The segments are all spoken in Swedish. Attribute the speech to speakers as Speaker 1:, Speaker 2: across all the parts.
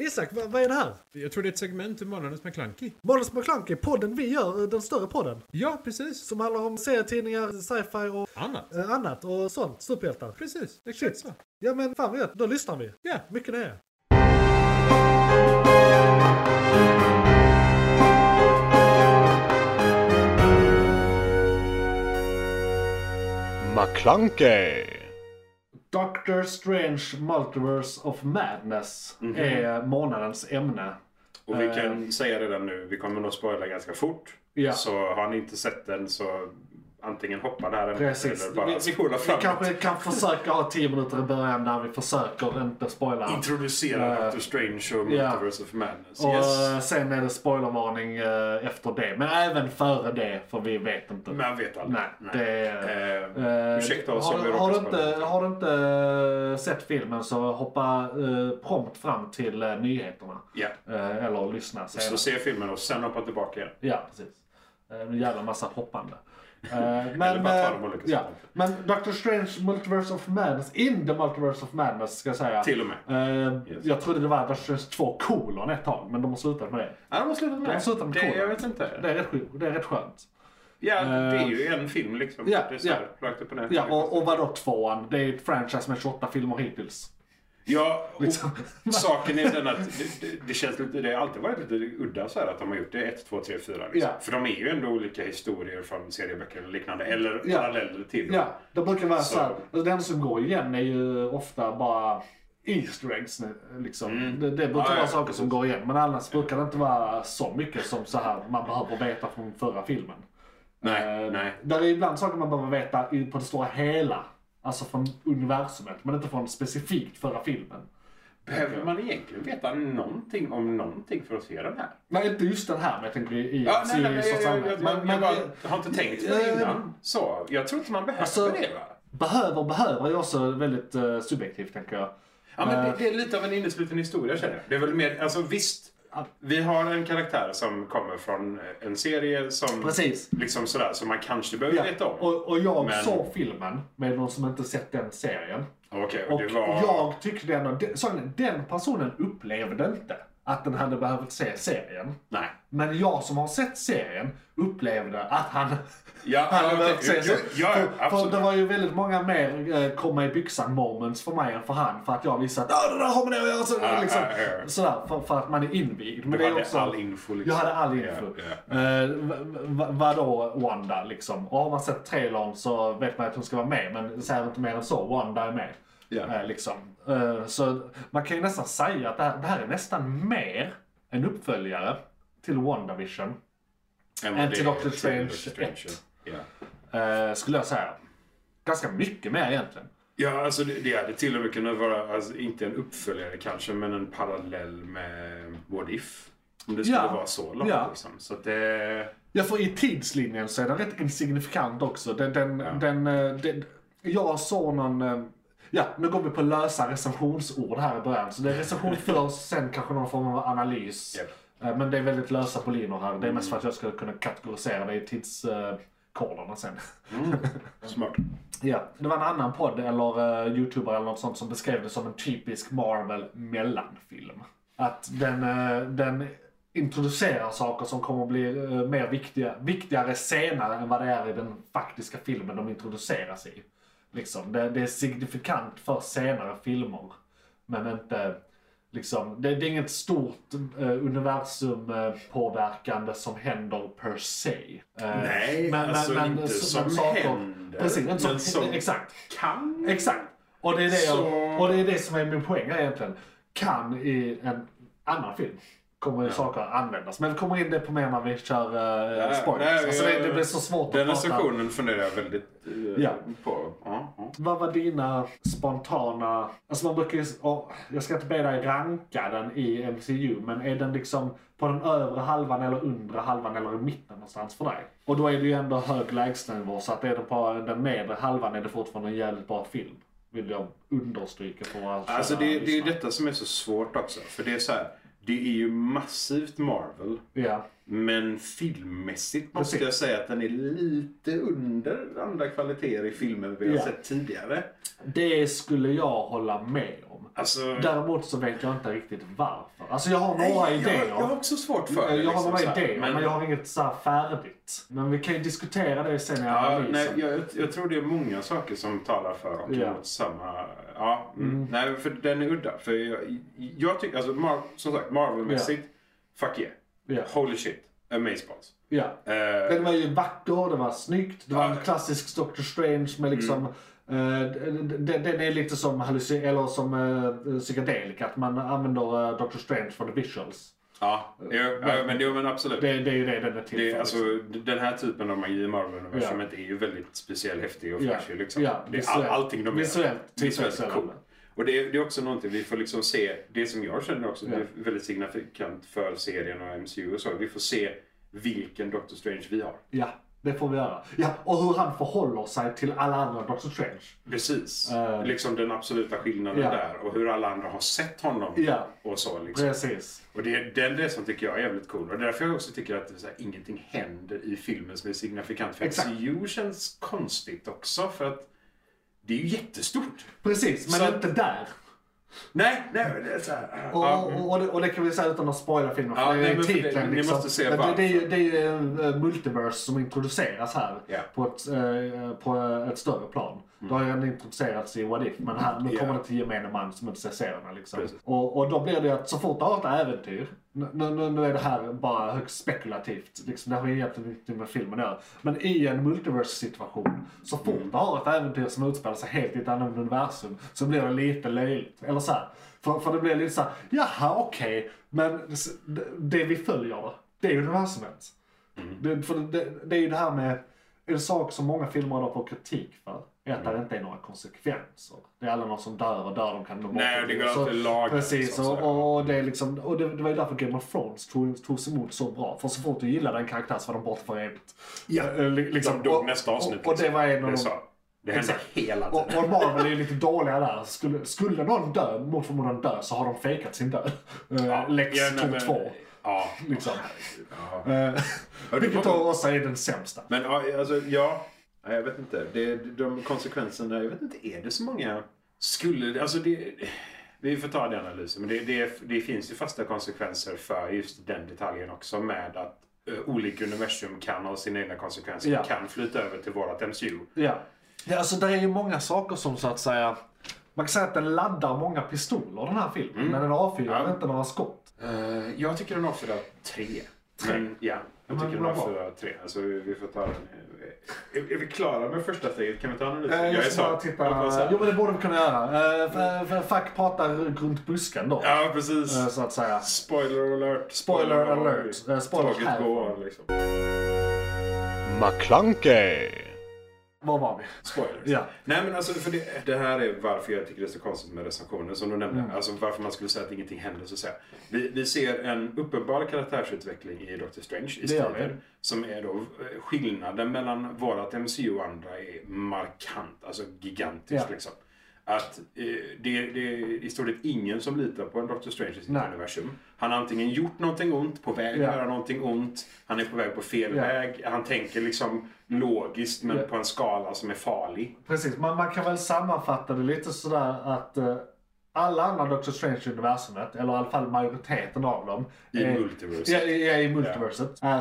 Speaker 1: Isak, vad, vad är det här?
Speaker 2: Jag tror det är ett segment ur Månadens McKlunky.
Speaker 1: Månadens McKlunky, podden vi gör, eh, den större podden.
Speaker 2: Ja, precis.
Speaker 1: Som handlar om serietidningar, sci-fi och
Speaker 2: Annat.
Speaker 1: eh, annat och sånt. Superhjältar.
Speaker 2: Precis, exakt
Speaker 1: Shit.
Speaker 2: så.
Speaker 1: Ja men fan vad gött, då lyssnar vi.
Speaker 2: Ja,
Speaker 1: Mycket nöje.
Speaker 3: McClunkey.
Speaker 4: Doctor Strange Multiverse of Madness
Speaker 5: Mhm.
Speaker 4: är månadens ämne.
Speaker 5: Och vi kan säga redan nu, vi kommer nog spoila ganska fort.
Speaker 4: Eh. Ja.
Speaker 5: Så har ni inte sett den så antingen hoppa där eller-
Speaker 4: Precis.
Speaker 5: eller bara spola
Speaker 4: Vi
Speaker 5: framåt.
Speaker 4: kanske kan försöka ha 10 minuter i början där vi försöker inte spoila. allt.
Speaker 5: Introducera
Speaker 4: Eh,
Speaker 5: Doctor Strange och
Speaker 4: ja.
Speaker 5: Multiverse of Madness.
Speaker 4: Och eh,
Speaker 5: Yes.
Speaker 4: sen är det spoilervarning eh, efter det. Men även före det, för vi vet inte.
Speaker 5: Man vet aldrig.
Speaker 4: Nej, det
Speaker 5: Eh, ursäkta oss
Speaker 4: har,
Speaker 5: om
Speaker 4: du-
Speaker 5: vi
Speaker 4: har, du
Speaker 5: råkar spoila
Speaker 4: inte,
Speaker 5: någonting.
Speaker 4: har du inte eh, sett filmen så hoppa eh, prompt fram till eh, nyheterna.
Speaker 5: Ja.
Speaker 4: Eh, eller lyssna
Speaker 5: Så
Speaker 4: senare.
Speaker 5: se filmen och sen hoppa tillbaka igen.
Speaker 4: Ja, precis. Eh, En jävla massa hoppande. Eh,
Speaker 5: Eller
Speaker 4: Men,
Speaker 5: bara ta
Speaker 4: eh,
Speaker 5: de olika
Speaker 4: ja.
Speaker 5: sakerna.
Speaker 4: men Doctor Strange Multiverse of Madness, in the Multiverse of Madness ska jag säga.
Speaker 5: Till och med.
Speaker 4: Eh,
Speaker 5: Yes.
Speaker 4: Jag trodde det var Doctor Strange 2 kolon ett tag, men de har slutat med det.
Speaker 5: Ja, de har slutat med
Speaker 4: De har slutat med
Speaker 5: det.
Speaker 4: koden.
Speaker 5: Jag vet inte.
Speaker 4: Det är rätt, skönt- det är rätt skönt.
Speaker 5: Ja, det är
Speaker 4: Eh,
Speaker 5: ju en film liksom.
Speaker 4: ja,
Speaker 5: det är så
Speaker 4: ja.
Speaker 5: här, rakt upp och ner.
Speaker 4: Ja, och, och vadå tvåan? Det är ett franchise med 28 filmer hittills.
Speaker 5: Ja, och
Speaker 4: Liksom.
Speaker 5: saken är den att det, det, det känns lite, det har alltid varit lite udda så här att de har gjort det 1, 2, 3, 4. Liksom.
Speaker 4: Ja.
Speaker 5: För de är ju ändå olika historier från serieböcker eller liknande. Eller
Speaker 4: Ja.
Speaker 5: paralleller till dem.
Speaker 4: Ja, det brukar vara
Speaker 5: Så-
Speaker 4: så här. Alltså, Den som går igen är ju ofta bara Easter eggs. nu, Liksom.
Speaker 5: Mm.
Speaker 4: Det, det brukar
Speaker 5: Ja, ja,
Speaker 4: vara saker
Speaker 5: precis.
Speaker 4: som går igen. Men annars brukar det inte vara så mycket som så här man behöver veta från förra filmen.
Speaker 5: Nej,
Speaker 4: Eh,
Speaker 5: nej.
Speaker 4: Där är ibland saker man behöver veta i- på det stora hela. Alltså från universumet, men inte från specifikt förra filmen.
Speaker 5: Behöver man egentligen veta någonting om någonting för att se den här?
Speaker 4: Nej, inte just den här, men jag tänker i
Speaker 5: Ja, nej, nej,
Speaker 4: serier
Speaker 5: jag,
Speaker 4: i
Speaker 5: jag,
Speaker 4: sorts
Speaker 5: jag,
Speaker 4: allmänhet.
Speaker 5: jag,
Speaker 4: Men- men-
Speaker 5: bara har inte tänkt på det
Speaker 4: Eh,
Speaker 5: innan. Så, jag tror inte man behöver
Speaker 4: Alltså-
Speaker 5: det va?
Speaker 4: Behöver, behöver är också väldigt eh, subjektivt, tänker jag.
Speaker 5: Ja, men det,
Speaker 4: Eh,
Speaker 5: det är lite av en innesluten historia känner jag. Det är väl mer, alltså visst. Vi har en karaktär som kommer från eh, en serie som
Speaker 4: Precis.
Speaker 5: liksom sådär som man kanske behöver
Speaker 4: Ja,
Speaker 5: veta om.
Speaker 4: Och, och jag
Speaker 5: Men-
Speaker 4: såg filmen med någon som inte sett den serien.
Speaker 5: Okej, och
Speaker 4: Och
Speaker 5: det var...
Speaker 4: jag tyckte ändå, den, såg ni, den personen upplevde inte att den hade behövt se serien.
Speaker 5: Nej.
Speaker 4: Men jag som har sett serien upplevde att han
Speaker 5: Ja,
Speaker 4: hade
Speaker 5: ja,
Speaker 4: behövt se
Speaker 5: okej.
Speaker 4: serien.
Speaker 5: Ja, ja,
Speaker 4: för, för
Speaker 5: absolut.
Speaker 4: det var ju väldigt många mer eh, komma i byxan moments för mig än för han. För att jag visste att "Ah, det där har med det att göra. Så,
Speaker 5: Ja,
Speaker 4: liksom,
Speaker 5: ja, ja.
Speaker 4: Sådär, för, för att man är invigd. Men
Speaker 5: Du
Speaker 4: det är
Speaker 5: hade
Speaker 4: också,
Speaker 5: all info liksom.
Speaker 4: Jag hade all info.
Speaker 5: Ja, ja.
Speaker 4: Eh, v- v- vadå Wanda liksom? Och har man sett trailern så vet man att hon ska vara med men säger inte mer än så. Wanda är med.
Speaker 5: Ja.
Speaker 4: Eh, liksom. Eh, så man kan ju nästan säga att det här, det här är nästan mer en uppföljare till WandaVision.
Speaker 5: Än vad
Speaker 4: Än
Speaker 5: det
Speaker 4: till
Speaker 5: är
Speaker 4: Doctor Strange ett.
Speaker 5: Ja.
Speaker 4: eh, skulle jag säga. Ganska mycket mer egentligen.
Speaker 5: Ja, alltså det, det hade till och med kunnat vara, alltså, inte en uppföljare kanske, men en parallell med What If. Om det skulle
Speaker 4: Ja.
Speaker 5: vara så långt
Speaker 4: Ja.
Speaker 5: liksom. Så att det...
Speaker 4: Ja, för i tidslinjen så är den rätt insignifikant också. Den, den, den, eh, den, jag såg någon... eh, Ja, nu går vi på lösa recensionsord här i början. Så det är recension först, sen kanske någon form av analys.
Speaker 5: Japp.
Speaker 4: Eh, Men det är väldigt lösa poliner här. Det är mest för att jag ska kunna kategorisera det i tidskoderna sen.
Speaker 5: mm. Smart.
Speaker 4: Ja, det var en annan podd eller eh, youtuber eller något sånt som beskrev det som en typisk Marvel mellanfilm. Att den, eh, den introducerar saker som kommer att bli eh, mer viktiga, viktigare senare än vad det är i den faktiska filmen de introduceras i. Liksom, det, det är signifikant för senare filmer. Men inte, liksom, det, det är inget stort eh, universum eh, påverkande som händer per se. Eh,
Speaker 5: Nej, alltså inte som händer,
Speaker 4: Precis, inte som,
Speaker 5: men som-
Speaker 4: exakt.
Speaker 5: Kan...
Speaker 4: Exakt. Och det, är det
Speaker 5: Så-
Speaker 4: jag, och det är det som är min poäng här egentligen. Kan i en annan film kommer ju saker att användas. Men vi kommer in det på mer när vi kör eh,
Speaker 5: Nej,
Speaker 4: spoilers.
Speaker 5: nej,
Speaker 4: alltså, det,
Speaker 5: jag-
Speaker 4: det blir så svårt
Speaker 5: Den
Speaker 4: att prata.
Speaker 5: recensionen funderar jag väldigt eh,
Speaker 4: Ja.
Speaker 5: på. Ja, ja.
Speaker 4: Vad var dina spontana... Alltså man brukar ju... och Jag ska inte be dig ranka den i MCU, men är den liksom på den övre halvan eller undre halvan eller i mitten någonstans för dig? Och då är det ju ändå hög lägstanivå, så att är det på den nedre halvan är det fortfarande en jävligt bra film. Vill jag understryka för våra
Speaker 5: Alltså
Speaker 4: kära
Speaker 5: det, det är ju
Speaker 4: lyssnare.
Speaker 5: detta som är så svårt också. För det är så här, det är ju massivt Marvel.
Speaker 4: Ja,
Speaker 5: Men filmmässigt måste
Speaker 4: Precis.
Speaker 5: jag säga att den är lite under andra kvaliteter i filmer vi har
Speaker 4: Ja.
Speaker 5: sett tidigare.
Speaker 4: Det skulle jag hålla med om.
Speaker 5: Alltså,
Speaker 4: Däremot så vet jag inte riktigt varför. Alltså jag har några idéer.
Speaker 5: Jag, jag har också svårt för det.
Speaker 4: Eh,
Speaker 5: liksom,
Speaker 4: jag har några
Speaker 5: så här.
Speaker 4: idéer, men... jag har inget så här färdigt. Men vi kan ju diskutera det sen i
Speaker 5: Ja,
Speaker 4: analysen.
Speaker 5: nej, jag, jag tror det är många saker som talar för och
Speaker 4: liksom. Ja.
Speaker 5: emot samma... Ja, mm. Nej, för den är udda. För jag, jag tycker, alltså, Mar- som sagt, Marvel-mässigt, fuck yeah.
Speaker 4: Ja.
Speaker 5: Holy shit, amazeballs.
Speaker 4: Ja.
Speaker 5: Eh,
Speaker 4: Den var ju vacker, den var snyggt. Det var
Speaker 5: Ja. Mm.
Speaker 4: en klassisk Doctor Strange med liksom... eh, d- d- den är lite som, halluci- eller som uh, psykedelik, att man använder eh, Doctor Strange för the visuals.
Speaker 5: ja, jo, ja, men, jo, men absolut.
Speaker 4: Det, det är ju det den är till
Speaker 5: Det,
Speaker 4: för.
Speaker 5: alltså,
Speaker 4: liksom.
Speaker 5: d- den här typen av magi i Marvel-universumet är ju väldigt speciell, häftig och
Speaker 4: Ja.
Speaker 5: flashig. Liksom.
Speaker 4: Ja,
Speaker 5: det är all,
Speaker 4: visuellt.
Speaker 5: allting de
Speaker 4: Visuellt
Speaker 5: gör. Visuellt
Speaker 4: tillfredsställande.
Speaker 5: cool. Och det, är- det är också någonting vi får liksom se, det som jag känner också,
Speaker 4: Ja.
Speaker 5: det är väldigt signifikant för serien och MCU och så. Vi får se vilken Doctor Strange vi har.
Speaker 4: Ja, det får vi göra. Ja, och hur han förhåller sig till alla andra Doctor Strange.
Speaker 5: Precis.
Speaker 4: Eh.
Speaker 5: Liksom den absoluta skillnaden
Speaker 4: Ja.
Speaker 5: där och hur alla andra har sett honom.
Speaker 4: Ja.
Speaker 5: Och så liksom.
Speaker 4: Precis.
Speaker 5: Och det är den det som tycker jag är jävligt cool. Och därför jag också tycker att så här, ingenting händer i filmen som är signifikant. För
Speaker 4: Exakt.
Speaker 5: MCU känns konstigt också för att det är ju jättestort.
Speaker 4: Precis, men
Speaker 5: Så-
Speaker 4: inte där.
Speaker 5: Nej, nej, men det är så här.
Speaker 4: Och,
Speaker 5: ja, mm.
Speaker 4: och, och, det, och det kan vi säga utan att spoila filmen, för
Speaker 5: Ja,
Speaker 4: det
Speaker 5: nej,
Speaker 4: är
Speaker 5: men för det-
Speaker 4: titeln.
Speaker 5: ni
Speaker 4: liksom.
Speaker 5: måste se
Speaker 4: Men det,
Speaker 5: varför.
Speaker 4: det är ju, det är ju eh, multiverse som introduceras här
Speaker 5: Ja.
Speaker 4: på, ett, eh, på ett större plan. Det har ju redan introducerats i What If, men här, nu
Speaker 5: Mm. Ja.
Speaker 4: kommer det till gemene man som inte ser serierna. Liksom.
Speaker 5: Precis.
Speaker 4: Och, och då blir det ju att så fort du har ett äventyr, nu, nu, nu är det här bara högst spekulativt, liksom, det har ju egentligen ingenting med filmen att göra. Men i en multiverse-situation, så fort
Speaker 5: Mm.
Speaker 4: du har ett äventyr som utspelar sig helt i ett annat universum, så blir det lite löjligt. Eller så här, för, för det blir lite så här, jaha okej, men s- det, det vi följer då, det är ju universumet. Det, för det, det är ju det här med, en sak som många filmer idag får kritik för, är att det inte är några konsekvenser. Det är alla någon som dör och dör, de kan nå bort
Speaker 5: Nej, och det går
Speaker 4: Så-
Speaker 5: alltid lag.
Speaker 4: Precis,
Speaker 5: liksom, så här.
Speaker 4: och, och, det, är liksom, och det, det var ju därför Game of Thrones tog- togs emot så bra. För så fort du gillade en karaktär så var de borta för evigt.
Speaker 5: Ja,
Speaker 4: Eh, li- liksom,
Speaker 5: de dog
Speaker 4: och-
Speaker 5: nästa avsnitt. liksom.
Speaker 4: Och, och det var en av
Speaker 5: Det, är
Speaker 4: de...
Speaker 5: så. det händer
Speaker 4: Exakt.
Speaker 5: hela
Speaker 4: Och,
Speaker 5: tiden.
Speaker 4: och Marvel är ju lite dåliga där. Skulle, skulle någon dö, mot förmodan dö, så har de fejkat sin död. Eh, Lex
Speaker 5: Ja, nej, men-
Speaker 4: 2.
Speaker 5: Ja.
Speaker 4: Liksom.
Speaker 5: ja.
Speaker 4: Eh, Vilket av oss är den sämsta.
Speaker 5: Men ja, alltså, ja. Nej, jag vet inte. Det, de konsekvenserna, jag vet inte, är det så många? Skulle alltså det... Vi får ta den analysen, men det, det, det finns ju fasta konsekvenser för just den detaljen också med att eh, olika universum kan ha sina egna konsekvenser
Speaker 4: Ja.
Speaker 5: och kan flytta över till vårat MCU.
Speaker 4: Ja. ja, alltså det är ju många saker som så att säga... Man kan säga att den laddar många pistoler den här filmen,
Speaker 5: Mm.
Speaker 4: men den avfyrar inte några skott.
Speaker 5: Eh, jag tycker den avfyrar tre. Men ja, jag
Speaker 4: Men
Speaker 5: tycker den
Speaker 4: vad bra.
Speaker 5: avfyrar tre. Alltså, vi vi får ta den. eh, Är, är vi klara med första steget? Kan vi ta analysen?
Speaker 4: Eh, Jag ska bara
Speaker 5: jag är
Speaker 4: titta.
Speaker 5: så-
Speaker 4: Jo men det borde vi kunna göra. Eh, f- f- Fuck pratar runt busken då.
Speaker 5: Ja, precis.
Speaker 4: eh, Så att säga.
Speaker 5: Spoiler alert.
Speaker 4: Spoiler alert. Eh, spoiler
Speaker 5: Tåget
Speaker 4: här.
Speaker 5: går liksom.
Speaker 3: McClunkey.
Speaker 4: Var var vi?
Speaker 5: Spoilers.
Speaker 4: Ja.
Speaker 5: Nej men alltså, för det, det här är varför jag tycker det är så konstigt med recensioner som du nämnde.
Speaker 4: Mm.
Speaker 5: Alltså varför man skulle säga att ingenting händer så att säga. Vi, vi ser en uppenbar karaktärsutveckling i Doctor Strange i
Speaker 4: Det gör vi.
Speaker 5: serien. Som är då eh, skillnaden mellan vårat MCU och andra är markant. Alltså
Speaker 4: Ja.
Speaker 5: gigantisk liksom. Att eh, det, det är i stort sett ingen som litar på en Doctor Strange i sitt
Speaker 4: Nej.
Speaker 5: universum. Han har antingen gjort någonting ont, på väg att
Speaker 4: Ja.
Speaker 5: göra någonting ont, han är på väg på fel
Speaker 4: Ja.
Speaker 5: väg, han tänker liksom logiskt men
Speaker 4: Ja.
Speaker 5: på en skala som är farlig.
Speaker 4: Precis, man, man kan väl sammanfatta det lite sådär att eh, alla andra Doctor Strange i universumet, eller i alla fall majoriteten av dem.
Speaker 5: I
Speaker 4: är-
Speaker 5: multiverset.
Speaker 4: Ja, i, ja, i multiverset. Är,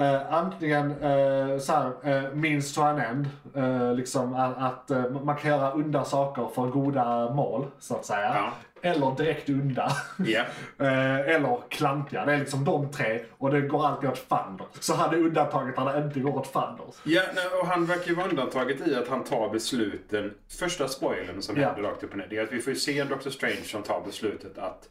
Speaker 4: eh, antingen uh, såhär, uh, means to an end. eh, liksom att, att eh, man kan göra onda saker för goda mål, så att säga.
Speaker 5: Ja.
Speaker 4: Eller direkt onda.
Speaker 5: Ja.
Speaker 4: Eh, eller klantiga. Det är liksom de tre och det går alltid åt fanders. Så hade undantaget när det inte går åt fanders.
Speaker 5: Ja, nej, och han verkar ju vara undantaget i att han tar besluten. Första spoilern som
Speaker 4: Ja.
Speaker 5: händer rakt upp och ner, det är att vi får ju se en Doctor Strange som tar beslutet att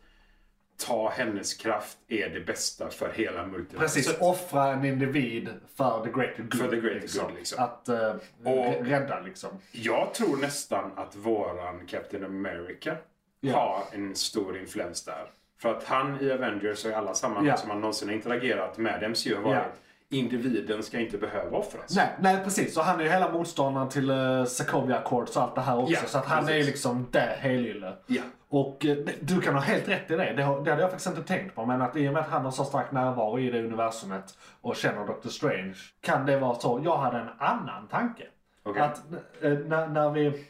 Speaker 5: ta hennes kraft är det bästa för hela multiverset.
Speaker 4: Precis, offra en individ för the greater good.
Speaker 5: För the greater good, liksom.
Speaker 4: Att eh, r- rädda liksom.
Speaker 5: Jag tror nästan att våran Captain America
Speaker 4: Ja.
Speaker 5: har en stor influens där. För att han i Avengers och i alla sammanhang
Speaker 4: Ja.
Speaker 5: som han någonsin har interagerat med MCU har varit
Speaker 4: Ja.
Speaker 5: individen ska inte behöva offras.
Speaker 4: Nej, nej, precis. Och han är ju hela motståndaren till uh, Sokovia Accords och allt det här också.
Speaker 5: Ja,
Speaker 4: så att han är
Speaker 5: precis.
Speaker 4: ju liksom det helylle.
Speaker 5: Ja.
Speaker 4: Och eh, det- du kan ha helt rätt i det. Det, har, det hade jag faktiskt inte tänkt på. Men att i och med att han har så stark närvaro i det universumet och känner Doctor Strange. Kan det vara så? Jag hade en annan tanke.
Speaker 5: Okej.
Speaker 4: Att eh, när, när vi...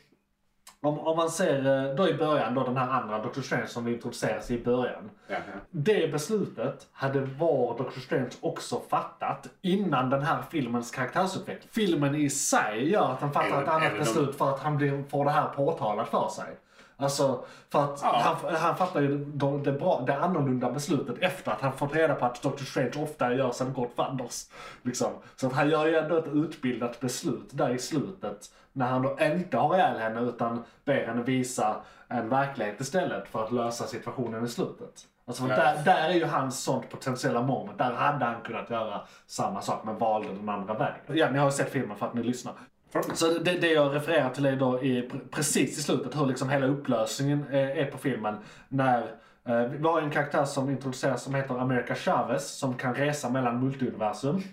Speaker 4: Om, om man ser eh, då i början, då den här andra Doctor Strange som vi introduceras i början.
Speaker 5: Ja,
Speaker 4: Det beslutet hade var Doctor Strange också fattat innan den här filmens karaktärsutveckling. Filmen i sig gör att han fattar
Speaker 5: Även-
Speaker 4: ett annat
Speaker 5: även om-
Speaker 4: beslut för att han blir, får det här påtalat för sig. Alltså, för att
Speaker 5: Ja.
Speaker 4: han, han fattar ju det, det, bra, det annorlunda beslutet efter att han fått reda på att Doctor Strange ofta gör sen gott vanders. Liksom. Så att han gör ju ändå ett utbildat beslut där i slutet. När han då inte har ihjäl henne utan ber henne visa en verklighet istället för att lösa situationen i slutet. Alltså för
Speaker 5: Ja.
Speaker 4: där, där är ju hans sånt potentiella moment. Där hade han kunnat göra samma sak men valde den andra vägen. Ja, ni har ju sett filmen för att ni lyssnar.
Speaker 5: För-
Speaker 4: Så det, det jag refererar till är då i, pre- precis i slutet hur liksom hela upplösningen eh, är, är på filmen. När eh, vi har en karaktär som introduceras som heter America Chavez som kan resa mellan multiversum.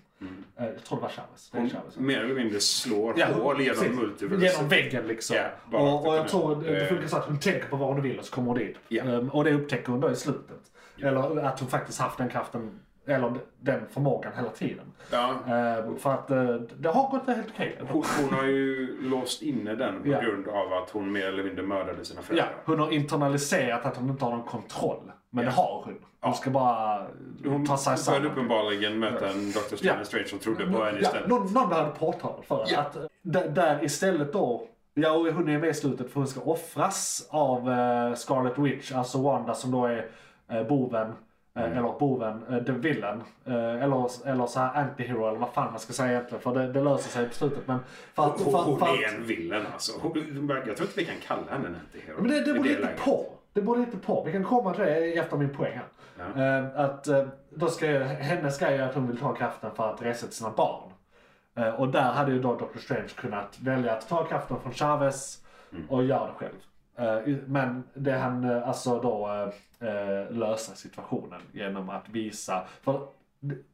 Speaker 4: Eh, jag tror det var Chavez. Det är Chavez.
Speaker 5: Mm. Hon mer eller mindre slår
Speaker 4: Mm. Ja,
Speaker 5: hål genom
Speaker 4: precis. Genom
Speaker 5: multiversum.
Speaker 4: väggen liksom.
Speaker 5: Ja, bara
Speaker 4: och, och jag
Speaker 5: rakt
Speaker 4: tror
Speaker 5: upp och ner.
Speaker 4: det funkar så att hon tänker på vad hon vill och så kommer hon dit.
Speaker 5: Ja.
Speaker 4: Ehm, Och det upptäcker hon då i slutet. Eller att hon faktiskt haft den kraften, eller den förmågan hela tiden.
Speaker 5: Ja.
Speaker 4: Ehm, För att eh, det har gått helt okej.
Speaker 5: Hon, hon har ju låst inne den på
Speaker 4: Ja.
Speaker 5: grund av att hon mer eller mindre mördade sina
Speaker 4: Ja,
Speaker 5: föräldrar.
Speaker 4: Eh, hon har internaliserat att hon inte har någon kontroll. Men det har hon. Hon ska bara eh,
Speaker 5: Hon
Speaker 4: ta sig
Speaker 5: började
Speaker 4: samman.
Speaker 5: uppenbarligen möta en Dr. Stephen
Speaker 4: Ja.
Speaker 5: Strange som trodde på
Speaker 4: Nå-
Speaker 5: henne
Speaker 4: ja,
Speaker 5: istället.
Speaker 4: någon, någon behövde påtala för henne.
Speaker 5: Ja.
Speaker 4: Att eh, där, där istället då, ja och hon är med i slutet för hon ska offras av eh, Scarlet Witch, alltså Wanda som då är eh, boven. eh,
Speaker 5: Mm.
Speaker 4: Eller boven, eh, the villain. eh, Eller, eller så här antihero eller vad fan man ska säga egentligen. För det, det löser sig på slutet. Men för att,
Speaker 5: Hon,
Speaker 4: för,
Speaker 5: hon
Speaker 4: för att,
Speaker 5: är en villain alltså. Hon, hon, verkar- jag tror inte vi kan kalla henne en antihero.
Speaker 4: Men det, det
Speaker 5: i
Speaker 4: beror lite
Speaker 5: läget.
Speaker 4: på. Det beror lite på. Vi kan komma till det efter min poäng här. Eh, att eh, då ska ju, hennes grej är att hon vill ta kraften för att resa till sina barn. Eh, och där hade ju då Dr. Strange kunnat välja att ta kraften från Chavez och göra det själv. Eh, i- men det han eh, alltså då eh, eh, lösa situationen genom att visa. För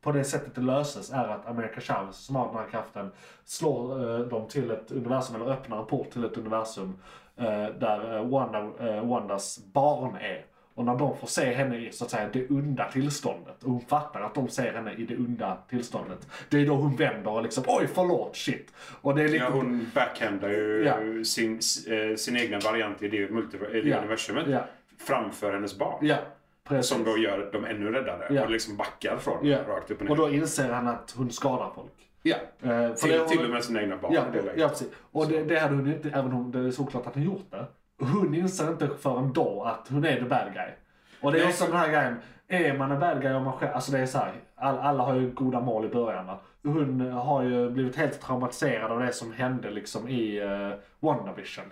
Speaker 4: på det sättet det löses är att America Chavez som har den här kraften slår eh, dem till ett universum eller öppnar en port till ett universum eh, där eh, Wanda, eh, Wandas barn är. Och när de får se henne i så att säga, det onda tillståndet och hon fattar att de ser henne i det onda tillståndet. Det är då hon vänder och liksom oj förlåt shit. Och det är lite
Speaker 5: Ja, hon backhandar ju
Speaker 4: Ja.
Speaker 5: sin, s- eh, sin egna variant i det, multiver- i det
Speaker 4: Ja.
Speaker 5: universumet
Speaker 4: Ja.
Speaker 5: framför hennes barn.
Speaker 4: Ja, precis.
Speaker 5: Som då gör dem ännu räddare
Speaker 4: Ja.
Speaker 5: och liksom backar från
Speaker 4: ja.
Speaker 5: rakt upp och
Speaker 4: och
Speaker 5: ner.
Speaker 4: då inser han att hon skadar folk.
Speaker 5: ja.
Speaker 4: Eh, för det
Speaker 5: Till,
Speaker 4: har-
Speaker 5: till och med sina egna barn
Speaker 4: Ja,
Speaker 5: i det läget.
Speaker 4: ja precis. Och det, det hade hon ju inte, även om det är såklart att hon gjort det. Hon inser inte förrän då att hon är the bad guy. Och det är
Speaker 5: Nej.
Speaker 4: också den här grejen, är man en bad guy om man själv, alltså det är så här, all, alla har ju goda mål i början va? Hon har ju blivit helt traumatiserad av det som hände liksom i uh, WandaVision.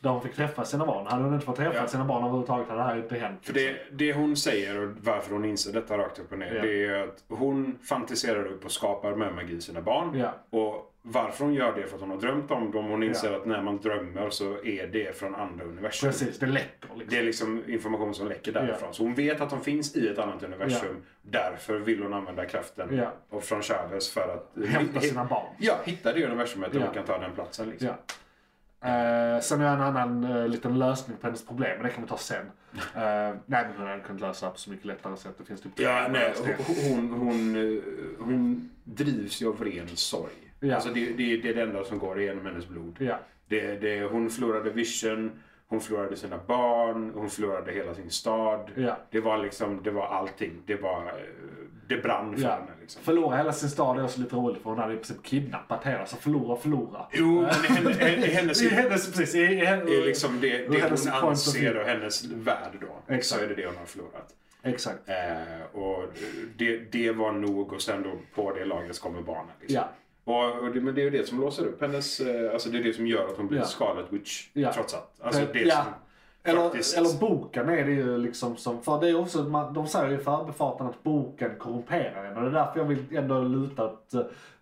Speaker 4: Där hon fick träffa sina barn. Hade hon inte fått träffa
Speaker 5: Ja.
Speaker 4: sina barn överhuvudtaget hade det här inte hänt.
Speaker 5: För
Speaker 4: liksom.
Speaker 5: det, det hon säger och varför hon inser detta rakt upp och ner.
Speaker 4: Ja.
Speaker 5: Det är ju att hon fantiserar upp och skapar med magi i sina barn.
Speaker 4: Ja.
Speaker 5: Och varför hon gör det är för att hon har drömt om dem. Hon inser
Speaker 4: Ja.
Speaker 5: att när man drömmer så är det från andra universum.
Speaker 4: Precis, det läcker liksom.
Speaker 5: Det är liksom information som läcker därifrån. Så hon vet att de finns i ett annat universum. Därför vill hon använda kraften
Speaker 4: Ja.
Speaker 5: och från Chavez för att
Speaker 4: Hämta sina barn.
Speaker 5: Ja, hitta det universumet där
Speaker 4: Ja.
Speaker 5: hon kan ta den platsen. Liksom.
Speaker 4: Ja. Eh, sen har jag en annan eh, liten lösning på hennes problem, men det kan vi ta sen. Eh, nej, men hon hade kunnat lösa det på så mycket lättare sätt. Det finns typ
Speaker 5: Ja, nej,
Speaker 4: lösningar.
Speaker 5: hon, hon, eh, hon drivs ju av ren sorg.
Speaker 4: Ja.
Speaker 5: Alltså det, det, det är det enda som går igenom hennes blod.
Speaker 4: Ja.
Speaker 5: Det, det, hon förlorade vision, hon förlorade sina barn, hon förlorade hela sin stad.
Speaker 4: Ja.
Speaker 5: Det var liksom, det var allting. Det, var, eh, det brann för
Speaker 4: Ja.
Speaker 5: henne. Liksom.
Speaker 4: Förlora hela sin stad är också lite roligt, för hon hade i princip kidnappat hela, så förlora, förlora.
Speaker 5: Jo, men hennes, hennes,
Speaker 4: I hennes, precis, i, i,
Speaker 5: det är liksom det,
Speaker 4: ur
Speaker 5: det
Speaker 4: hennes
Speaker 5: hon
Speaker 4: point of
Speaker 5: anser
Speaker 4: view.
Speaker 5: och hennes värld då.
Speaker 4: Exakt.
Speaker 5: Så är det det hon har förlorat.
Speaker 4: Exakt.
Speaker 5: Eh, och det, det var nog och sen då på det laget kommer barnen. Liksom.
Speaker 4: Ja.
Speaker 5: Och, och det, men det är ju det som låser upp hennes... eh, Alltså det är det som gör att hon blir
Speaker 4: Ja.
Speaker 5: Scarlet Witch
Speaker 4: Ja.
Speaker 5: trots allt. Alltså det
Speaker 4: ja.
Speaker 5: som
Speaker 4: eller,
Speaker 5: faktiskt...
Speaker 4: eller boken är det ju liksom som, för det är också, man, de säger ju i förbifarten att boken korrumperar en och det är därför jag vill ändå luta åt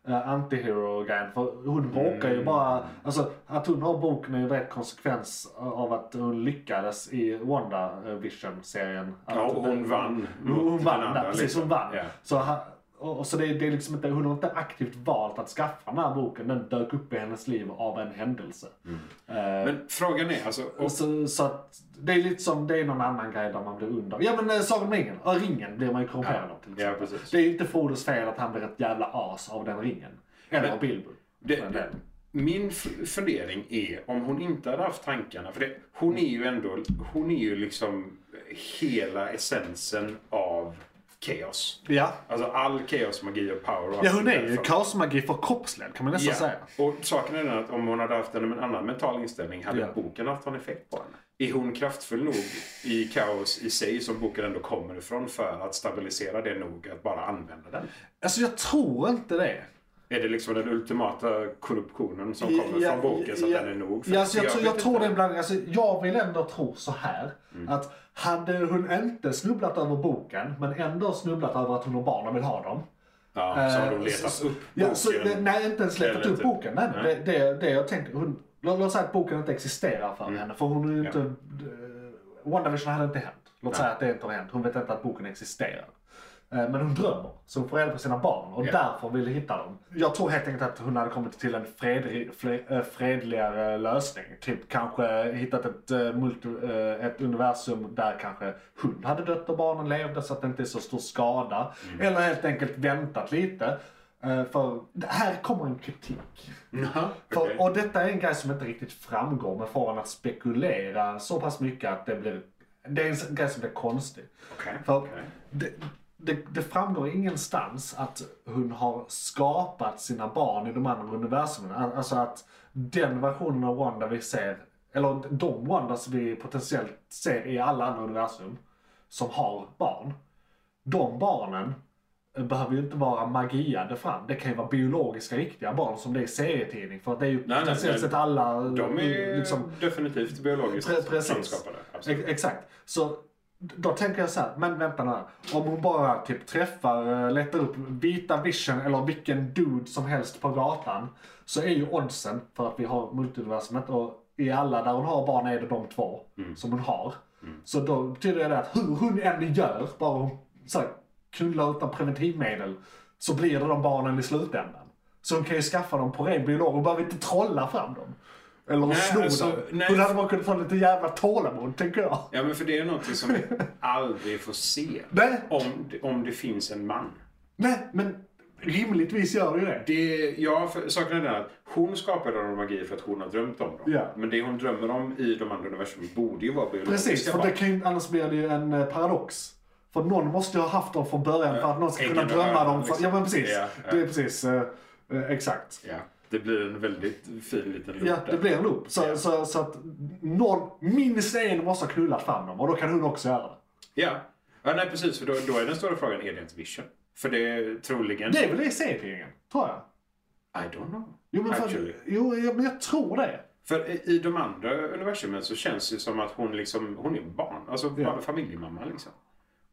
Speaker 4: uh, antihero-grejen. För hon råkar
Speaker 5: Mm.
Speaker 4: ju bara, alltså att hon har boken är ju direkt konsekvens av att hon lyckades i WandaVision-serien.
Speaker 5: Ja,
Speaker 4: Att-
Speaker 5: och hon vann
Speaker 4: Hon,
Speaker 5: mot
Speaker 4: hon vann
Speaker 5: den
Speaker 4: där,
Speaker 5: andra,
Speaker 4: precis
Speaker 5: liksom.
Speaker 4: hon vann.
Speaker 5: Ja.
Speaker 4: Så ha- och, och så det, det är liksom inte, hon har inte aktivt valt att skaffa den här boken. Den dök upp i hennes liv av en händelse. Eh,
Speaker 5: Men frågan är alltså...
Speaker 4: och
Speaker 5: Och,
Speaker 4: så, så att det är lite som, det är någon annan grej där man blir under. Ja men eh, Sagan om ringen, Ja, ringen blir man ju korrumperad av till
Speaker 5: ja,
Speaker 4: exempel.
Speaker 5: precis.
Speaker 4: det är ju inte Frodos fel att han blir ett jävla as av den ringen. Eller
Speaker 5: Men-
Speaker 4: av Bilbo.
Speaker 5: Det,
Speaker 4: för en
Speaker 5: det,
Speaker 4: del.
Speaker 5: min f- fundering är om hon inte hade haft tankarna. För det, hon är ju ändå, hon är ju liksom hela essensen av kaos.
Speaker 4: Ja.
Speaker 5: Alltså all kaosmagi och power. och
Speaker 4: ja,
Speaker 5: allt
Speaker 4: hon är ju
Speaker 5: därifrån.
Speaker 4: kaosmagi förkroppsligad kan man nästan säga.
Speaker 5: Och saken är den att om hon hade haft en annan mental inställning hade
Speaker 4: Ja.
Speaker 5: boken haft någon effekt på henne. Är hon kraftfull nog i kaos i sig som boken ändå kommer ifrån för att stabilisera det nog att bara använda den?
Speaker 4: Alltså jag tror inte det.
Speaker 5: Är det liksom den ultimata korruptionen som kommer
Speaker 4: Ja,
Speaker 5: från boken så att
Speaker 4: ja,
Speaker 5: den är nog?
Speaker 4: Ja, alltså, jag, tror, jag
Speaker 5: vet
Speaker 4: tror det
Speaker 5: inte. Mm.
Speaker 4: är en blandning. Alltså, jag vill ändå tro så här. Att hade hon inte snubblat över boken, men ändå snubblat över att hon och barnen vill ha dem.
Speaker 5: Ja, så har de
Speaker 4: eh,
Speaker 5: letat
Speaker 4: så-
Speaker 5: upp
Speaker 4: Ja, så,
Speaker 5: boken.
Speaker 4: nej, inte ens letat
Speaker 5: Eller
Speaker 4: upp
Speaker 5: typ-
Speaker 4: boken. Nej, nej. Det, det, det jag tänker, hon, låt, låt säga att boken inte existerar för henne. För hon är ju
Speaker 5: Mm. Ja.
Speaker 4: inte... eh, WandaVision hade inte hänt. Låt säga att det inte har hänt. Hon vet inte att boken existerar. Eh, Men hon drömmer, så hon får reda på sina barn och
Speaker 5: Ja.
Speaker 4: därför vill hitta dem. Jag tror helt enkelt att hon hade kommit till en fredri, fle- eh, fredligare lösning. Typ kanske hittat ett, eh, multi, eh, ett universum där kanske hon hade dött och barnen levde så att det inte är så stor skada.
Speaker 5: Mm.
Speaker 4: Eller helt enkelt väntat lite. eh, För här kommer en kritik.
Speaker 5: Jaha,
Speaker 4: För,
Speaker 5: okej.
Speaker 4: Och detta är en grej som inte riktigt framgår, men får en att spekulera så pass mycket att det blir... Det är en grej som blir konstig.
Speaker 5: Okej,
Speaker 4: För
Speaker 5: okej.
Speaker 4: det, det, det framgår ingenstans att hon har skapat sina barn i de andra universumen. Al- Alltså att den versionen av Wanda vi ser, eller de Wandas vi potentiellt ser i alla andra universum som har barn. De barnen behöver ju inte vara magiade fram. Det kan ju vara biologiska riktiga barn som det är i serietidning. För att det är ju
Speaker 5: nej,
Speaker 4: potentiellt
Speaker 5: nej.
Speaker 4: sett alla...
Speaker 5: De är
Speaker 4: liksom-
Speaker 5: definitivt biologiskt
Speaker 4: Pre- precis.
Speaker 5: samskapade. Absolut.
Speaker 4: Ex- Exakt. Så då tänker jag så här, men vänta nu här. Om hon bara typ träffar, eh, letar upp vita vision eller vilken dude som helst på gatan. Så är ju oddsen för att vi har multiversumet och i alla där hon har barn är det de två som hon har. Så då betyder det att hur hon än gör, bara hon så här, knullar utan preventivmedel, så blir det de barnen i slutändan. Så hon kan ju skaffa dem på ren biolog, hon behöver inte trolla fram dem. Eller
Speaker 5: Nej,
Speaker 4: sno
Speaker 5: alltså,
Speaker 4: dem.
Speaker 5: nej.
Speaker 4: Hon hade bara kunnat få lite jävla tålamod, tänker jag.
Speaker 5: Ja, men för det är någonting som vi aldrig får se.
Speaker 4: Nej.
Speaker 5: Om, om det finns en man.
Speaker 4: Nej, men rimligtvis gör det ju det.
Speaker 5: Det, ja, för, saken är den att hon skapade de magi för att hon har drömt om dem.
Speaker 4: Ja.
Speaker 5: Men det hon drömmer om i de andra universum borde ju vara biologiska
Speaker 4: Precis, för
Speaker 5: barn.
Speaker 4: det kan ju, annars blir det ju en eh, paradox. För någon måste ju ha haft dem från början för att någon ska
Speaker 5: Äggen
Speaker 4: kunna
Speaker 5: och
Speaker 4: drömma
Speaker 5: hönan,
Speaker 4: dem. För,
Speaker 5: liksom.
Speaker 4: ja, men precis.
Speaker 5: Ja, ja.
Speaker 4: Det är precis. eh, eh, exakt.
Speaker 5: Ja, det blir en väldigt fin liten loop
Speaker 4: Ja,
Speaker 5: där.
Speaker 4: det blir en loop. Så,
Speaker 5: Ja.
Speaker 4: så, så att någon, minst en måste ha knullat fram dem och då kan hon också göra det.
Speaker 5: Ja. ja, nej precis. För då, då är den stora frågan, är det ens vision? För det är troligen...
Speaker 4: Det är väl det i serietidningen, tror jag.
Speaker 5: I don't know.
Speaker 4: Jo, men, för,
Speaker 5: Actually.
Speaker 4: jo, ja, men jag tror det.
Speaker 5: För i- i de andra universumen så känns det som att hon, liksom, hon är barn. Alltså
Speaker 4: Ja.
Speaker 5: bara familjemamma liksom.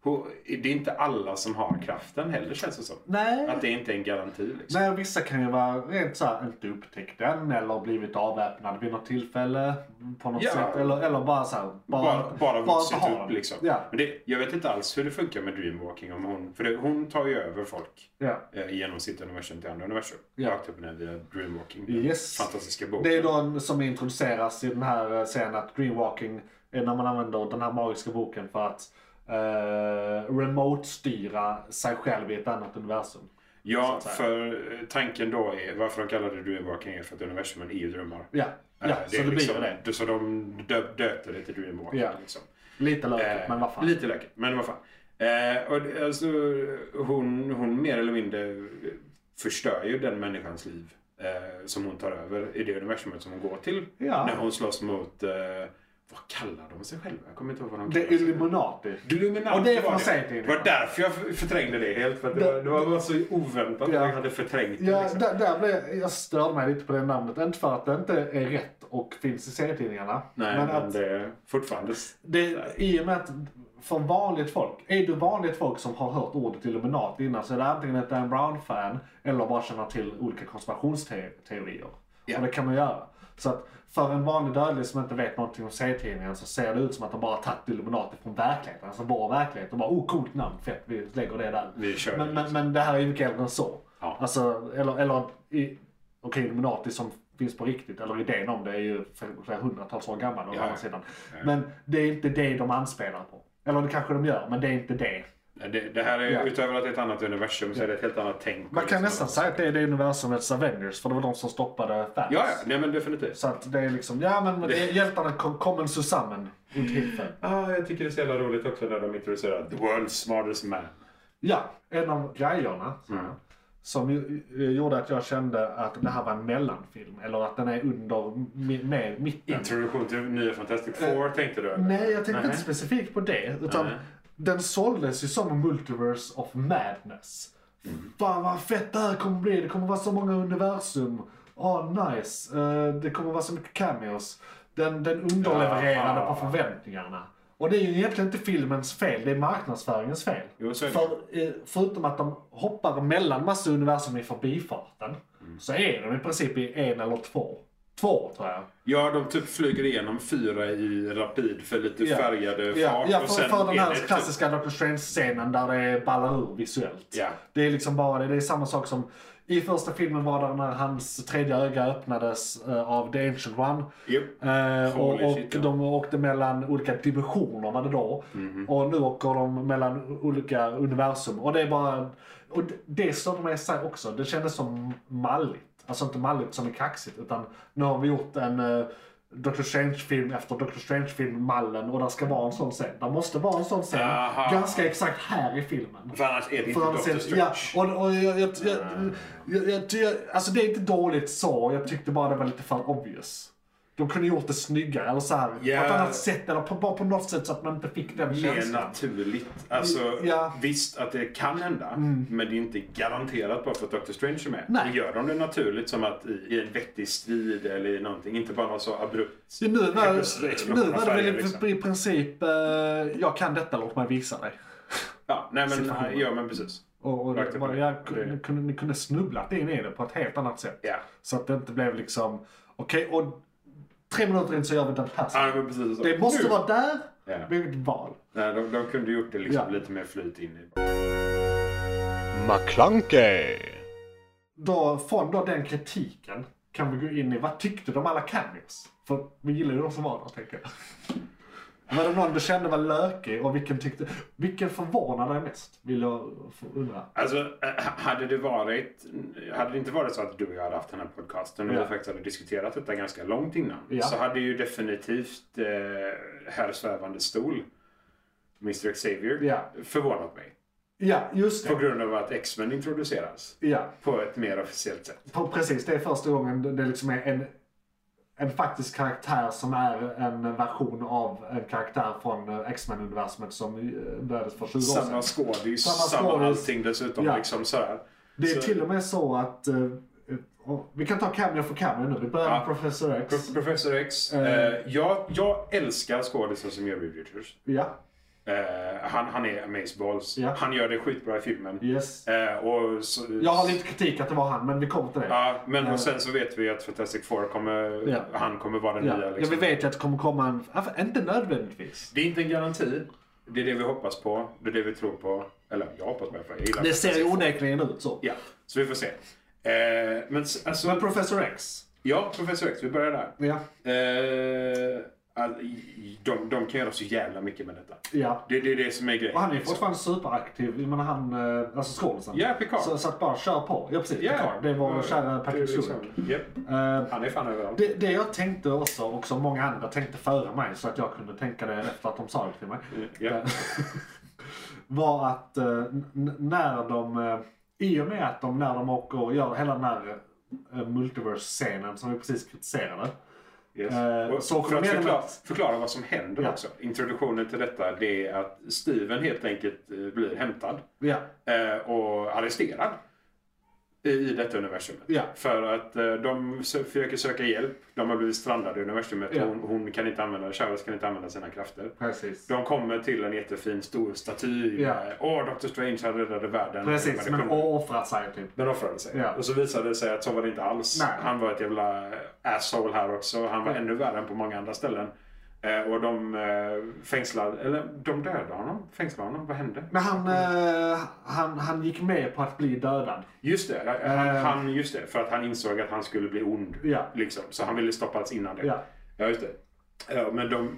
Speaker 5: Hon, det är inte alla som har kraften heller känns det som.
Speaker 4: Nej.
Speaker 5: Att det inte är en garanti liksom.
Speaker 4: Nej, vissa kan ju vara rent såhär, inte upptäckt den eller blivit avväpnad vid något tillfälle på något
Speaker 5: Ja.
Speaker 4: sätt. Eller, eller bara såhär,
Speaker 5: Bara, bara vuxit
Speaker 4: ha
Speaker 5: upp
Speaker 4: den.
Speaker 5: liksom.
Speaker 4: Ja.
Speaker 5: Men det, jag vet inte alls hur det funkar med dreamwalking. Om hon, för det, hon tar ju över folk
Speaker 4: ja.
Speaker 5: eh, genom sitt universum till andra universum.
Speaker 4: Ja.
Speaker 5: Rakt upp och ner via dreamwalking. den
Speaker 4: Yes.
Speaker 5: Fantastiska boken.
Speaker 4: Det är då en, som introduceras i den här eh, serien att greenwalking är när man använder den här magiska boken för att eh, remote-styra sig själv i ett annat universum.
Speaker 5: ja,
Speaker 4: så att
Speaker 5: för eh, tanken då är varför de kallar det dreamwalking är för att universumen är ju drömmar.
Speaker 4: Ja, ja
Speaker 5: Eh,
Speaker 4: så det blir
Speaker 5: liksom,
Speaker 4: ju det.
Speaker 5: Så de döp, döpte det till dreamwalking.
Speaker 4: Ja.
Speaker 5: Liksom.
Speaker 4: Lite lökigt,
Speaker 5: Eh,
Speaker 4: men vad fan.
Speaker 5: Lite lökigt, men vad fan. Eh, och det, alltså, hon, hon mer eller mindre förstör ju den människans liv eh, som hon tar över i det universumet som hon går till.
Speaker 4: Ja.
Speaker 5: När hon slåss mot, eh, vad kallar de sig själva? Jag kommer inte ihåg vad de
Speaker 4: Det är
Speaker 5: kallar sig.
Speaker 4: Illuminati.
Speaker 5: Illuminati
Speaker 4: Och det är
Speaker 5: var
Speaker 4: från
Speaker 5: det.
Speaker 4: serietidningen.
Speaker 5: Det var därför jag f- förträngde det helt. För att det,
Speaker 4: Det-
Speaker 5: var, det var bara så oväntat
Speaker 4: Ja.
Speaker 5: att jag hade förträngt det.
Speaker 4: Ja,
Speaker 5: liksom.
Speaker 4: där, där blev, jag störde mig lite på det namnet. Inte för att det inte är rätt och finns i serietidningarna.
Speaker 5: Nej,
Speaker 4: men
Speaker 5: men,
Speaker 4: att
Speaker 5: det är fortfarande...
Speaker 4: det, i och med att för vanligt folk, är du vanligt folk som har hört ordet Illuminati innan så är det antingen ett Dan Brown-fan eller bara känner till olika konspirationsteorier.
Speaker 5: Ja.
Speaker 4: Och det kan man göra. Så att för en vanlig dödlig som inte vet någonting om serietidningen så ser det ut som att de bara har tagit Illuminati från verkligheten. Alltså vår verklighet. Och bara oh coolt namn, fett vi lägger det där.
Speaker 5: Vi kör
Speaker 4: men,
Speaker 5: det,
Speaker 4: men,
Speaker 5: liksom.
Speaker 4: men det här är ju mycket äldre än så.
Speaker 5: Ja.
Speaker 4: Alltså, eller, eller i, okej Illuminati som finns på riktigt, eller idén om det är ju flera hundratals år gammal å
Speaker 5: Ja.
Speaker 4: andra sidan. Men det är inte det de anspelar på. Eller det kanske de gör, men det är inte det.
Speaker 5: Det, det här är,
Speaker 4: Ja.
Speaker 5: utöver att det är ett annat universum, så är det ett helt annat
Speaker 4: Man
Speaker 5: tänk.
Speaker 4: kan
Speaker 5: Liksom.
Speaker 4: nästan säga att det är det universumets Avengers, för det var de som stoppade fans.
Speaker 5: Ja, ja. Nej, men definitivt.
Speaker 4: Så att det är liksom, ja men det är hjältarna kom- kommer samman runt himlen.
Speaker 5: Ah, jag tycker det är så jävla roligt också när de introducerar The World's Smartest Man.
Speaker 4: Ja, Mm. en av grejerna så här, som ju, ju- gjorde att jag kände att det här var en mellanfilm. Eller att den är under, mi- mer mitten.
Speaker 5: Introduktion till nya Fantastic Four tänkte du? eller?
Speaker 4: Eh, Nej, jag tänkte
Speaker 5: Nej.
Speaker 4: inte specifikt på det. Utan
Speaker 5: Nej.
Speaker 4: den såldes ju som Multiverse of Madness. Fan vad fett det här kommer bli. Det kommer vara så många universum. Ah, nice. Eh, det kommer vara så mycket cameos. Den, den underlevererade
Speaker 5: Ja.
Speaker 4: på förväntningarna. Och det är ju egentligen inte filmens fel, det är marknadsföringens fel.
Speaker 5: Jo, så är det.
Speaker 4: För, eh, förutom att de hoppar mellan massa universum i förbifarten, så är de i princip i en eller två. Två tror jag.
Speaker 5: Ja, de typ flyger igenom fyra i rapid för lite
Speaker 4: Ja.
Speaker 5: färgade eh,
Speaker 4: Ja,
Speaker 5: fart.
Speaker 4: ja för,
Speaker 5: och sen
Speaker 4: för den
Speaker 5: är
Speaker 4: här
Speaker 5: det typ-
Speaker 4: klassiska Doctor Strange-scenen där det ballar ur visuellt.
Speaker 5: Ja.
Speaker 4: Det är liksom bara det. Det är samma sak som i första filmen var det när hans tredje öga öppnades eh, av The Ancient One.
Speaker 5: Japp.
Speaker 4: Eh, och
Speaker 5: Holy
Speaker 4: och
Speaker 5: shit, ja.
Speaker 4: de åkte mellan olika dimensioner var det då.
Speaker 5: Mhm.
Speaker 4: Och nu åker de mellan olika universum. Och det är bara... Och det- det störde mig i sig också. Det kändes som malligt. Alltså inte malligt som är kaxigt utan nu har vi gjort en eh, Doctor Strange-film efter Doctor Strange-film-mallen och där ska vara en sån scen. Det måste vara en sån scen.
Speaker 5: Aha.
Speaker 4: Ganska exakt här i filmen.
Speaker 5: För annars är det inte
Speaker 4: För han
Speaker 5: Doctor
Speaker 4: ser,
Speaker 5: Strange.
Speaker 4: ja, och, och jag, jag, jag, jag, jag, jag, alltså det är inte dåligt så, jag tyckte bara det var lite för obvious. De kunde gjort det snyggare, eller så här,
Speaker 5: Ja.
Speaker 4: på ett annat sätt, eller på, bara på något sätt så att man inte fick den
Speaker 5: Mer
Speaker 4: känslan.
Speaker 5: naturligt. Alltså,
Speaker 4: Ja. Mm.
Speaker 5: Visst att det kan hända, men det är inte garanterat bara för att Doctor Strange är med.
Speaker 4: Nej.
Speaker 5: Och Gör de det naturligt som att i, i en vettig strid eller i någonting, inte bara något så abrupt.
Speaker 4: Så nu var,
Speaker 5: Explosion
Speaker 4: nu
Speaker 5: av
Speaker 4: var det
Speaker 5: färger,
Speaker 4: väl i-
Speaker 5: liksom.
Speaker 4: i princip, eh, jag kan detta, låt mig visa dig.
Speaker 5: Ja, nej men,
Speaker 4: situationen.
Speaker 5: ja, men precis.
Speaker 4: Och, och
Speaker 5: Rakt
Speaker 4: det,
Speaker 5: upp
Speaker 4: bara,
Speaker 5: och
Speaker 4: jag,
Speaker 5: ner.
Speaker 4: kunde, kunde, ni kunde snubblat in i det på ett helt annat sätt.
Speaker 5: Ja.
Speaker 4: Så att det inte blev liksom, okej, och tre minuter in så gör vi den här
Speaker 5: Ja,
Speaker 4: saken.
Speaker 5: men precis så.
Speaker 4: Det måste
Speaker 5: Nu.
Speaker 4: vara där,
Speaker 5: Ja.
Speaker 4: det är ett val.
Speaker 5: Nej, de, de kunde gjort det liksom
Speaker 4: Ja.
Speaker 5: lite mer flyt in i.
Speaker 3: McClunkey,
Speaker 4: då, från då den kritiken kan vi gå in i vad tyckte de alla cameos? För vi gillar ju de som var där tänker jag. Var det någon du kände var lökig och vilken tyckte... Vilken förvånade dig mest? Vill jag få undra.
Speaker 5: Alltså, eh, hade det varit... Hade det inte varit så att du och jag hade haft den här podcasten och
Speaker 4: Ja.
Speaker 5: vi faktiskt hade diskuterat detta ganska långt innan
Speaker 4: Ja.
Speaker 5: så hade ju definitivt eh, Herr Svävande Stol, Mr Xavier,
Speaker 4: Ja.
Speaker 5: förvånat mig.
Speaker 4: Ja, just
Speaker 5: På
Speaker 4: det.
Speaker 5: grund av att X-Men introduceras
Speaker 4: Ja,
Speaker 5: på ett mer officiellt sätt.
Speaker 4: på, precis. Det är första gången det- det liksom är en, en faktisk karaktär som är en version av en karaktär från eh, X-Men-universumet som eh, började för 20 år sedan.
Speaker 5: Samma skådis,
Speaker 4: Samma
Speaker 5: samma,
Speaker 4: skådis.
Speaker 5: allting dessutom.
Speaker 4: Ja.
Speaker 5: Liksom sådär.
Speaker 4: Det är
Speaker 5: Så-
Speaker 4: till och med så att... eh, och vi kan ta cameo för cameo nu. Vi börjar med
Speaker 5: Ja.
Speaker 4: Professor X.
Speaker 5: Pro- Professor X.
Speaker 4: Eh.
Speaker 5: Eh, jag, jag älskar skådisen som gör Reed Richards.
Speaker 4: Ja,
Speaker 5: Eh, han, han är amazeballs.
Speaker 4: Ja.
Speaker 5: Han gör det skitbra i filmen.
Speaker 4: yes.
Speaker 5: Eh, och så,
Speaker 4: Jag har lite kritik att det var han, men vi kommer till det.
Speaker 5: Ja, men
Speaker 4: Eh.
Speaker 5: och sen så vet vi att Fantastic Four kommer,
Speaker 4: Ja.
Speaker 5: han kommer vara den
Speaker 4: ja.
Speaker 5: nya.
Speaker 4: ja,
Speaker 5: Liksom.
Speaker 4: vi vet ju att det kommer komma en... ja, för- Inte nödvändigtvis.
Speaker 5: Det är inte en garanti. Det är det vi hoppas på. Det är det vi tror på. Eller jag hoppas på det för jag gillar
Speaker 4: Det ser
Speaker 5: Fantastic
Speaker 4: ju
Speaker 5: Four.
Speaker 4: onekligen ut så.
Speaker 5: Ja, så vi får se. Eh, men s- alltså,
Speaker 4: Men Professor X.
Speaker 5: ja, Professor X, vi börjar där.
Speaker 4: Ja.
Speaker 5: Eh, all, i- de, de kan göra så jävla mycket med detta.
Speaker 4: ja.
Speaker 5: Det, det är det som är grejen.
Speaker 4: Och han är ju
Speaker 5: liksom.
Speaker 4: fortfarande superaktiv. Jag menar han, eh, alltså skådisen.
Speaker 5: Ja, Picard.
Speaker 4: Så, så att bara kör på. Ja, precis.
Speaker 5: Ja.
Speaker 4: Picard. Det var
Speaker 5: Ja,
Speaker 4: kära
Speaker 5: det är
Speaker 4: Patrick
Speaker 5: liksom-
Speaker 4: Stewart.
Speaker 5: Japp.
Speaker 4: Eh,
Speaker 5: Han är fan överallt.
Speaker 4: Det, det jag tänkte också, och som många andra tänkte före mig, så att jag kunde tänka det efter att de sa det till mig.
Speaker 5: Mm,
Speaker 4: eh,
Speaker 5: Ja.
Speaker 4: var att eh, n- n- när de, eh, i och med att de när de åker och gör hela den här eh, multiverse-scenen som vi precis kritiserade.
Speaker 5: Yes.
Speaker 4: Eh,
Speaker 5: och
Speaker 4: så
Speaker 5: för
Speaker 4: kom
Speaker 5: att
Speaker 4: igen med-
Speaker 5: förklara, förklara vad som händer
Speaker 4: Ja.
Speaker 5: också. Introduktionen till detta det är att Steven helt enkelt eh, blir hämtad
Speaker 4: Ja,
Speaker 5: eh, och arresterad. i, i detta universumet.
Speaker 4: Ja.
Speaker 5: För att eh, de sö- försöker söka hjälp. De har blivit strandade i universumet.
Speaker 4: Ja.
Speaker 5: Hon, hon kan inte använda, Charles kan inte använda sina krafter.
Speaker 4: Precis.
Speaker 5: De kommer till en jättefin stor staty.
Speaker 4: Ja.
Speaker 5: med, Åh, Dr. Strange han räddade världen.
Speaker 4: Precis,
Speaker 5: Det
Speaker 4: men
Speaker 5: kunde-
Speaker 4: offrat sig typ.
Speaker 5: men offrade sig.
Speaker 4: Ja.
Speaker 5: Och så visade det sig att så var det inte alls.
Speaker 4: Nej. Mm.
Speaker 5: Han var ett jävla asshole här också. Han var
Speaker 4: Ja.
Speaker 5: ännu värre än på många andra ställen. Eh, och de eh, fängslade, eller de dödade honom. Fängslade honom. Vad hände?
Speaker 4: Men han, eh, han, han gick med på att bli dödad.
Speaker 5: Just det, eh, han,
Speaker 4: Eh.
Speaker 5: han, just det. För att han insåg att han skulle bli ond.
Speaker 4: Ja.
Speaker 5: Liksom. Så han ville stoppas innan det.
Speaker 4: Ja.
Speaker 5: Ja, just det. Ja, men de,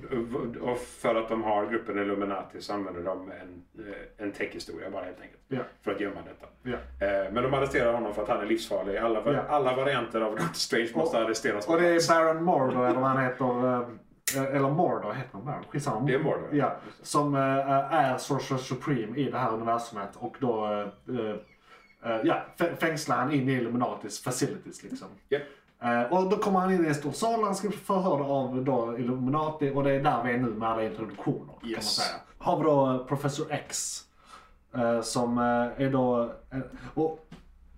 Speaker 5: och för att de har gruppen Illuminati så använder de en, eh, en täckhistoria bara helt enkelt.
Speaker 4: Ja.
Speaker 5: För att gömma detta.
Speaker 4: Ja.
Speaker 5: Eh, Men de arresterar honom för att han är livsfarlig. Alla,
Speaker 4: Ja.
Speaker 5: alla varianter av Doctor Strange måste
Speaker 4: Och-
Speaker 5: arresteras.
Speaker 4: Och det är Baron Mordor, eller vad han heter. eh, Eller Mordor heter han Baron, skitsamma.
Speaker 5: Det är Mordor.
Speaker 4: Ja, som eh, är Sorcerer Supreme i det här universumet. Och då eh, eh, ja, fä- fängslar han in i Illuminatis facilities liksom.
Speaker 5: Ja.
Speaker 4: Eh, och då kommer han in i en stor sal han ska bli förhörd av då Illuminati och det är där vi är nu med alla introduktioner. Kan man
Speaker 5: Yes.
Speaker 4: säga. Har vi då Professor X. eh, som eh, är då... eh, och,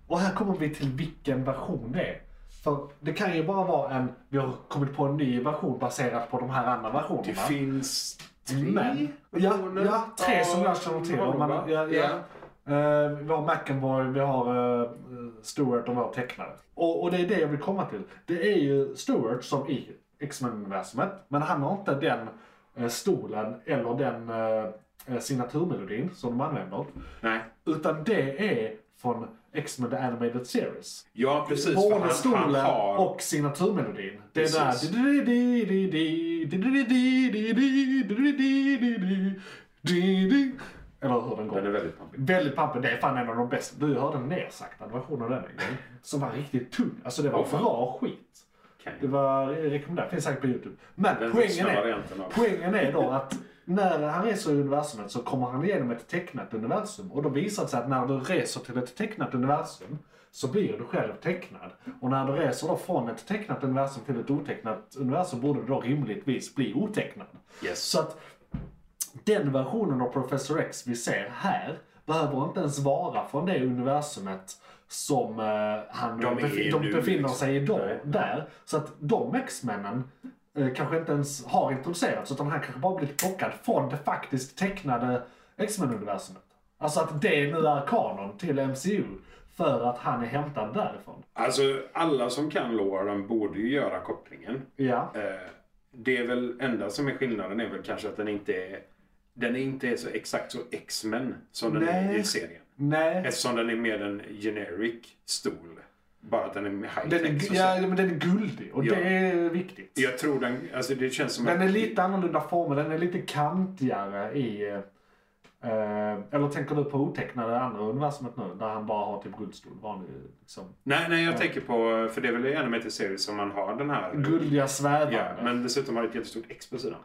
Speaker 4: och här kommer vi till vilken version det är. För det kan ju bara vara en, vi har kommit på en ny version baserat på de här andra versionerna.
Speaker 5: Det finns tre
Speaker 4: Men, ja,
Speaker 5: versioner
Speaker 4: ja, tre som
Speaker 5: av
Speaker 4: jag känner till. Om man,
Speaker 5: Marvel, va?
Speaker 4: ja, ja.
Speaker 5: Ja.
Speaker 4: Eh, vi har McEnroy, vi har uh, Stewart och vi har tecknare. Och, och det är det jag vill komma till. Det är ju Stewart som i X-Men-universumet, men han har inte den eh, stolen eller den eh, signaturmelodin som de använder.
Speaker 5: Nej.
Speaker 4: Utan det är från X-Men The Animated Series.
Speaker 5: Ja, precis. för
Speaker 4: Både
Speaker 5: han, han
Speaker 4: stolen
Speaker 5: har...
Speaker 4: och signaturmelodin. Det är
Speaker 5: Precis.
Speaker 4: där... Eller hur den
Speaker 5: Den
Speaker 4: går.
Speaker 5: är väldigt pampig.
Speaker 4: Väldigt pampig. Det är fan en av de bästa. Du hörde en nersaktad version av den en gång. Som var riktigt tung. Alltså det var
Speaker 5: Åh, fan.
Speaker 4: bra skit.
Speaker 5: Kan
Speaker 4: Det
Speaker 5: jag.
Speaker 4: var rekommenderat. Finns säkert på YouTube. Men
Speaker 5: Den
Speaker 4: poängen
Speaker 5: vuxna
Speaker 4: är,
Speaker 5: varianten av...
Speaker 4: poängen är då att när han reser i universumet så kommer han igenom ett tecknat universum. Och då visar det sig att när du reser till ett tecknat universum så blir du själv tecknad. Och när du reser då från ett tecknat universum till ett otecknat universum borde du då rimligtvis bli otecknad.
Speaker 5: Yes.
Speaker 4: Så att den versionen av Professor X vi ser här behöver inte ens vara från det universumet som eh, han
Speaker 5: De är
Speaker 4: befi- de
Speaker 5: nu,
Speaker 4: befinner
Speaker 5: liksom.
Speaker 4: sig idag
Speaker 5: Nej.
Speaker 4: där. Så att de X-männen eh, kanske inte ens har introducerats utan han kanske bara blivit plockad från det faktiskt tecknade X-Men-universumet. Alltså att det nu är kanon till MCU för att han är hämtad därifrån.
Speaker 5: Alltså, alla som kan lore, de borde ju göra kopplingen.
Speaker 4: Ja,
Speaker 5: Eh, det är väl enda som är skillnaden är väl kanske att den inte är, den är inte är så exakt så X-Men som den är
Speaker 4: Nej.
Speaker 5: i serien.
Speaker 4: nej.
Speaker 5: Eftersom den är mer en generic stol. Bara att den är high
Speaker 4: Den är,
Speaker 5: tech.
Speaker 4: gu- ja, men den är guldig och
Speaker 5: Ja.
Speaker 4: det är viktigt.
Speaker 5: Jag tror den, alltså det känns som
Speaker 4: Den
Speaker 5: att...
Speaker 4: är lite annorlunda former, den är lite kantigare i... Eh, eller tänker du på otecknade andra universumet nu? Där han bara har typ guldstol, vanlig liksom.
Speaker 5: Nej, nej jag tänker på, för det är väl i animated series som man har den här.
Speaker 4: Guldiga svävande.
Speaker 5: Ja,
Speaker 4: Ja,
Speaker 5: men dessutom har det ett jättestort X på sidan.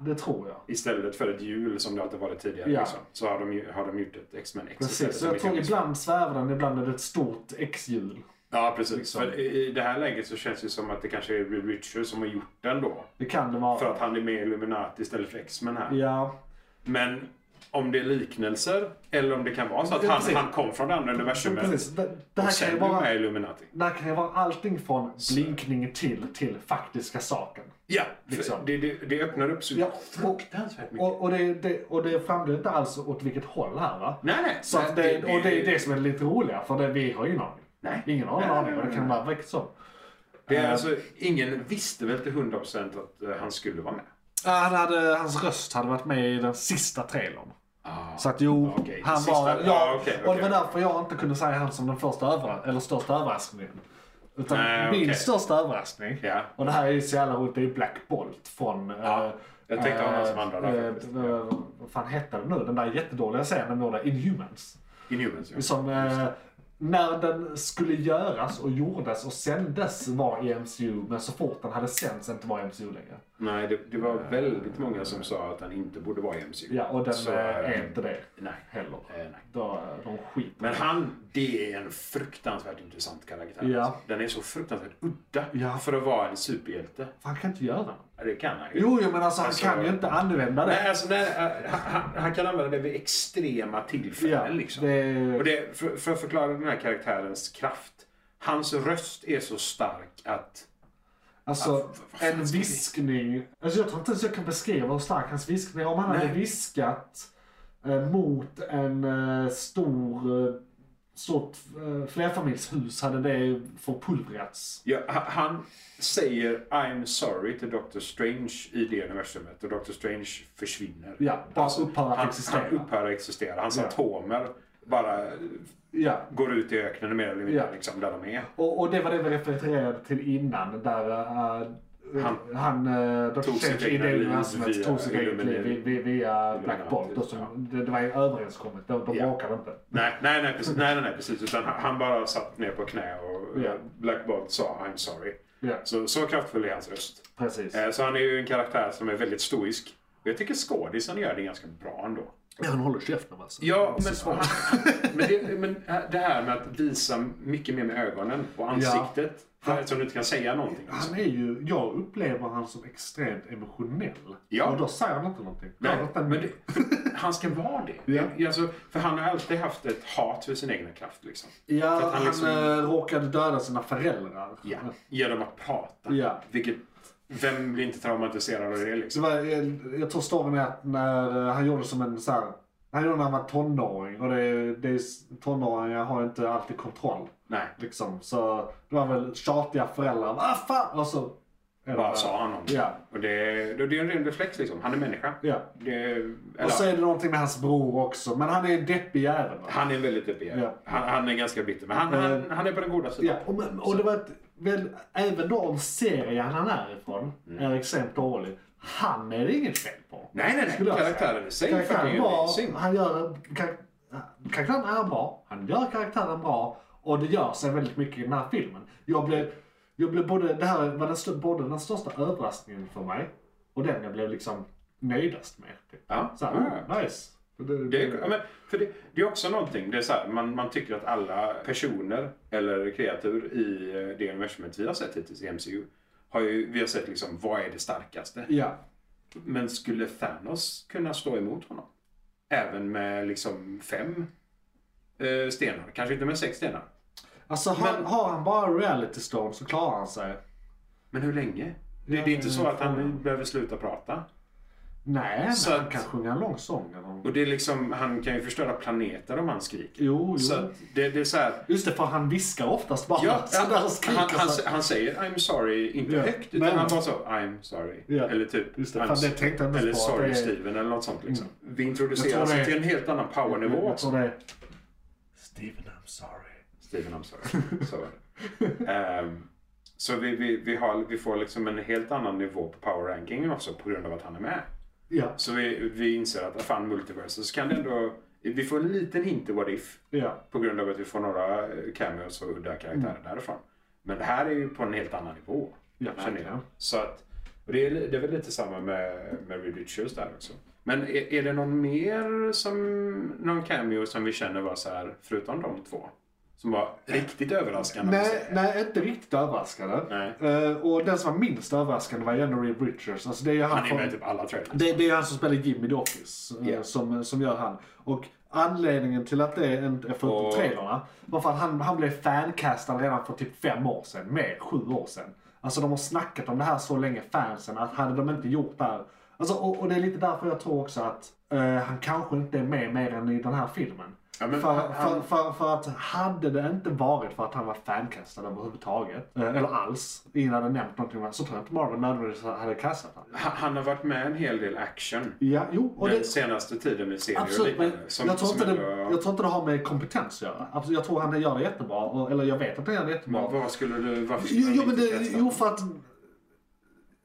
Speaker 4: det tror jag.
Speaker 5: Istället för ett hjul som det alltid varit tidigare.
Speaker 4: Ja.
Speaker 5: Liksom, så har de, ju- har de gjort ett X-Men X istället,
Speaker 4: Precis, så
Speaker 5: som
Speaker 4: jag
Speaker 5: är
Speaker 4: tror
Speaker 5: ganska-
Speaker 4: ibland svävar den, ibland är det ett stort X-hjul.
Speaker 5: Ja, precis.
Speaker 4: liksom.
Speaker 5: För i i det här läget så känns det som att det kanske är Reed Richards som har gjort den då.
Speaker 4: Det kan det vara.
Speaker 5: För att han är med i Illuminati istället för X-Men här.
Speaker 4: Ja,
Speaker 5: Men om det är liknelser eller om det kan vara så att
Speaker 4: Ja,
Speaker 5: han,
Speaker 4: precis.
Speaker 5: han kom från det andra universumet
Speaker 4: precis. Det, det
Speaker 5: och
Speaker 4: här kan
Speaker 5: sen
Speaker 4: ju
Speaker 5: blev
Speaker 4: vara...
Speaker 5: med i Illuminati.
Speaker 4: Det här kan ju vara allting från blinkning till, till faktiska saken.
Speaker 5: Ja, för
Speaker 4: Liksom.
Speaker 5: det, det, det öppnar upp så
Speaker 4: Ja, och,
Speaker 5: fruktansvärt mycket.
Speaker 4: och, och, det, det, och det framgår inte alls åt vilket håll här va?
Speaker 5: nej, nej.
Speaker 4: Så att det, och det är det som är lite roliga, för det, vi har ingen aning.
Speaker 5: Nej.
Speaker 4: Ingen har en
Speaker 5: Nej,
Speaker 4: aning
Speaker 5: nej,
Speaker 4: vad det
Speaker 5: nej,
Speaker 4: kan
Speaker 5: nej.
Speaker 4: vara riktigt så.
Speaker 5: Det är alltså, ingen visste väl till 100% att eh, han skulle vara med.
Speaker 4: Ja, Han hade, hans röst hade varit med i den sista trailern. Så att jo,
Speaker 5: Ah, Okej,
Speaker 4: han
Speaker 5: sista-
Speaker 4: var...
Speaker 5: ja, okej,
Speaker 4: och det
Speaker 5: okej.
Speaker 4: var därför jag inte kunde säga han som den första övra, eller största överraskningen. Utan
Speaker 5: Nej,
Speaker 4: min
Speaker 5: okej.
Speaker 4: största överraskning,
Speaker 5: Ja.
Speaker 4: och det här är ju så jävla roligt, det är ju Black Bolt från... eh,
Speaker 5: jag tänkte ha han som andra där
Speaker 4: eh,
Speaker 5: faktiskt.
Speaker 4: eh, Vad fan hette den nu? Den där jättedåliga serien med båda Inhumans.
Speaker 5: Inhumans, ja.
Speaker 4: Som eh, när den skulle E göras och gjordes och sändes var E i MCU men så fort den hade sänts inte var i MCU längre.
Speaker 5: Nej, det, det var väldigt många som sa att han inte borde vara i MCU.
Speaker 4: Ja, och den
Speaker 5: Så,
Speaker 4: eh,
Speaker 5: eh,
Speaker 4: är inte det
Speaker 5: Nej.
Speaker 4: heller.
Speaker 5: Eh, nej.
Speaker 4: Då, eh, de skiter
Speaker 5: Men han, det är en fruktansvärt intressant karaktär.
Speaker 4: Ja.
Speaker 5: alltså. Den är så fruktansvärt udda
Speaker 4: Ja.
Speaker 5: för att vara en superhjälte.
Speaker 4: För han kan inte göra det.
Speaker 5: Ja, Det kan han ju.
Speaker 4: Jo, jo men alltså,
Speaker 5: Alltså,
Speaker 4: han kan ju inte använda det.
Speaker 5: Nej, alltså, nej, eh, han, han kan använda det vid extrema tillfällen.
Speaker 4: ja,
Speaker 5: liksom.
Speaker 4: det,
Speaker 5: Och det, för, för att förklara den här karaktärens kraft. Hans röst är så stark att...
Speaker 4: alltså,
Speaker 5: Vad fan
Speaker 4: en
Speaker 5: ska vi-
Speaker 4: viskning. Alltså, jag tror inte ens jag kan beskriva hur stark hans viskning Om han hade
Speaker 5: Nej.
Speaker 4: viskat eh, mot en eh, stor, eh, stort eh, flerfamiljshus hade det förpulvrats.
Speaker 5: Ja, ha- han säger I'm sorry till Doctor Strange i det universumet och Doctor Strange försvinner.
Speaker 4: Ja, bara upphör att
Speaker 5: Alltså, han,
Speaker 4: existera.
Speaker 5: Han upphör att existera. Hans
Speaker 4: Ja.
Speaker 5: atomer bara eh,
Speaker 4: Ja.
Speaker 5: går ut i öknen mer eller mindre
Speaker 4: Ja.
Speaker 5: liksom, där de är.
Speaker 4: Och, och det var det vi refererade till innan där eh,
Speaker 5: Han-
Speaker 4: han, han uh, Dr.
Speaker 5: tog sitt
Speaker 4: Strange i
Speaker 5: egna
Speaker 4: det
Speaker 5: liv
Speaker 4: universumet
Speaker 5: via
Speaker 4: tog sitt eget liv
Speaker 5: Illuminati.
Speaker 4: vi- vi- via Black
Speaker 5: Illuminati,
Speaker 4: Bolt. Och så,
Speaker 5: ja.
Speaker 4: det, det var ju överenskommet, de, de
Speaker 5: Ja.
Speaker 4: bråkade inte.
Speaker 5: Nej, nej, nej, precis. Nej, nej, nej, precis. Utan han- han bara satt ner på knä och eh,
Speaker 4: Ja.
Speaker 5: Black Bolt sa I'm sorry.
Speaker 4: Ja,
Speaker 5: Så, så kraftfull är hans röst.
Speaker 4: precis.
Speaker 5: Eh, Så han är ju en karaktär som är väldigt stoisk. Och jag tycker skådisen gör det ganska bra ändå.
Speaker 4: Ja, han håller käften alltså.
Speaker 5: Ja, men, men, det, men det här med att visa mycket mer med ögonen och ansiktet. Ja. Eftersom du inte kan säga någonting. Alltså.
Speaker 4: Han är ju, jag upplever han som extremt emotionell.
Speaker 5: Ja.
Speaker 4: Och då säger han inte någonting.
Speaker 5: Nej,
Speaker 4: Gör inte
Speaker 5: men
Speaker 4: en-
Speaker 5: det, för, han ska vara det.
Speaker 4: Ja.
Speaker 5: Ja. Alltså, för han har alltid haft ett hat för sin egna kraft. Liksom.
Speaker 4: ja,
Speaker 5: för
Speaker 4: han,
Speaker 5: att han liksom-
Speaker 4: eh, råkade döda sina föräldrar.
Speaker 5: Ja. Mm. Genom att prata.
Speaker 4: Ja.
Speaker 5: Vilket, vem blir inte traumatiserad av det
Speaker 4: Så
Speaker 5: liksom?
Speaker 4: var, jag, jag tror storyn är att när eh, han gjorde som en så här, han gjorde när han var tonåring och det, det är, s- tonåringar har inte alltid kontroll.
Speaker 5: Nej,
Speaker 4: Liksom. Så det var väl tjatiga föräldrar. Ah, fan! Och så...
Speaker 5: bara sa han någonting.
Speaker 4: Ja.
Speaker 5: Och det, det är en ren reflex liksom. Han är människa.
Speaker 4: ja.
Speaker 5: Det, eller-
Speaker 4: Och så är det någonting med hans bror också. Men han är en deppig jävel.
Speaker 5: Han är väldigt deppig.
Speaker 4: Ja. Mm.
Speaker 5: Han, han är ganska bitter. Men han, han, han är på den goda sidan.
Speaker 4: Ja, och, men- och det var ett, väl, även då om serien han är ifrån är extremt dålig. Han är det inget fel på.
Speaker 5: Mm. Nej, nej, nej.
Speaker 4: Skulle jag säga.
Speaker 5: Karaktären i sig fucking
Speaker 4: Karaktären bra,
Speaker 5: amazing.
Speaker 4: han gör, kar- karaktären är bra, han gör karaktären bra och det gör sig väldigt mycket i den här filmen. Jag blev, jag blev både, det här var den, stö- både den största överraskningen för mig och den jag blev liksom nöjdast med. Typ.
Speaker 5: Ja.
Speaker 4: Så här,
Speaker 5: Ja.
Speaker 4: oh, nice. Det,
Speaker 5: Det, är- Mm. ja, men, för det, det är också någonting. Det är så här, man, man tycker att alla personer eller kreatur i eh, det universumet vi har sett hittills i MCU har ju, vi har sett liksom, vad är det starkaste?
Speaker 4: ja.
Speaker 5: Men skulle Thanos kunna stå emot honom? Även med liksom fem eh, stenar. Kanske inte med sex stenar.
Speaker 4: Alltså har,
Speaker 5: Men-
Speaker 4: har han bara reality stone så klarar han sig.
Speaker 5: Men hur länge? Det,
Speaker 4: Ja,
Speaker 5: det är inte så att han
Speaker 4: fan.
Speaker 5: behöver sluta prata.
Speaker 4: Nej, men
Speaker 5: Så
Speaker 4: han
Speaker 5: att-
Speaker 4: kan sjunga en lång sång. Eller... något.
Speaker 5: Och det är liksom, han kan ju förstöra planeter om han skriker.
Speaker 4: Jo, jo.
Speaker 5: Så att det, det är så här.
Speaker 4: Just det, för han viskar oftast bara.
Speaker 5: Ja,
Speaker 4: Så
Speaker 5: han,
Speaker 4: där
Speaker 5: han,
Speaker 4: och skriker
Speaker 5: han,
Speaker 4: så-
Speaker 5: han säger I'm sorry, inte
Speaker 4: Ja,
Speaker 5: högt, utan
Speaker 4: men-
Speaker 5: han bara så I'm sorry.
Speaker 4: Ja,
Speaker 5: Eller typ
Speaker 4: just det.
Speaker 5: I'm
Speaker 4: Fan, det
Speaker 5: so-
Speaker 4: tänkte jag inte
Speaker 5: Eller
Speaker 4: på,
Speaker 5: sorry
Speaker 4: det är- Mm.
Speaker 5: Steven eller något sånt liksom. Vi
Speaker 4: Jag
Speaker 5: introducerar
Speaker 4: tror
Speaker 5: oss
Speaker 4: det- Mm,
Speaker 5: till en helt annan powernivå
Speaker 4: Jag
Speaker 5: också.
Speaker 4: tror det är-
Speaker 1: Steven, I'm sorry.
Speaker 5: Steven I'm sorry. så är det. Ehm, så vi, vi, vi, har, vi får liksom en helt annan nivå på power rankingen också på grund av att han är med.
Speaker 4: Ja,
Speaker 5: Så vi, vi inser att fan multiversus kan ändå... Vi får en liten hint i what if.
Speaker 4: ja.
Speaker 5: På grund av att vi får några eh, cameos och udda karaktärer därifrån. Men det här är ju på en helt annan nivå.
Speaker 4: Ja,
Speaker 5: känner jag.
Speaker 4: verkligen.
Speaker 5: Så att, och det, är, li- det är väl lite samma med, med Reed Richards där också. Men är, är det någon mer som, någon cameo som vi känner var så här, förutom de två? Som var riktigt överraskande? om man
Speaker 4: Nej,
Speaker 5: säger?
Speaker 4: nej, inte riktigt överraskande.
Speaker 5: Nej.
Speaker 4: Eh, och den som var minst överraskande var ju ändå Reed Richards. Alltså, det är ju han,
Speaker 5: Han är
Speaker 4: från-
Speaker 5: med i typ alla trailers.
Speaker 4: det, det är han som spelar Jim i The Office eh,
Speaker 5: Ja.
Speaker 4: som, som gör han. Och anledningen till att det inte är förutom
Speaker 5: Och-
Speaker 4: trailrarna var för att han, han blev fancastad redan för typ fem år sedan. Mer, sju år sedan. Alltså de har snackat om det här så länge, fansen, att hade de inte gjort det här. Alltså, och, och det är lite därför jag tror också att eh, han kanske inte är med mer än i den här filmen.
Speaker 5: Ja, men
Speaker 4: för,
Speaker 5: han-
Speaker 4: för, för, för att hade det inte varit för att han var fancastad överhuvudtaget, eh, eller alls, ingen hade nämnt någonting om det, så tror jag inte Marvel nödvändigtvis hade kastat honom.
Speaker 5: Han, han har varit med en hel del action.
Speaker 4: Ja, jo. Och
Speaker 5: den
Speaker 4: det,
Speaker 5: senaste tiden med serier och
Speaker 4: absolut, men
Speaker 5: liknande. Som,
Speaker 4: jag, tror
Speaker 5: som
Speaker 4: inte det,
Speaker 5: ändå-
Speaker 4: jag tror inte det har med kompetens att göra. Absolut, jag tror han gör det jättebra, och, eller jag vet att han gör det jättebra.
Speaker 5: Vad, vad skulle du... Varför skulle
Speaker 4: Jo,
Speaker 5: du
Speaker 4: jo, men
Speaker 5: inte
Speaker 4: det,
Speaker 5: testa?
Speaker 4: jo för att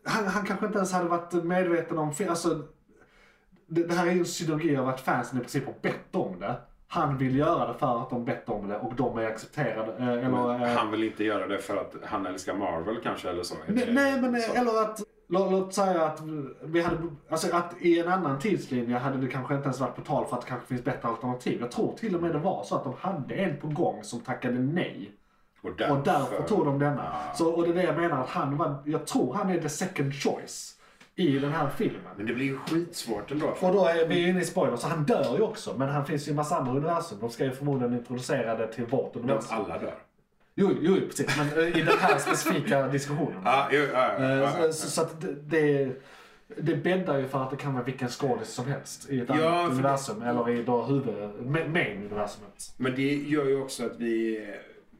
Speaker 4: han, han kanske inte ens hade varit medveten om... fi- Alltså, det, det här är ju en synergi av att fansen i princip har bett om det. Han vill göra det för att de bett om det och de är accepterade. eh, Eller,
Speaker 5: Men
Speaker 4: eh,
Speaker 5: han vill inte göra det för att han älskar Marvel kanske eller så. Är
Speaker 4: nej,
Speaker 5: det-
Speaker 4: nej, men eh,
Speaker 5: så.
Speaker 4: eller att Lå, låt säga att vi hade, alltså att i en annan tidslinje hade det kanske inte ens varit på tal för att det kanske finns bättre alternativ. Jag tror till och med det var så att de hade en på gång som tackade nej.
Speaker 5: Och därför,
Speaker 4: Och därför tog de denna. Så, och det är det jag menar, att han var, jag tror han är the second choice i den här filmen.
Speaker 5: Men det blir ju skitsvårt ändå.
Speaker 4: Och då är vi inne i spoilers, så han dör ju också. Men han finns ju i en massa andra universum. De ska ju förmodligen introducera det till vårt
Speaker 5: De
Speaker 4: universum.
Speaker 5: alla dör.
Speaker 4: Jo, jo, precis. Men eh, i den här specifika diskussionen.
Speaker 5: Ja, jo, ja, ja, ja,
Speaker 4: Eh,
Speaker 5: ja.
Speaker 4: Så, så att det- det, det bäddar ju för att det kan vara vilken skådis som helst i ett
Speaker 5: Ja, för
Speaker 4: annat
Speaker 5: det-
Speaker 4: universum. Eller i då huvud, ma- main universumet.
Speaker 5: Men det gör ju också att vi...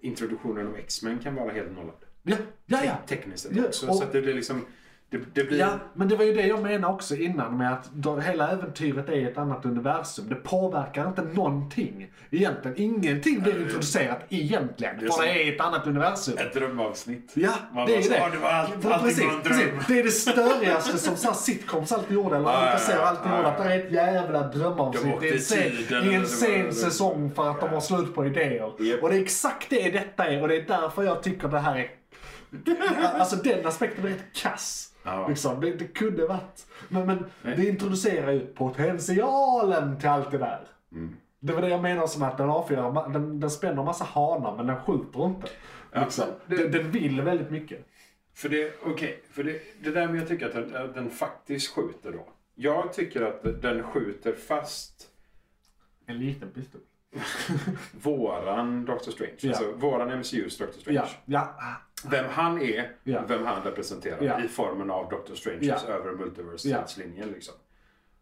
Speaker 5: Introduktionen av X-Men kan vara helt nollad.
Speaker 4: Ja, ja, ja.
Speaker 5: Te- Tekniskt sett
Speaker 4: Ja,
Speaker 5: också.
Speaker 4: och-
Speaker 5: Så att det blir liksom... Det, det blir...
Speaker 4: Ja, men det var ju det jag menade också innan med att då, hela äventyret är ett annat universum. Det påverkar inte någonting egentligen. Ingenting blir introducerat egentligen.
Speaker 5: är
Speaker 4: För
Speaker 5: som-
Speaker 4: det är ett annat universum.
Speaker 5: Ett drömavsnitt.
Speaker 4: Ja,
Speaker 5: Man
Speaker 4: det
Speaker 5: bara
Speaker 4: är
Speaker 5: så,
Speaker 4: det.
Speaker 5: "Ah, det var allt-
Speaker 4: Ja,
Speaker 5: allting
Speaker 4: precis,
Speaker 5: var en dröm."
Speaker 4: precis. Det är det störigaste som så här sitcoms alltid gjorde. Eller
Speaker 5: Ja,
Speaker 4: man
Speaker 5: ja,
Speaker 4: ser alltid
Speaker 5: ja,
Speaker 4: gjorde.
Speaker 5: ja.
Speaker 4: Att det är ett jävla
Speaker 5: De
Speaker 4: drömavsnitt.
Speaker 5: åkte
Speaker 4: Det är
Speaker 5: i
Speaker 4: en sen,
Speaker 5: tiden,
Speaker 4: i en
Speaker 5: eller vad
Speaker 4: sen
Speaker 5: det-
Speaker 4: säsong för att de har slut på idéer.
Speaker 5: Japp.
Speaker 4: Och det är exakt det detta är. Och det är därför jag tycker det här är... alltså den aspekten är rätt kass.
Speaker 5: Ja.
Speaker 4: Liksom, det, det kunde varit. Men, men det introducerar ju potentialen till allt det där. Det var det jag menar som att den avfyrar, den, den spänner massa hanar men den skjuter inte. Liksom.
Speaker 5: det-
Speaker 4: Den, den vill väldigt mycket.
Speaker 5: För det, okej, för det, det där med jag tycker att den, att den faktiskt skjuter då. Jag tycker att den skjuter fast
Speaker 4: En liten pistol.
Speaker 5: våran Doctor Strange.
Speaker 4: Ja.
Speaker 5: Alltså våran MCUs Doctor Strange.
Speaker 4: Ja, ja.
Speaker 5: Vem han är,
Speaker 4: Ja.
Speaker 5: vem han representerar
Speaker 4: Ja.
Speaker 5: i formen av Doctor Stranges
Speaker 4: Ja.
Speaker 5: över
Speaker 4: Ja.
Speaker 5: multiverse-linjen. Liksom.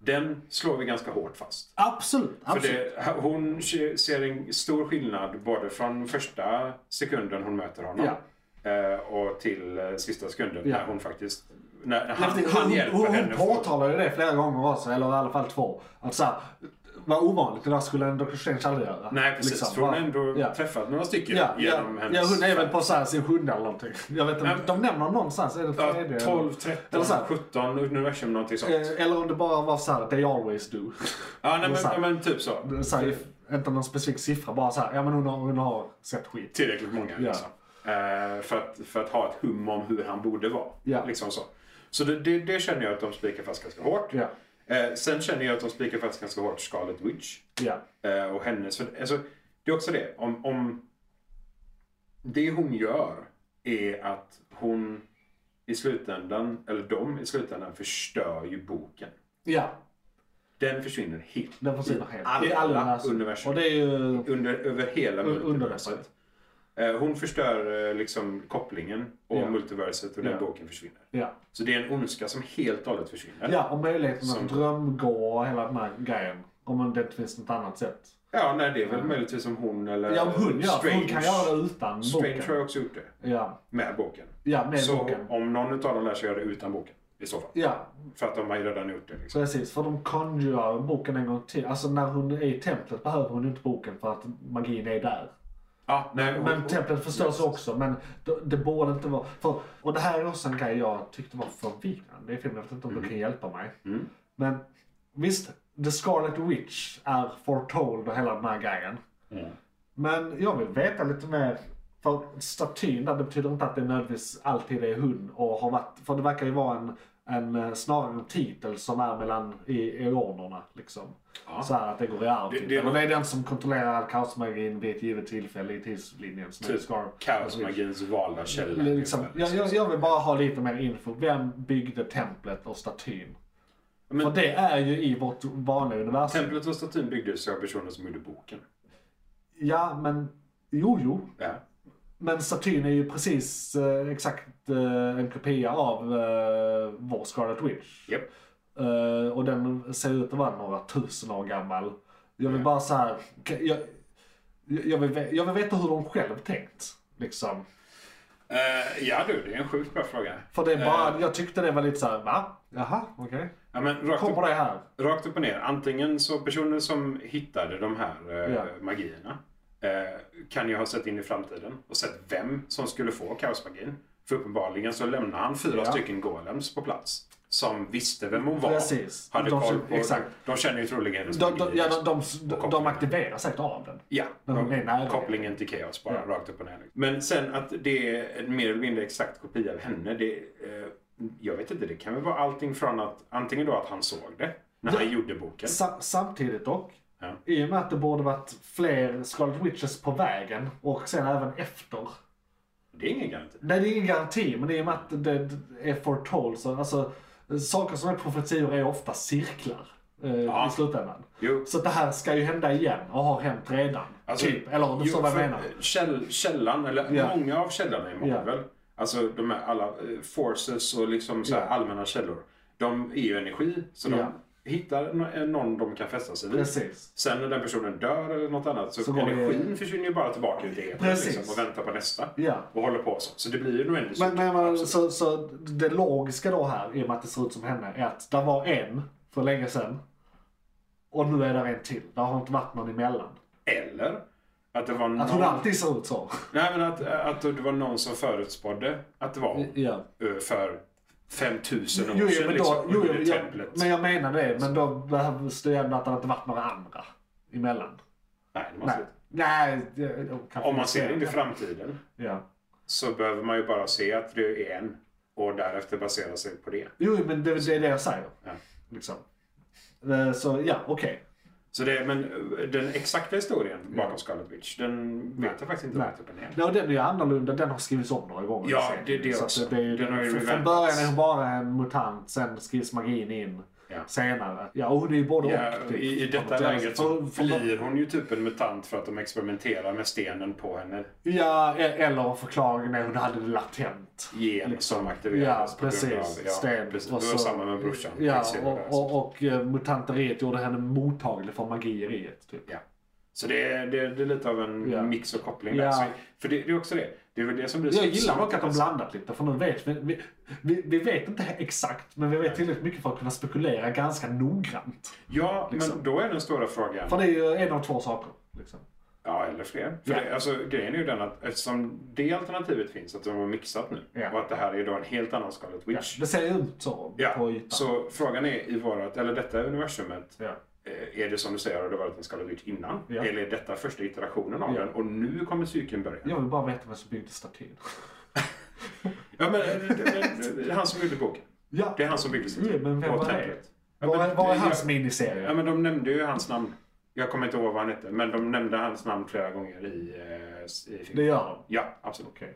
Speaker 5: Den slår vi ganska hårt fast.
Speaker 4: Absolut,
Speaker 5: För
Speaker 4: absolut.
Speaker 5: det, hon ser en stor skillnad både från första sekunden hon möter honom eh, och till eh, sista sekunden
Speaker 4: Ja.
Speaker 5: när hon faktiskt... När han,
Speaker 4: Efter-
Speaker 5: han
Speaker 4: hon,
Speaker 5: hjälper
Speaker 4: hon,
Speaker 5: henne.
Speaker 4: hon påtalar ju det flera gånger också, eller i alla fall två. Att så här, vad ovanligt, det där skulle en Dr. Strange aldrig göra.
Speaker 5: Nej, precis.
Speaker 4: Liksom,
Speaker 5: för hon
Speaker 4: bara-
Speaker 5: har ändå
Speaker 4: ja.
Speaker 5: träffat några stycken
Speaker 4: Ja, ja,
Speaker 5: genom
Speaker 4: ja,
Speaker 5: hennes...
Speaker 4: hon är väl på så här sin sjunde eller någonting. Jag vet inte,
Speaker 5: Nej, men-
Speaker 4: de nämner någonstans, är det
Speaker 5: Ja,
Speaker 4: tredje?
Speaker 5: 12,
Speaker 4: Eller
Speaker 5: 13,
Speaker 4: så här.
Speaker 5: 17 universum någonting sånt.
Speaker 4: Eh, Eller om det bara var så här, they always do.
Speaker 5: ja, nej,
Speaker 4: eller
Speaker 5: men,
Speaker 4: så här.
Speaker 5: ja, men typ så.
Speaker 4: Så här, inte någon specifik siffra, bara så här, ja men hon har, hon har sett skit.
Speaker 5: tillräckligt många.
Speaker 4: Ja.
Speaker 5: Liksom. Eh, för, att, för att ha ett hum om hur han borde vara.
Speaker 4: Ja.
Speaker 5: Liksom så så det, det, det känner jag att de spikar fast ganska hårt.
Speaker 4: Ja.
Speaker 5: Eh, sen känner jag att de spikar fast ganska hårt Scarlet Witch.
Speaker 4: Ja.
Speaker 5: Eh, och hennes... För, alltså, det är också det. Om, om det hon gör är att hon i slutändan, eller de i slutändan, förstör ju boken.
Speaker 4: Ja,
Speaker 5: Den försvinner helt.
Speaker 4: den försvinner helt.
Speaker 5: alla
Speaker 4: I alla universum.
Speaker 5: universum.
Speaker 4: Och det är ju...
Speaker 5: Under, över hela
Speaker 4: Un-
Speaker 5: multiverset. Eh, Hon förstör eh, liksom kopplingen och
Speaker 4: Ja.
Speaker 5: multiverset och den
Speaker 4: Ja.
Speaker 5: boken försvinner.
Speaker 4: Ja.
Speaker 5: Så det är en ondska som helt och hållet försvinner.
Speaker 4: ja, och möjligheten
Speaker 5: Som-
Speaker 4: att drömgå och hela den här grejen. Om det inte finns något annat sätt.
Speaker 5: Ja, nej, det är väl möjligtvis som hon eller
Speaker 4: Ja, om hon gör för hon kan
Speaker 5: Eh, Strange.
Speaker 4: göra det utan
Speaker 5: Strange har
Speaker 4: boken.
Speaker 5: jag också gjort det.
Speaker 4: Ja,
Speaker 5: Med boken.
Speaker 4: ja med
Speaker 5: så
Speaker 4: boken.
Speaker 5: om någon utav dem lär sig göra det utan boken i så fall.
Speaker 4: Ja,
Speaker 5: För att de har ju redan gjort det. Liksom.
Speaker 4: precis. För de conjurar boken en gång till. Alltså när hon är i templet behöver hon inte boken för att magin är där.
Speaker 5: Ja, nej, hon,
Speaker 4: Eh, Men templet förstörs också, men det, det borde inte vara... För, och det här är också en grej jag tyckte var förvirrande i filmen. Jag vet inte om du kan hjälpa mig.
Speaker 5: Mm.
Speaker 4: Men visst, The Scarlet Witch är foretold och hela den här grejen.
Speaker 5: Mm.
Speaker 4: Men jag vill veta lite mer. För statyn där, det betyder inte att det nödvändigtvis alltid är hon och har varit. För det verkar ju vara en, en eh, snarare en titel som är mellan i eonerna liksom.
Speaker 5: Ja.
Speaker 4: Så här att det går i arv.
Speaker 5: Det-
Speaker 4: typ.
Speaker 5: det-
Speaker 4: Eller det är den som kontrollerar all kaosmagin vid ett givet tillfälle i tidslinjen. Som är
Speaker 5: Typ
Speaker 4: Scar-
Speaker 5: kaosmagins valda källa.
Speaker 4: Liksom,
Speaker 5: ungefär,
Speaker 4: jag, jag, jag vill bara ha lite mer info. Vem byggde templet och statyn?
Speaker 5: Men-
Speaker 4: För det är ju i vårt vanliga universum.
Speaker 5: Templet och statyn byggdes av personer som gjorde boken.
Speaker 4: Ja, men jo, jo.
Speaker 5: Ja.
Speaker 4: Men statyn är ju precis eh, exakt eh, en kopia av eh, vår Scarlet Witch.
Speaker 5: Japp.
Speaker 4: Eh, och den ser ut att vara några tusen år gammal. Jag vill
Speaker 5: Ja.
Speaker 4: bara så här, kan- jag, jag, jag, vill, ve- jag vill veta hur de själv tänkt. Liksom.
Speaker 5: Eh, ja du, det är en sjukt bra fråga.
Speaker 4: För det är bara,
Speaker 5: Eh,
Speaker 4: jag tyckte det var lite så här, va? Jaha, okej.
Speaker 5: ja, men rakt upp
Speaker 4: Kommer det här?
Speaker 5: Rakt upp och ner. Antingen så personer som hittade de här eh,
Speaker 4: Ja.
Speaker 5: magierna eh, kan ju ha sett in i framtiden och sett vem som skulle få kaosmagin. För uppenbarligen så lämnade han fyra
Speaker 4: Ja.
Speaker 5: stycken golems på plats. Som visste vem hon var.
Speaker 4: Precis.
Speaker 5: Hade
Speaker 4: De
Speaker 5: koll
Speaker 4: som-
Speaker 5: på,
Speaker 4: exakt.
Speaker 5: de känner ju troligen hennes
Speaker 4: De,
Speaker 5: magi.
Speaker 4: de, ja, de, de,
Speaker 5: Och
Speaker 4: de, de
Speaker 5: kopplingen.
Speaker 4: aktiverar säkert av den.
Speaker 5: Ja,
Speaker 4: Men de är nära.
Speaker 5: kopplingen till Chaos bara,
Speaker 4: Ja.
Speaker 5: liksom. rakt upp och ner. Men sen att det är en mer eller mindre exakt kopia av henne, det eh, Jag vet inte, det kan väl vara allting från att antingen då att han såg det när han gjorde boken.
Speaker 4: Sa- samtidigt dock,
Speaker 5: Ja.
Speaker 4: i och med att det borde varit fler Scarlet Witches på vägen och sen även efter.
Speaker 5: Det är ingen garanti.
Speaker 4: Nej, det är ingen garanti, men i och med att det är foretold så, alltså, saker som är profetior är ofta cirklar eh,
Speaker 5: Ja.
Speaker 4: i slutändan.
Speaker 5: Jo.
Speaker 4: Så det här ska ju hända igen och har hänt redan.
Speaker 5: Alltså,
Speaker 4: typ, eller om du
Speaker 5: jo,
Speaker 4: förstår vad jag
Speaker 5: för-
Speaker 4: menar.
Speaker 5: Käll, källan, eller
Speaker 4: Ja.
Speaker 5: många av källorna i Marvel, alltså de här alla eh, forces och liksom så här
Speaker 4: Ja.
Speaker 5: allmänna källor, de är ju energi. Så
Speaker 4: Ja.
Speaker 5: de hittar nå- någon de kan fästa sig vid.
Speaker 4: Precis.
Speaker 5: Sen när den personen dör eller något annat så,
Speaker 4: Så går det-
Speaker 5: energin försvinner ju bara tillbaka ut i etern
Speaker 4: Precis.
Speaker 5: liksom, och väntar på nästa.
Speaker 4: Ja.
Speaker 5: Och håller på så. Så det blir ju nog ändå
Speaker 4: Men, men man,
Speaker 5: Absolut.
Speaker 4: så, så det logiska då här, i och med att det ser ut som henne, är att det var en för länge sedan. Och nu är det en till. Det har inte varit någon emellan.
Speaker 5: Eller att det var någon...
Speaker 4: Att hon alltid ser ut så.
Speaker 5: Nej, men att, att det var någon som förutspådde att det var hon.
Speaker 4: Ja.
Speaker 5: eh, för 5000 år
Speaker 4: Jo, jo,
Speaker 5: sedan
Speaker 4: men, då,
Speaker 5: liksom,
Speaker 4: jo, jo,
Speaker 5: under
Speaker 4: jag,
Speaker 5: templet.
Speaker 4: men jag menar det. Men då behövs det ju ändå att det inte varit några andra emellan.
Speaker 5: Nej, det måste
Speaker 4: Nej. Nej, det, det, kanske
Speaker 5: Om man
Speaker 4: inte
Speaker 5: ser in i
Speaker 4: det.
Speaker 5: framtiden
Speaker 4: Ja.
Speaker 5: så behöver man ju bara se att det är en och därefter basera sig på det.
Speaker 4: Jo, men det, det är det jag säger.
Speaker 5: Ja.
Speaker 4: Liksom. Eh, Så ja, okej.
Speaker 5: Så det, men eh, den exakta historien bakom Scarlet Witch, den vet jag faktiskt inte
Speaker 4: Nej.
Speaker 5: rätt upp och ner.
Speaker 4: Nej, och Den är ju annorlunda, den har skrivits om några gånger. i
Speaker 5: Ja,
Speaker 4: serien.
Speaker 5: det- det
Speaker 4: Så
Speaker 5: också.
Speaker 4: att det är ju-
Speaker 5: Den har ju
Speaker 4: från- Från
Speaker 5: reväntats.
Speaker 4: början är hon bara en mutant, sen skrivs magin in
Speaker 5: Ja.
Speaker 4: senare. Ja, och hon är ju både
Speaker 5: Ja,
Speaker 4: och. typ.
Speaker 5: i, I detta
Speaker 4: För-
Speaker 5: läget så
Speaker 4: för- för-
Speaker 5: blir hon ju typ en mutant för att de experimenterar med stenen på henne.
Speaker 4: Ja, e- eller förklaringen är hon hade det latent.
Speaker 5: Gen som
Speaker 4: Liksom. Ja,
Speaker 5: aktiverades på grund
Speaker 4: precis.
Speaker 5: av... Ja,
Speaker 4: Sten.
Speaker 5: precis. Det
Speaker 4: Och
Speaker 5: var
Speaker 4: så-
Speaker 5: samma med brorsan.
Speaker 4: Ja,
Speaker 5: Quicksilver där, alltså.
Speaker 4: och,
Speaker 5: så.
Speaker 4: och, och eh, mutanteriet gjorde henne mottaglig för mageriet. Typ.
Speaker 5: Ja. Så det är, det, är, det är lite av en
Speaker 4: Ja.
Speaker 5: mix och koppling där.
Speaker 4: Ja.
Speaker 5: Så, för det, det är också det. Det är väl det som blir
Speaker 4: Jag
Speaker 5: så
Speaker 4: gillar
Speaker 5: svårt
Speaker 4: dock att de blandat lite, för nu vet vi, vi, vi, vi vet inte exakt, men vi vet tillräckligt mycket för att kunna spekulera ganska noggrant.
Speaker 5: Ja, men
Speaker 4: liksom.
Speaker 5: då är den stora frågan.
Speaker 4: För det är ju en av två saker. Liksom.
Speaker 5: Ja, eller fler. För
Speaker 4: Ja.
Speaker 5: det, alltså, grejen är ju den att eftersom det alternativet finns, att de har mixat nu
Speaker 4: Ja.
Speaker 5: och att det här är då en helt annan Scarlet
Speaker 4: Ja,
Speaker 5: Witch.
Speaker 4: det ser ju ut så
Speaker 5: Ja.
Speaker 4: på ytan.
Speaker 5: Så frågan är i vårat, eller detta universumet,
Speaker 4: Ja.
Speaker 5: eh, är det som du säger, har det varit en Scarlet Witch innan?
Speaker 4: Ja.
Speaker 5: Eller är detta första iterationen av
Speaker 4: Ja.
Speaker 5: den och nu kommer cykeln börja?
Speaker 4: Jag vill bara veta vem som byggde statyn.
Speaker 5: Ja, men eh, det, det, det är han som gjorde boken.
Speaker 4: Ja,
Speaker 5: Det är han som byggde
Speaker 4: Ja, men vem
Speaker 5: Och
Speaker 4: var det?
Speaker 5: templet. Ja,
Speaker 4: var,
Speaker 5: men-
Speaker 4: var är
Speaker 5: jag-
Speaker 4: hans
Speaker 5: Ja,
Speaker 4: miniserie?
Speaker 5: men de nämnde ju hans namn. Jag kommer inte ihåg vad han hette, men de nämnde hans namn flera gånger i, eh, s- i
Speaker 4: Det
Speaker 5: filmen.
Speaker 4: gör de.
Speaker 5: Ja, absolut.
Speaker 4: Okej.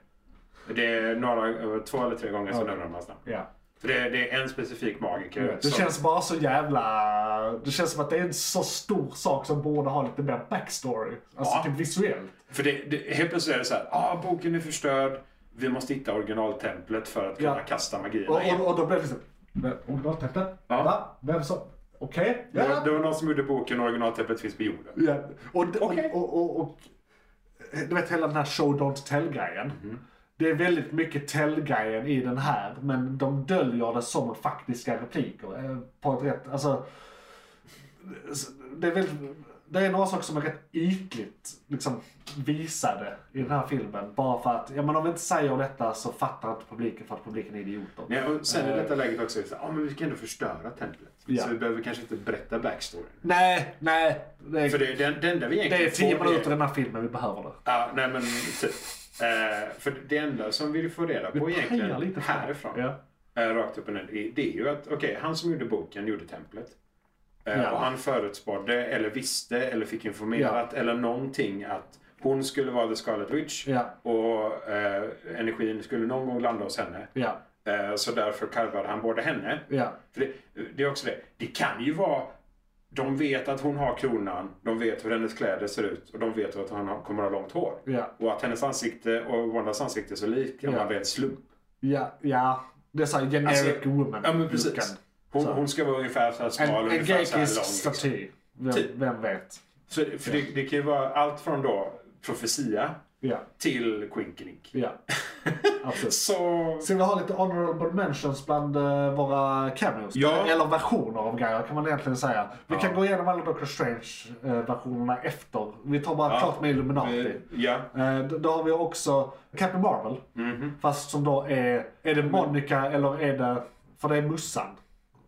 Speaker 5: Det är några, eh, två eller tre gånger som
Speaker 4: Okej.
Speaker 5: nämner de hans namn.
Speaker 4: Ja.
Speaker 5: För det, det är en specifik magiker.
Speaker 4: Det
Speaker 5: som,
Speaker 4: känns bara så jävla... Det känns som att det är en så stor sak som borde ha lite mer backstory. Alltså
Speaker 5: Ja.
Speaker 4: typ visuellt.
Speaker 5: För det, det, helt plötsligt är det så här, ah, boken är förstörd. Vi måste hitta originaltemplet för att kunna
Speaker 4: Ja.
Speaker 5: kasta magierna
Speaker 4: Och,
Speaker 5: igen.
Speaker 4: och, och då blev det liksom... "Men Originaltexten?
Speaker 5: Ja.
Speaker 4: Va? Vem som... Okej?
Speaker 5: Det,
Speaker 4: Ja.
Speaker 5: var, det var någon som gjorde boken och originaltemplet finns på jorden.
Speaker 4: Ja. Och, och,
Speaker 5: Okej.
Speaker 4: och, och, och, eh, du vet hela den här show don't tell-grejen. Det är väldigt mycket tell-grejen i den här, men de döljer det som faktiska repliker. eh, På ett rätt, alltså, det, är väldigt, det är några saker som är rätt ytligt liksom, visade i den här filmen. Bara för att, ja men om vi inte säger detta så fattar inte publiken för att publiken är idioter.
Speaker 5: Nej, och sen i detta läget också, är det så här, ah, men vi kan ändå förstöra templet.
Speaker 4: Ja.
Speaker 5: Så vi behöver kanske inte berätta backstoryn.
Speaker 4: Nej, nej. Det
Speaker 5: För
Speaker 4: är,
Speaker 5: det, det, det enda vi egentligen
Speaker 4: det är tio
Speaker 5: får
Speaker 4: minuter i den här filmen vi behöver det.
Speaker 5: Ja, nej men typ. Eh, för det enda som vi får reda på egentligen
Speaker 4: pajar lite för-
Speaker 5: härifrån,
Speaker 4: Ja.
Speaker 5: eh, rakt upp och ner, det- det är ju att okej, han som gjorde boken gjorde templet. Eh,
Speaker 4: Ja.
Speaker 5: Och han förutspådde, eller visste, eller fick informerat, eller någonting att hon skulle vara The Scarlet Witch
Speaker 4: Ja.
Speaker 5: och eh, energin skulle någon gång landa hos henne.
Speaker 4: Ja,
Speaker 5: Eh, så därför karvade han både henne
Speaker 4: ja.
Speaker 5: för det, det är också det. Det kan ju vara... De vet att hon har kronan, de vet hur hennes kläder ser ut och de vet att hon har, kommer att ha långt hår.
Speaker 4: Ja.
Speaker 5: Och att hennes ansikte och Wandas ansikte är så lika
Speaker 4: Ja.
Speaker 5: om man vet slump.
Speaker 4: Ja, ja. Det är såhär generic
Speaker 5: Alltså,
Speaker 4: woman.
Speaker 5: Ja men precis.
Speaker 4: looken.
Speaker 5: Hon, hon ska vara ungefär så här smal,
Speaker 4: En, en
Speaker 5: ungefär så här lång.
Speaker 4: grekisk
Speaker 5: Liksom.
Speaker 4: staty. Vem,
Speaker 5: Typ.
Speaker 4: vem vet?
Speaker 5: Så, det- för det, det kan ju vara allt från då profetia
Speaker 4: Ja,
Speaker 5: till Quinkelink.
Speaker 4: ja. Absolut.
Speaker 5: Så...
Speaker 4: Ska vi ha lite honorable mentions bland eh, våra cameos?
Speaker 5: Ja.
Speaker 4: Eller versioner av grejer kan man egentligen säga. Vi kan gå igenom alla Doctor Strange-versionerna efter. Vi tar bara
Speaker 5: Ja.
Speaker 4: klart med Illuminati.
Speaker 5: eh, Ja. mhm.
Speaker 4: Eh, d- Då har vi också Captain Marvel. Fast som då är... Är
Speaker 5: Mm.
Speaker 4: det Monica eller är det... För det är Mussan.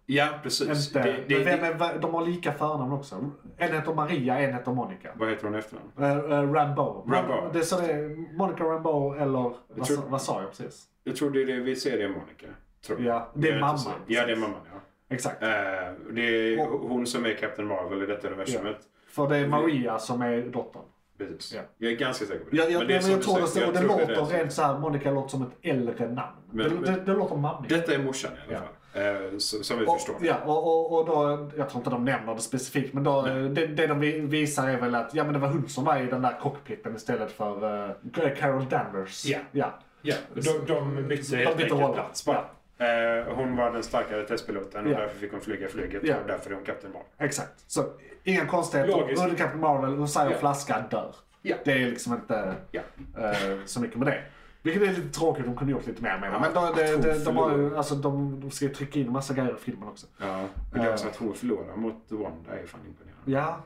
Speaker 5: Ja, precis.
Speaker 4: Inte.
Speaker 5: Det, det,
Speaker 4: men vem
Speaker 5: det,
Speaker 4: är, va- de har lika förnamn också. En heter Maria, en heter Monica.
Speaker 5: vad heter hon i efternamn?
Speaker 4: Eh, eh, Rambo.
Speaker 5: Rambo.
Speaker 4: Det är så det är Monica Rambo eller... Vad,
Speaker 5: tror-
Speaker 4: sa- vad sa jag precis?
Speaker 5: Jag tror det är det vi ser det i Monica. Tror jag.
Speaker 4: Ja, det är
Speaker 5: inte så-
Speaker 4: mamman.
Speaker 5: Ja, det är mamman. Ja.
Speaker 4: Exakt.
Speaker 5: Eh, det är hon som är Captain Marvel i detta universumet.
Speaker 4: För
Speaker 5: Eh,
Speaker 4: det är Maria som är dottern.
Speaker 5: Precis.
Speaker 4: Ja.
Speaker 5: Jag är ganska säker på det.
Speaker 4: Ja, jag,
Speaker 5: det är
Speaker 4: men
Speaker 5: som
Speaker 4: jag
Speaker 5: du
Speaker 4: tror det
Speaker 5: säger,
Speaker 4: stämmer.
Speaker 5: jag
Speaker 4: Det
Speaker 5: tror
Speaker 4: låter
Speaker 5: det är det.
Speaker 4: rent såhär, Monica låter som ett äldre namn.
Speaker 5: Men-
Speaker 4: det,
Speaker 5: men-
Speaker 4: det, det låter mammigt.
Speaker 5: Detta är morsan i alla
Speaker 4: Ja.
Speaker 5: fall. Eh, så, som vi förstår.
Speaker 4: och, ja, och, och, och då, jag tror inte de nämner det specifikt, men då, det, det de vi- visar är väl att ja, men det var hon som var i den där cockpiten istället för eh, Carol Danvers.
Speaker 5: Ja.
Speaker 4: ja.
Speaker 5: Ja, de, de bytte
Speaker 4: bytte
Speaker 5: helt enkelt
Speaker 4: roller.
Speaker 5: plats bara. Eh, hon var den starkare testpiloten och
Speaker 4: Ja.
Speaker 5: därför fick hon flyga flyget
Speaker 4: Ja.
Speaker 5: och därför är hon Captain Marvel.
Speaker 4: Exakt. Så inga konstigheter.
Speaker 5: Logiskt.
Speaker 4: Under Captain Marvel, hon säger
Speaker 5: Ja.
Speaker 4: flaska, dör.
Speaker 5: Ja.
Speaker 4: Det är liksom inte
Speaker 5: Ja.
Speaker 4: eh, så mycket med det. Vilket är lite tråkigt, de kunde gjort lite mer med det.
Speaker 5: Ja,
Speaker 4: Men då, det,
Speaker 5: hon
Speaker 4: det, de, har ju,
Speaker 5: förlorar.
Speaker 4: alltså, de, de ska ju trycka in massa grejer i filmen också.
Speaker 5: Ja, och det är också att hon förlorar mot Wanda är fan imponerande.
Speaker 4: Eh. Ja,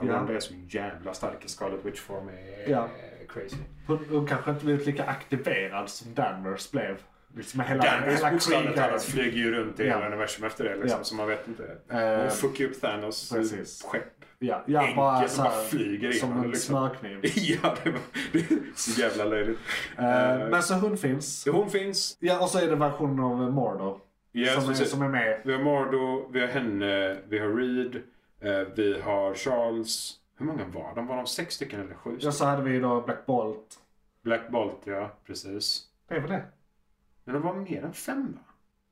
Speaker 5: Ja.
Speaker 4: Ja.
Speaker 5: Wanda är så jävla stark i Scarlet Witch form är
Speaker 4: Ja.
Speaker 5: eh, crazy.
Speaker 4: hon, hon kanske inte blivit lika aktiverad som Danvers blev. Liksom med hela,
Speaker 5: Danvers
Speaker 4: hela
Speaker 5: bokstavligt
Speaker 4: kriget.
Speaker 5: talat flyger ju runt i
Speaker 4: Ja.
Speaker 5: hela universum efter det liksom,
Speaker 4: Ja.
Speaker 5: så man vet inte.
Speaker 4: Eh,
Speaker 5: Hon fuckar upp Thanos
Speaker 4: precis.
Speaker 5: skepp.
Speaker 4: Ja, ja
Speaker 5: Enkelt,
Speaker 4: bara,
Speaker 5: bara
Speaker 4: så här,
Speaker 5: flyger in
Speaker 4: Som
Speaker 5: honom,
Speaker 4: en
Speaker 5: liksom.
Speaker 4: smörkniv.
Speaker 5: ja, det var det är så jävla löjligt.
Speaker 4: Eh,
Speaker 5: Eh,
Speaker 4: men så hon finns.
Speaker 5: hon finns.
Speaker 4: Ja, och så är det versionen av Mordor.
Speaker 5: Ja,
Speaker 4: som, är,
Speaker 5: precis.
Speaker 4: som är med.
Speaker 5: Vi har Mardo, vi har henne, vi har Reed, eh, vi har Charles. Hur många var de? Var de sex stycken eller sju?
Speaker 4: Ja,
Speaker 5: stycken?
Speaker 4: så hade vi då Black Bolt.
Speaker 5: Black Bolt, ja. Precis.
Speaker 4: Det är väl det.
Speaker 5: Men de var mer än fem, va?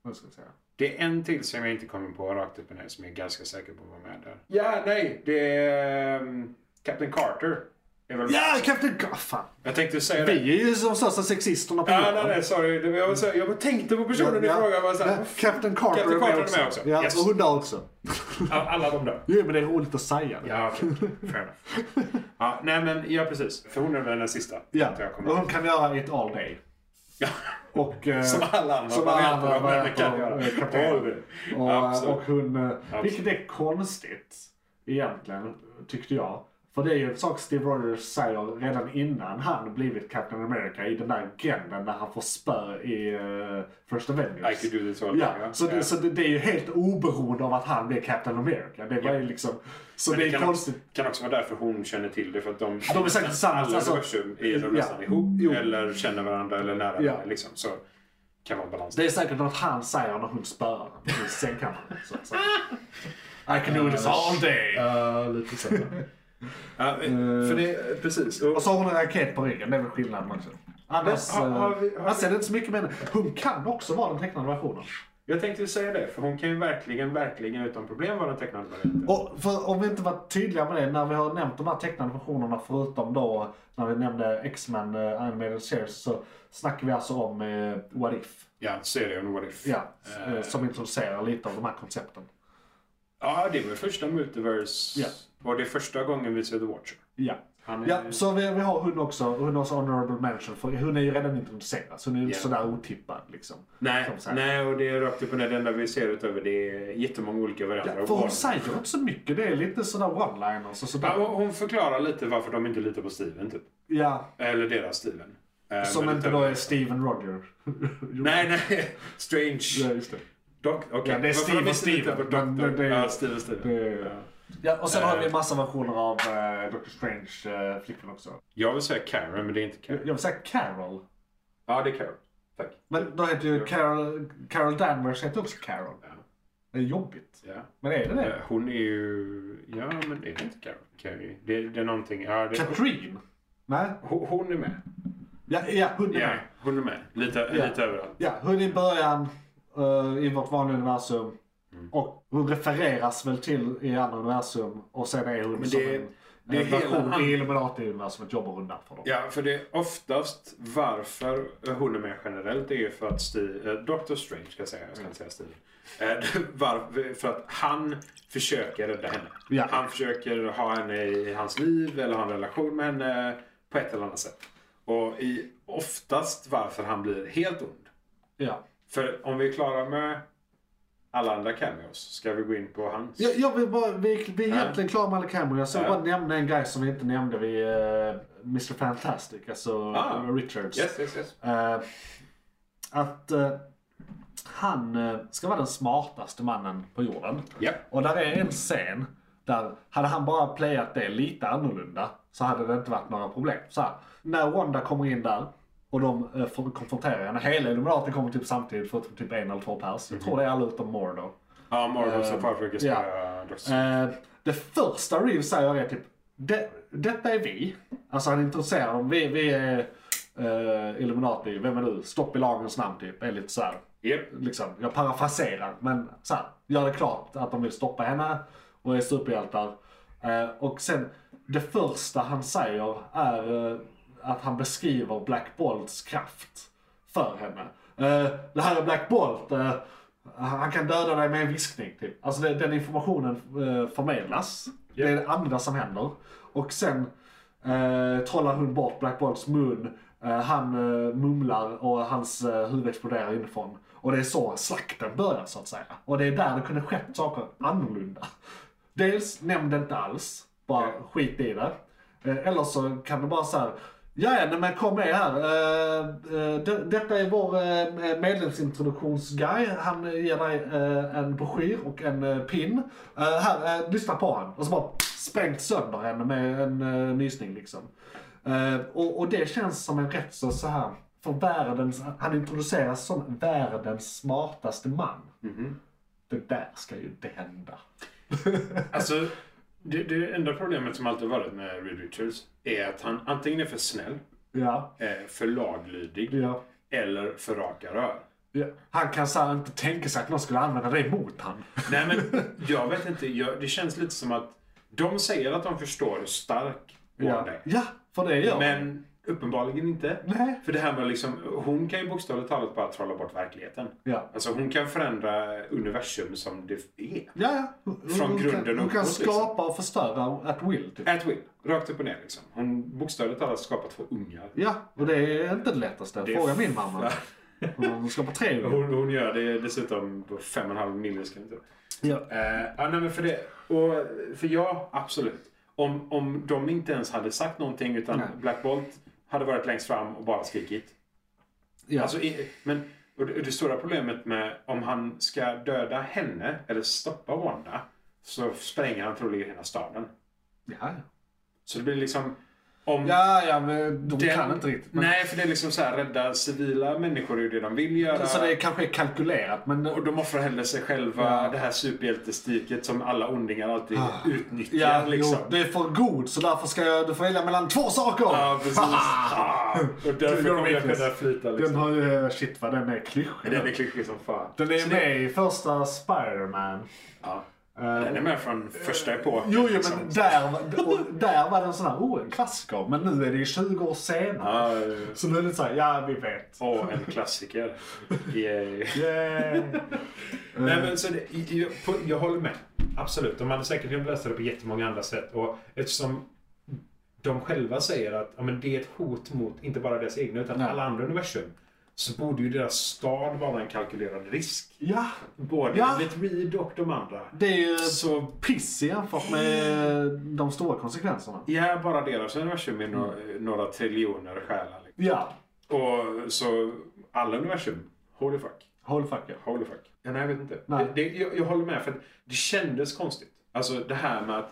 Speaker 4: Nu ska vi se.
Speaker 5: Det är en till som jag inte kommer på rakt upp och ner som jag är ganska säker på var med där. Ja, nej! Det är ehm, Captain Carter. Är väl
Speaker 4: Ja,
Speaker 5: med.
Speaker 4: Captain Gar- fan.
Speaker 5: Jag tänkte säga det.
Speaker 4: Vi är ju de största sexisterna på
Speaker 5: Ja, nej, nej, sorry. Det var- Jag, var så, jag bara tänkte på personen i fråga. Jag var så här,
Speaker 4: Ja, Captain Carter,
Speaker 5: Captain
Speaker 4: är med
Speaker 5: Carter
Speaker 4: också.
Speaker 5: är med också.
Speaker 4: Ja,
Speaker 5: Yes.
Speaker 4: och hon där också.
Speaker 5: alla de där.
Speaker 4: Jo, men det är roligt att säga det.
Speaker 5: Ja, okej. Fair enough. Ja, nej, men ja, precis. För hon är väl den sista.
Speaker 4: Ja,
Speaker 5: tror Jag kommer
Speaker 4: och hon
Speaker 5: ihåg.
Speaker 4: kan göra ett all day.
Speaker 5: Ja.
Speaker 4: Och, eh,
Speaker 5: Som alla andra
Speaker 4: Som alla
Speaker 5: varianter
Speaker 4: andra
Speaker 5: av henne
Speaker 4: varianter
Speaker 5: kan
Speaker 4: av,
Speaker 5: göra.
Speaker 4: eh, Captain.
Speaker 5: Ja, det-
Speaker 4: Och,
Speaker 5: Absolut.
Speaker 4: och hon, eh, vilket
Speaker 5: Absolut.
Speaker 4: är konstigt egentligen, tyckte jag. För det är ju en sak Steve Rogers säger redan innan han blivit Captain America i den där gränden när han får spö i eh, First Avengers.
Speaker 5: I could do this all day,
Speaker 4: Ja, så, det, så det, det är ju helt oberoende av att han blir Captain America. Det var ju liksom, så
Speaker 5: Men
Speaker 4: det är
Speaker 5: kan
Speaker 4: konstigt.
Speaker 5: Också, kan också vara därför hon känner till det. För att de,
Speaker 4: De är säkert tillsammans,
Speaker 5: Alla
Speaker 4: alltså.
Speaker 5: universum är de
Speaker 4: Ja.
Speaker 5: nästan ihop.
Speaker 4: Jo.
Speaker 5: Eller känner varandra eller nära
Speaker 4: Ja.
Speaker 5: varandra. Liksom. Så kan vara en balans.
Speaker 4: Det är säkert något han säger när hon spöar honom i sängkammaren. Så, så. I can do this all day!
Speaker 1: Uh,
Speaker 5: lite så. ja, eh, för
Speaker 4: Eh.
Speaker 5: det, precis.
Speaker 4: Och så har hon en raket på ryggen, det är väl skillnaden också. Annars,
Speaker 5: Men, har- har
Speaker 4: eh,
Speaker 5: vi- har
Speaker 4: annars
Speaker 5: vi-
Speaker 4: är det inte så mycket med henne. Hon kan också vara den tecknade versionen.
Speaker 5: Jag tänkte ju säga det. För hon kan ju verkligen, verkligen utan problem vara den tecknade varianten.
Speaker 4: Och för, om vi inte var tydliga med det, när vi har nämnt de här tecknade versionerna förutom då när vi nämnde X-Men eh, Animated Series så snackar vi alltså om eh, What If.
Speaker 5: Ja, serien What If.
Speaker 4: Ja, eh, som introducerar lite av de här koncepten.
Speaker 5: Ja, det var första Multiverse.
Speaker 4: Ja.
Speaker 5: Var det första gången vi ser The Watcher?
Speaker 4: Ja.
Speaker 5: Han är-
Speaker 4: Ja, så vi, vi har hon också, hon har också honorable mention för hon är ju redan introducerad så hon är ju inte
Speaker 5: Ja.
Speaker 4: sådär otippad liksom.
Speaker 5: Nej,
Speaker 4: Som sagt.
Speaker 5: nej, och det är rakt upp och ner. Det enda vi ser utöver det är jättemånga olika varianter.
Speaker 4: Ja,
Speaker 5: av
Speaker 4: för hon
Speaker 5: Warner.
Speaker 4: säger inte så mycket, det är lite sådär one-liners och sådär.
Speaker 5: Ja, hon- hon förklarar lite varför de inte litar på Steven, typ.
Speaker 4: Ja,
Speaker 5: Eller deras Steven. Eh,
Speaker 4: Som
Speaker 5: men
Speaker 4: inte
Speaker 5: utöver-
Speaker 4: då är Steven Roger.
Speaker 5: Nej, nej. Strange.
Speaker 4: Ja, just det.
Speaker 5: Dock, okej.
Speaker 4: Ja, det är
Speaker 5: Varför
Speaker 4: Steven,
Speaker 5: de inte litar
Speaker 4: Steven,
Speaker 5: på
Speaker 4: men
Speaker 5: Doktor?
Speaker 4: det är-
Speaker 5: Ja, Steven, Steven.
Speaker 4: det-
Speaker 5: Ja.
Speaker 4: Ja, och sen har vi
Speaker 5: Eh.
Speaker 4: en massa versioner av eh, Doctor Strange eh, flickvän också.
Speaker 5: Jag vill säga Karen, men det är inte
Speaker 4: Jag
Speaker 5: Karen.
Speaker 4: vill säga Carol.
Speaker 5: Ja, det är Karen. Tack.
Speaker 4: Men då heter ju Carol, Carol Danvers heter också Carol.
Speaker 5: Ja.
Speaker 4: Det är jobbigt.
Speaker 5: Ja.
Speaker 4: Men är det det?
Speaker 5: Eh, Hon är ju... Ja, men är det inte Karen? Carrie? Det, det är någonting... Ja, det...
Speaker 4: Katrin? Nej?
Speaker 5: Hon hon är med.
Speaker 4: Ja, ja hon är
Speaker 5: Ja,
Speaker 4: med.
Speaker 5: hon är med. Lite,
Speaker 4: Ja.
Speaker 5: lite överallt.
Speaker 4: Ja, hon är i början eh, i vårt vanliga universum.
Speaker 5: Mm.
Speaker 4: Och hon refereras väl till i andra universum. Och sen är hon
Speaker 5: Men
Speaker 4: som
Speaker 5: det-
Speaker 4: en,
Speaker 5: det är
Speaker 4: en
Speaker 5: hela
Speaker 4: version i
Speaker 5: an-
Speaker 4: Illuminati-universumet jobbar hon därför. då.
Speaker 5: Ja, för det är oftast varför hon är med generellt det är ju för att Steve, eh, Dr. Strange ska jag säga, jag ska inte säga Steve. Eh, var, för att han försöker rädda henne.
Speaker 4: Ja.
Speaker 5: Han försöker ha henne i hans liv eller ha en relation med henne på ett eller annat sätt. Och i oftast varför han blir helt ond.
Speaker 4: Ja.
Speaker 5: För om vi är klara med alla andra cameos, ska vi gå in på hans?
Speaker 4: Jag, jag vill bara, vi, vi är
Speaker 5: Ja.
Speaker 4: egentligen klara med alla kameror. Jag ska
Speaker 5: Ja.
Speaker 4: bara nämna en grej som vi inte nämnde vid eh, Mr Fantastic, alltså
Speaker 5: Ah.
Speaker 4: eh, Richards.
Speaker 5: Yes, yes, yes.
Speaker 4: Eh, att eh, han eh, ska vara den smartaste mannen på jorden.
Speaker 5: Ja.
Speaker 4: Och där är en scen där, hade han bara playat det lite annorlunda så hade det inte varit några problem. Så här, när Wanda kommer in där Och de eh, får- konfronterar henne. Hela Illuminaten kommer typ samtidigt förutom typ en eller två pers. Jag tror det är alla utom Mordor.
Speaker 5: Ja, Morgoth som försöker spöa Dr.
Speaker 4: Eh, det första Reeves säger är typ det, detta är vi. Alltså han introducerar dem. Vi, vi är eh, Illuminati. Vem är du? Stopp i lagens namn typ. Är lite så här,
Speaker 5: Japp.
Speaker 4: liksom, jag parafraserar. Men så här, gör det klart att de vill stoppa henne och är superhjältar. Eh, och sen det första han säger är eh, att han beskriver Black Bolts kraft för henne. Eh, det här är Black Bolt. Eh, han kan döda dig med en viskning. Typ. Alltså det, den informationen eh, förmedlas. Det är det andra som händer. Och sen eh, trollar hon bort Black Bolts mun. Eh, han eh, mumlar och hans eh, huvud exploderar inifrån. Och det är så slakten börjar så att säga. Och det är där det kunde skett saker annorlunda. Dels nämn det inte alls. Bara skit i det. Eh, Eller så kan det bara så här. Ja, ja, nej, men kom med här. Eh, eh, de- Detta är vår eh, medlemsintroduktionsguy. Han eh, ger dig eh, en broschyr och en eh, pin. Eh, Här, eh, lyssna på han. Och så bara sprängt sönder henne med en eh, nysning liksom. Eh, Och, och det känns som en rätt så, så här. För världens, han introduceras som världens smartaste man. Det där ska ju inte hända.
Speaker 5: Alltså, det, det enda problemet som alltid varit med Reed Richards är att han antingen är för snäll,
Speaker 4: Ja,
Speaker 5: eh, för laglydig
Speaker 4: ja.
Speaker 5: eller för raka rör.
Speaker 4: Ja. Han kan så här inte tänka sig att någon skulle använda det emot han.
Speaker 5: Nej men jag vet inte, jag, det känns lite som att de säger att de förstår hur stark hon
Speaker 4: Ja,
Speaker 5: är.
Speaker 4: ja för det gör han.
Speaker 5: Men uppenbarligen inte.
Speaker 4: Nej.
Speaker 5: För det här med liksom, hon kan ju bokstavligt talat bara trolla bort verkligheten.
Speaker 4: Ja.
Speaker 5: Alltså hon kan förändra universum som det är.
Speaker 4: Ja, ja. Hon-
Speaker 5: Från
Speaker 4: hon
Speaker 5: grunden
Speaker 4: kan, Hon kan
Speaker 5: uppåt, liksom.
Speaker 4: skapa och förstöra at will. Typ.
Speaker 5: At will. Rakt upp och ner liksom. Hon bokstavligt talat skapat två ungar.
Speaker 4: Ja, och det är inte det lättaste.
Speaker 5: Det är
Speaker 4: Fråga
Speaker 5: f-
Speaker 4: min mamma. Hon skapar tre ungar.
Speaker 5: Hon, hon gör det dessutom på 5,5 miljoner skriver
Speaker 4: Ja.
Speaker 5: Eh, ja, nej, men för det. Och, för ja, absolut. Om, om de inte ens hade sagt någonting utan
Speaker 4: Nej.
Speaker 5: Black Bolt hade varit längst fram och bara skrikit.
Speaker 4: Ja.
Speaker 5: Alltså, i, men, och det, det stora problemet med om han ska döda henne eller stoppa Wanda så spränger han troligen hela staden.
Speaker 4: ja, ja.
Speaker 5: Så det blir liksom... Om
Speaker 4: ja, ja, men de
Speaker 5: den-
Speaker 4: kan inte riktigt. Men,
Speaker 5: Nej, för det är liksom så här rädda civila människor är ju det de vill göra.
Speaker 4: så det kanske är kalkylerat, men...
Speaker 5: Och de offrar hellre sig själva, det här superhjältestiket som alla ondingar alltid utnyttjar.
Speaker 4: Ah. Ja,
Speaker 5: liksom.
Speaker 4: jo, det är för god, så därför ska jag, du får välja mellan två saker!
Speaker 5: Ja, precis. Ah, och därför
Speaker 4: You're
Speaker 5: kommer jag
Speaker 4: reckless.
Speaker 5: kunna flyta liksom.
Speaker 4: Den har ju... eh, Shit vad den är klyschig.
Speaker 5: Den är klyschig som fan.
Speaker 4: Den är
Speaker 5: Så
Speaker 4: med i första Spider-Man.
Speaker 5: Ja.
Speaker 4: Eh,
Speaker 5: Den är med från första epoken.
Speaker 4: Jo, jo
Speaker 5: liksom.
Speaker 4: men där, var- och där var den sån här, oh en klassiker. Men nu är det ju 20 år senare.
Speaker 5: Ja,
Speaker 4: Så nu är det såhär, ja vi vet.
Speaker 5: och en klassiker.
Speaker 4: Eh.
Speaker 5: Yay.
Speaker 4: Yay.
Speaker 5: Nej, men så det, jag, på, jag håller med. Absolut. De hade säkert kunnat lösa det på jättemånga andra sätt. Och eftersom de själva säger att ja, men det är ett hot mot inte bara deras egna utan
Speaker 4: Nej.
Speaker 5: alla andra universum. Så borde ju deras stad vara en kalkylerad risk.
Speaker 4: Ja,
Speaker 5: Både
Speaker 4: Ja.
Speaker 5: enligt Reed och de andra.
Speaker 4: det är ju
Speaker 5: Så
Speaker 4: piss jämfört med de stora konsekvenserna.
Speaker 5: Ja, bara deras universum är några, några triljoner själar. liksom.
Speaker 4: Ja,
Speaker 5: Och så alla universum, holy fuck,
Speaker 4: håll fuck ja.
Speaker 5: holy fuck. Ja, nej, jag vet inte.
Speaker 4: Nej.
Speaker 5: Det, det, jag, jag håller med, för att det kändes konstigt. Alltså det här med att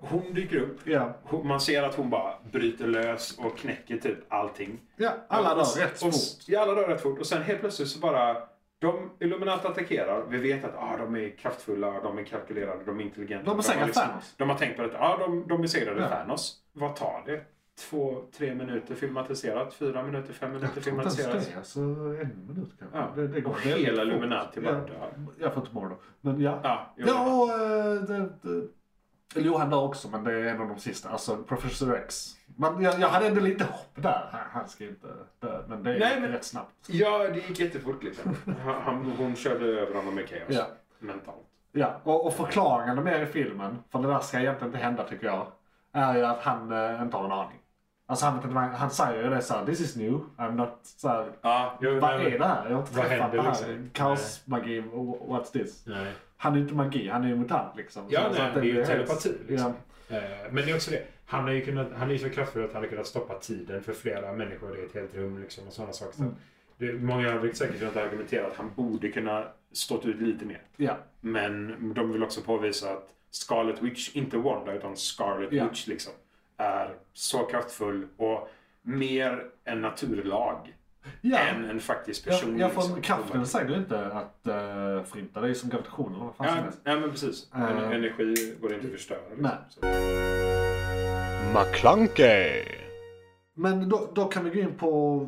Speaker 5: hon dyker upp,
Speaker 4: Ja,
Speaker 5: hon, man ser att hon bara bryter lös och knäcker typ allting.
Speaker 4: ja alla
Speaker 5: Och-
Speaker 4: dör rätt
Speaker 5: och-
Speaker 4: fort.
Speaker 5: Ja, alla dör rätt fort. Och sen helt plötsligt så bara, de Illuminati attackerar. Vi vet att ah, de är kraftfulla, de är kalkylerade, de är intelligenta.
Speaker 4: De har
Speaker 5: har,
Speaker 4: säkert
Speaker 5: liksom,
Speaker 4: Thanos.
Speaker 5: de har tänkt på att ah, de, de besegrade
Speaker 4: Ja.
Speaker 5: Thanos. Vad tar det? Två, tre minuter filmatiserat? Fyra minuter, fem minuter
Speaker 4: Jag tror inte ens
Speaker 5: filmatiserat?
Speaker 4: det. Alltså en minut kanske.
Speaker 5: Ja.
Speaker 4: Det, det går
Speaker 5: Och
Speaker 4: väldigt
Speaker 5: hela
Speaker 4: fort.
Speaker 5: Illuminati bara
Speaker 4: Ja.
Speaker 5: dör.
Speaker 4: Jag får inte morgon. Men ja.
Speaker 5: Ja, jo.
Speaker 4: Ja, och... eh, det, det, eller jo, han dör också, men det är en av de sista. Alltså, Professor X. Men jag, jag hade ändå lite hopp där. Han, han ska ju inte dö, men det är
Speaker 5: Nej, men-
Speaker 4: rätt snabbt.
Speaker 5: ja, det gick jättefort liksom. Han, han- hon körde över honom med kaos.
Speaker 4: Ja.
Speaker 5: Mentalt.
Speaker 4: Ja, och, och förklaringen de ger i filmen, för det där ska egentligen inte hända tycker jag, är ju att han eh, inte har en aning. Alltså han, vet inte vad- han säger ju det såhär, this is new, I'm not såhär,
Speaker 5: Ja, jo,
Speaker 4: vad
Speaker 5: nej, men-
Speaker 4: är det här? Jag har inte
Speaker 5: Vad
Speaker 4: träffat
Speaker 5: händer,
Speaker 4: det här.
Speaker 5: liksom?
Speaker 4: Kaosmagi, wh- what's this?
Speaker 5: Nej.
Speaker 4: Han är ju inte magi, han är ju mutant liksom.
Speaker 5: Ja,
Speaker 4: Så- så
Speaker 5: nej,
Speaker 4: att
Speaker 5: det är ju
Speaker 4: helt-
Speaker 5: telepati. Liksom.
Speaker 4: Ja.
Speaker 5: Eh, Men det är också det. Han är ju kunnat, han är ju så kraftfull att han har kunnat stoppa tiden för flera människor i ett helt rum. Liksom, och sådana saker. Så
Speaker 4: Mm.
Speaker 5: Det, många har säkert kunnat argumentera att han borde kunna stått ut lite mer.
Speaker 4: ja.
Speaker 5: Men de vill också påvisa att Scarlet Witch, inte Wanda utan Scarlet
Speaker 4: Ja.
Speaker 5: Witch liksom, är så kraftfull och mer en naturlag
Speaker 4: Ja.
Speaker 5: än en faktisk person.
Speaker 4: Jag, jag får,
Speaker 5: liksom.
Speaker 4: kraften säger ju inte att uh, förinta, det är ju som gravitation eller vad fan som
Speaker 5: Ja,
Speaker 4: helst.
Speaker 5: nej, men precis. En-
Speaker 4: Eh.
Speaker 5: Energi går inte att förstöra. Liksom.
Speaker 4: Nej.
Speaker 5: Så.
Speaker 1: McClunkey!
Speaker 4: Men då, då kan vi gå in på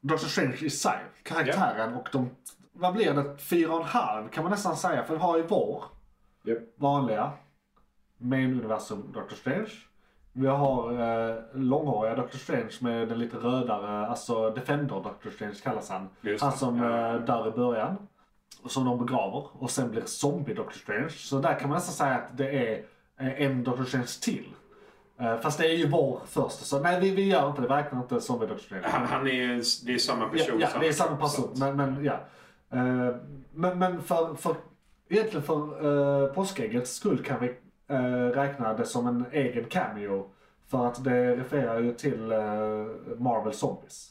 Speaker 4: Doctor Strange i sig, karaktären och de, vad blir det, fyra och en halv kan man nästan säga, för vi har ju vår
Speaker 5: Japp.
Speaker 4: vanliga main universum Doctor Strange. Vi har eh, långhåriga Doctor Strange med den lite rödare, alltså Defender Doctor Strange kallas han.
Speaker 5: Just
Speaker 4: han
Speaker 5: det,
Speaker 4: som
Speaker 5: ja.
Speaker 4: eh, där i början, och som de begraver och sen blir zombie Doctor Strange. Så där kan man nästan säga att det är eh, en Doctor Strange till. Eh, fast det är ju vår första, så nej vi, vi gör inte det, vi räknar inte zombie Doctor Strange.
Speaker 5: Han, han är, ju- det är samma person.
Speaker 4: Ja, ja det är samma person.
Speaker 5: person.
Speaker 4: Men, men, ja. Eh, men, men för, för, egentligen för uh, påskäggets skull kan vi eh, räkna det som en egen cameo. För att det refererar ju till eh, Marvel Zombies.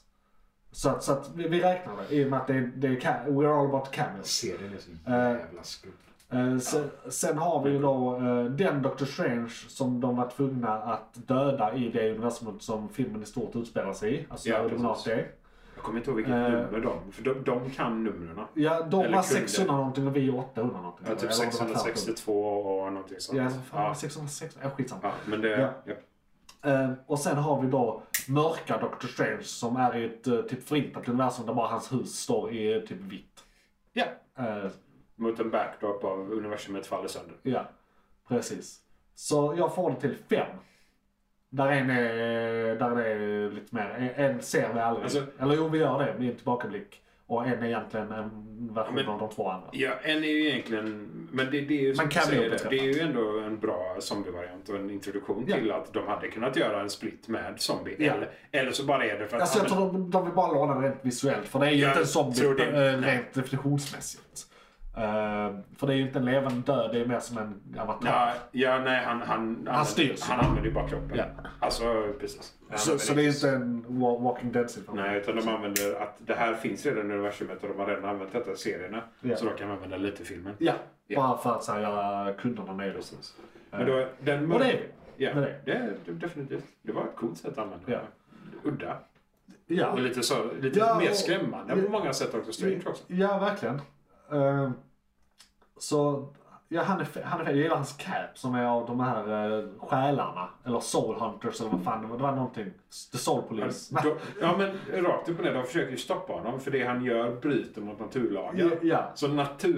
Speaker 4: Så, att- så att vi, vi räknar det i och med att det, är- det är ca- We're all about cameos.
Speaker 5: Serien är så
Speaker 4: jävla
Speaker 5: skum.
Speaker 4: Eh, sen, sen har vi ju då eh, den Doctor Strange som de var tvungna att döda i det universumet som filmen i stort utspelar sig i. Alltså
Speaker 5: Ja,
Speaker 4: ja, Illuminati.
Speaker 5: precis. Jag kommer inte ihåg vilket
Speaker 4: Eh.
Speaker 5: nummer de... För de, de kan numren. typ
Speaker 4: Ja, de
Speaker 5: Eller
Speaker 4: var
Speaker 5: kunde.
Speaker 4: 600 någonting och vi 800 någonting.
Speaker 5: Ja, typ
Speaker 4: Eller om det var
Speaker 5: 662 och någonting sånt.
Speaker 4: 500. Ja, fan,
Speaker 5: ja.
Speaker 4: 660. Ja, skitsamma.
Speaker 5: ja, men det...
Speaker 4: Ja.
Speaker 5: Ja.
Speaker 4: Eh, och sen har vi då mörka Doctor Strange som är i ett eh, typ förintat universum där bara hans hus står i eh, typ vitt.
Speaker 5: Ja.
Speaker 4: Eh,
Speaker 5: Mot en backdrop av universumet faller sönder.
Speaker 4: ja, precis. Så jag får det till fem. Där en är, där det är lite mer, en en ser vi aldrig.
Speaker 5: Alltså-
Speaker 4: Eller jo, vi gör det med en tillbakablick. Och en är egentligen en version
Speaker 5: Ja, men-
Speaker 4: av de två andra.
Speaker 5: Ja, en är ju egentligen... Men det, det är ju som
Speaker 4: Man kan
Speaker 5: du
Speaker 4: bli
Speaker 5: säger, det,
Speaker 4: uppträffad.
Speaker 5: det är ju ändå en bra zombievariant och en introduktion
Speaker 4: Ja.
Speaker 5: till att de hade kunnat göra en split med zombie.
Speaker 4: Ja.
Speaker 5: Eller, eller så bara är det för att...
Speaker 4: Alltså jag tror de, de vill bara låna det rent visuellt, för det är ju
Speaker 5: Jag
Speaker 4: inte en zombie
Speaker 5: tror det.
Speaker 4: eh, rent definitionsmässigt. Eh, för det är ju inte en levande död, det är mer som en avatar.
Speaker 5: Ja, ja, nej, han, han,
Speaker 4: Han styrs.
Speaker 5: han använder ju bara kroppen.
Speaker 4: Ja.
Speaker 5: Alltså, precis. Han
Speaker 4: så,
Speaker 5: använder
Speaker 4: så det är inte en wa- Walking Dead situation.
Speaker 5: Nej, utan de använder att det här finns redan i universumet och de har redan använt detta i serierna.
Speaker 4: Ja.
Speaker 5: Så då kan man använda lite i filmen.
Speaker 4: Ja,
Speaker 5: Ja.
Speaker 4: bara för att så här, göra kunderna Eh, nöjda.
Speaker 5: Precis. Men då, den mör-
Speaker 4: Och det är vi.
Speaker 5: Ja,
Speaker 4: med det.
Speaker 5: det är det- definitivt. Det var ett coolt sätt att använda
Speaker 4: Ja.
Speaker 5: det. Udda.
Speaker 4: Ja.
Speaker 5: Och lite, så, lite
Speaker 4: Ja,
Speaker 5: mer
Speaker 4: och-
Speaker 5: skrämmande på många sätt också. Strange också.
Speaker 4: Ja, verkligen. Eh, så, ja, han är, fe- han är fe- Jag gillar hans cap som är av de här uh, själarna. Eller soul hunters eller vad fan det var. Det var någonting. The soul police.
Speaker 5: Då- Ja men rakt upp och ner, de försöker ju stoppa honom för det han gör bryter mot naturlagar.
Speaker 4: Ja, ja.
Speaker 5: Så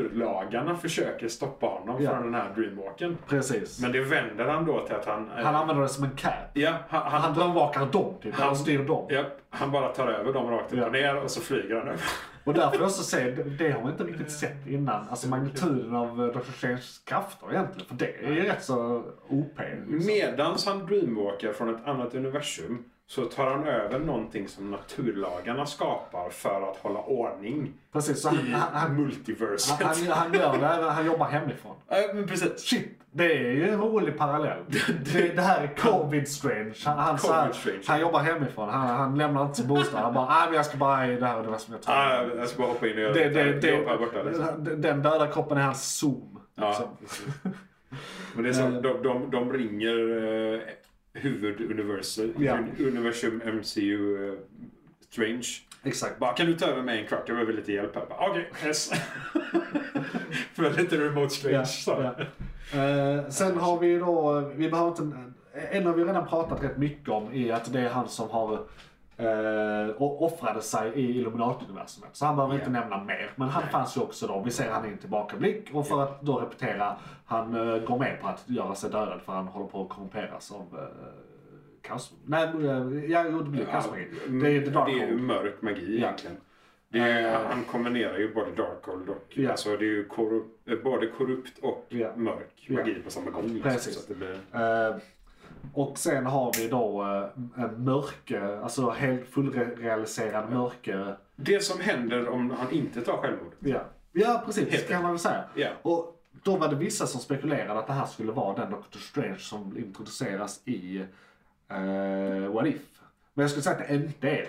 Speaker 5: naturlagarna försöker stoppa honom
Speaker 4: Ja.
Speaker 5: från den här dreamwalken.
Speaker 4: Precis.
Speaker 5: Men det vänder han då till att han... eh,
Speaker 4: Han använder det som en cap.
Speaker 5: ja, han, han,
Speaker 4: Han drömvakar dem typ. Han,
Speaker 5: Han-
Speaker 4: styr dem.
Speaker 5: ja, han bara tar över dem rakt upp
Speaker 4: Ja.
Speaker 5: och ner och så flyger han över.
Speaker 4: Och därför jag också säger, det- det har man inte riktigt sett innan. Alltså magnituden av eh, Dr. Stranges krafter egentligen. För det är ju rätt så OP.
Speaker 5: Mm.
Speaker 4: Liksom.
Speaker 5: Medans han dreamwalkar från ett annat universum så tar han över någonting som naturlagarna skapar för att hålla ordning
Speaker 4: Precis, så han,
Speaker 5: i
Speaker 4: han, han,
Speaker 5: multiverset.
Speaker 4: han, han, han gör det, även- han jobbar hemifrån.
Speaker 5: Ja, men precis.
Speaker 4: Shit, det är ju en rolig parallell. Det, det här är covid strange. Han, han, så här,
Speaker 5: Covid Strange.
Speaker 4: han jobbar hemifrån. Han, han lämnar inte sin bostad. Han bara, nej men jag ska bara i det här universumet.
Speaker 5: Ja, Ah, jag ska bara hoppa in och göra
Speaker 4: det, det,
Speaker 5: lite jobb här borta. Liksom.
Speaker 4: det, den döda kroppen är hans zoom. Liksom.
Speaker 5: Ja, precis. Men det är så, de, de, de ringer eh, huvuduniversum,
Speaker 4: Ja.
Speaker 5: universum MCU eh, Strange.
Speaker 4: Exakt.
Speaker 5: Bara, kan du ta över mig en kvart? Jag behöver lite hjälp här. Bara, Okej, yes. För lite remote strange.
Speaker 4: Ja,
Speaker 5: så.
Speaker 4: ja. Eh, sen har vi ju då, vi behöver inte, en har vi redan pratat rätt mycket om är att det är han som har eh, och offrade sig i Illuminati-universumet. Så han behöver inte
Speaker 5: Ja.
Speaker 4: nämna mer. Men han fanns ju också då, vi ser han i en tillbakablick. Och för att då repetera, han eh, går med på att göra sig dödad för han håller på att korrumperas av eh, kaos... Nej, eh, ja, jo, det blir
Speaker 5: Ja,
Speaker 4: kaosmagi. Det är ju The Dark
Speaker 5: det är ju
Speaker 4: Hold.
Speaker 5: mörk magi
Speaker 4: Ja.
Speaker 5: egentligen. Det är,
Speaker 4: Eh.
Speaker 5: han kombinerar ju både Darkhold och...
Speaker 4: Ja.
Speaker 5: Alltså det är ju korrup, eh, både korrupt och
Speaker 4: Ja.
Speaker 5: mörk
Speaker 4: Ja.
Speaker 5: magi på samma gång. liksom.
Speaker 4: Precis.
Speaker 5: Så att det blir...
Speaker 4: Eh, och sen har vi då eh, en mörke, alltså helt fullrealiserad mörke.
Speaker 5: Det som händer om han inte tar självmordet.
Speaker 4: Ja, ja precis,
Speaker 5: Helt
Speaker 4: kan man väl säga.
Speaker 5: Ja.
Speaker 4: Och då var det vissa som spekulerade att det här skulle vara den Doctor Strange som introduceras i eh, What If. Men jag skulle säga att det inte är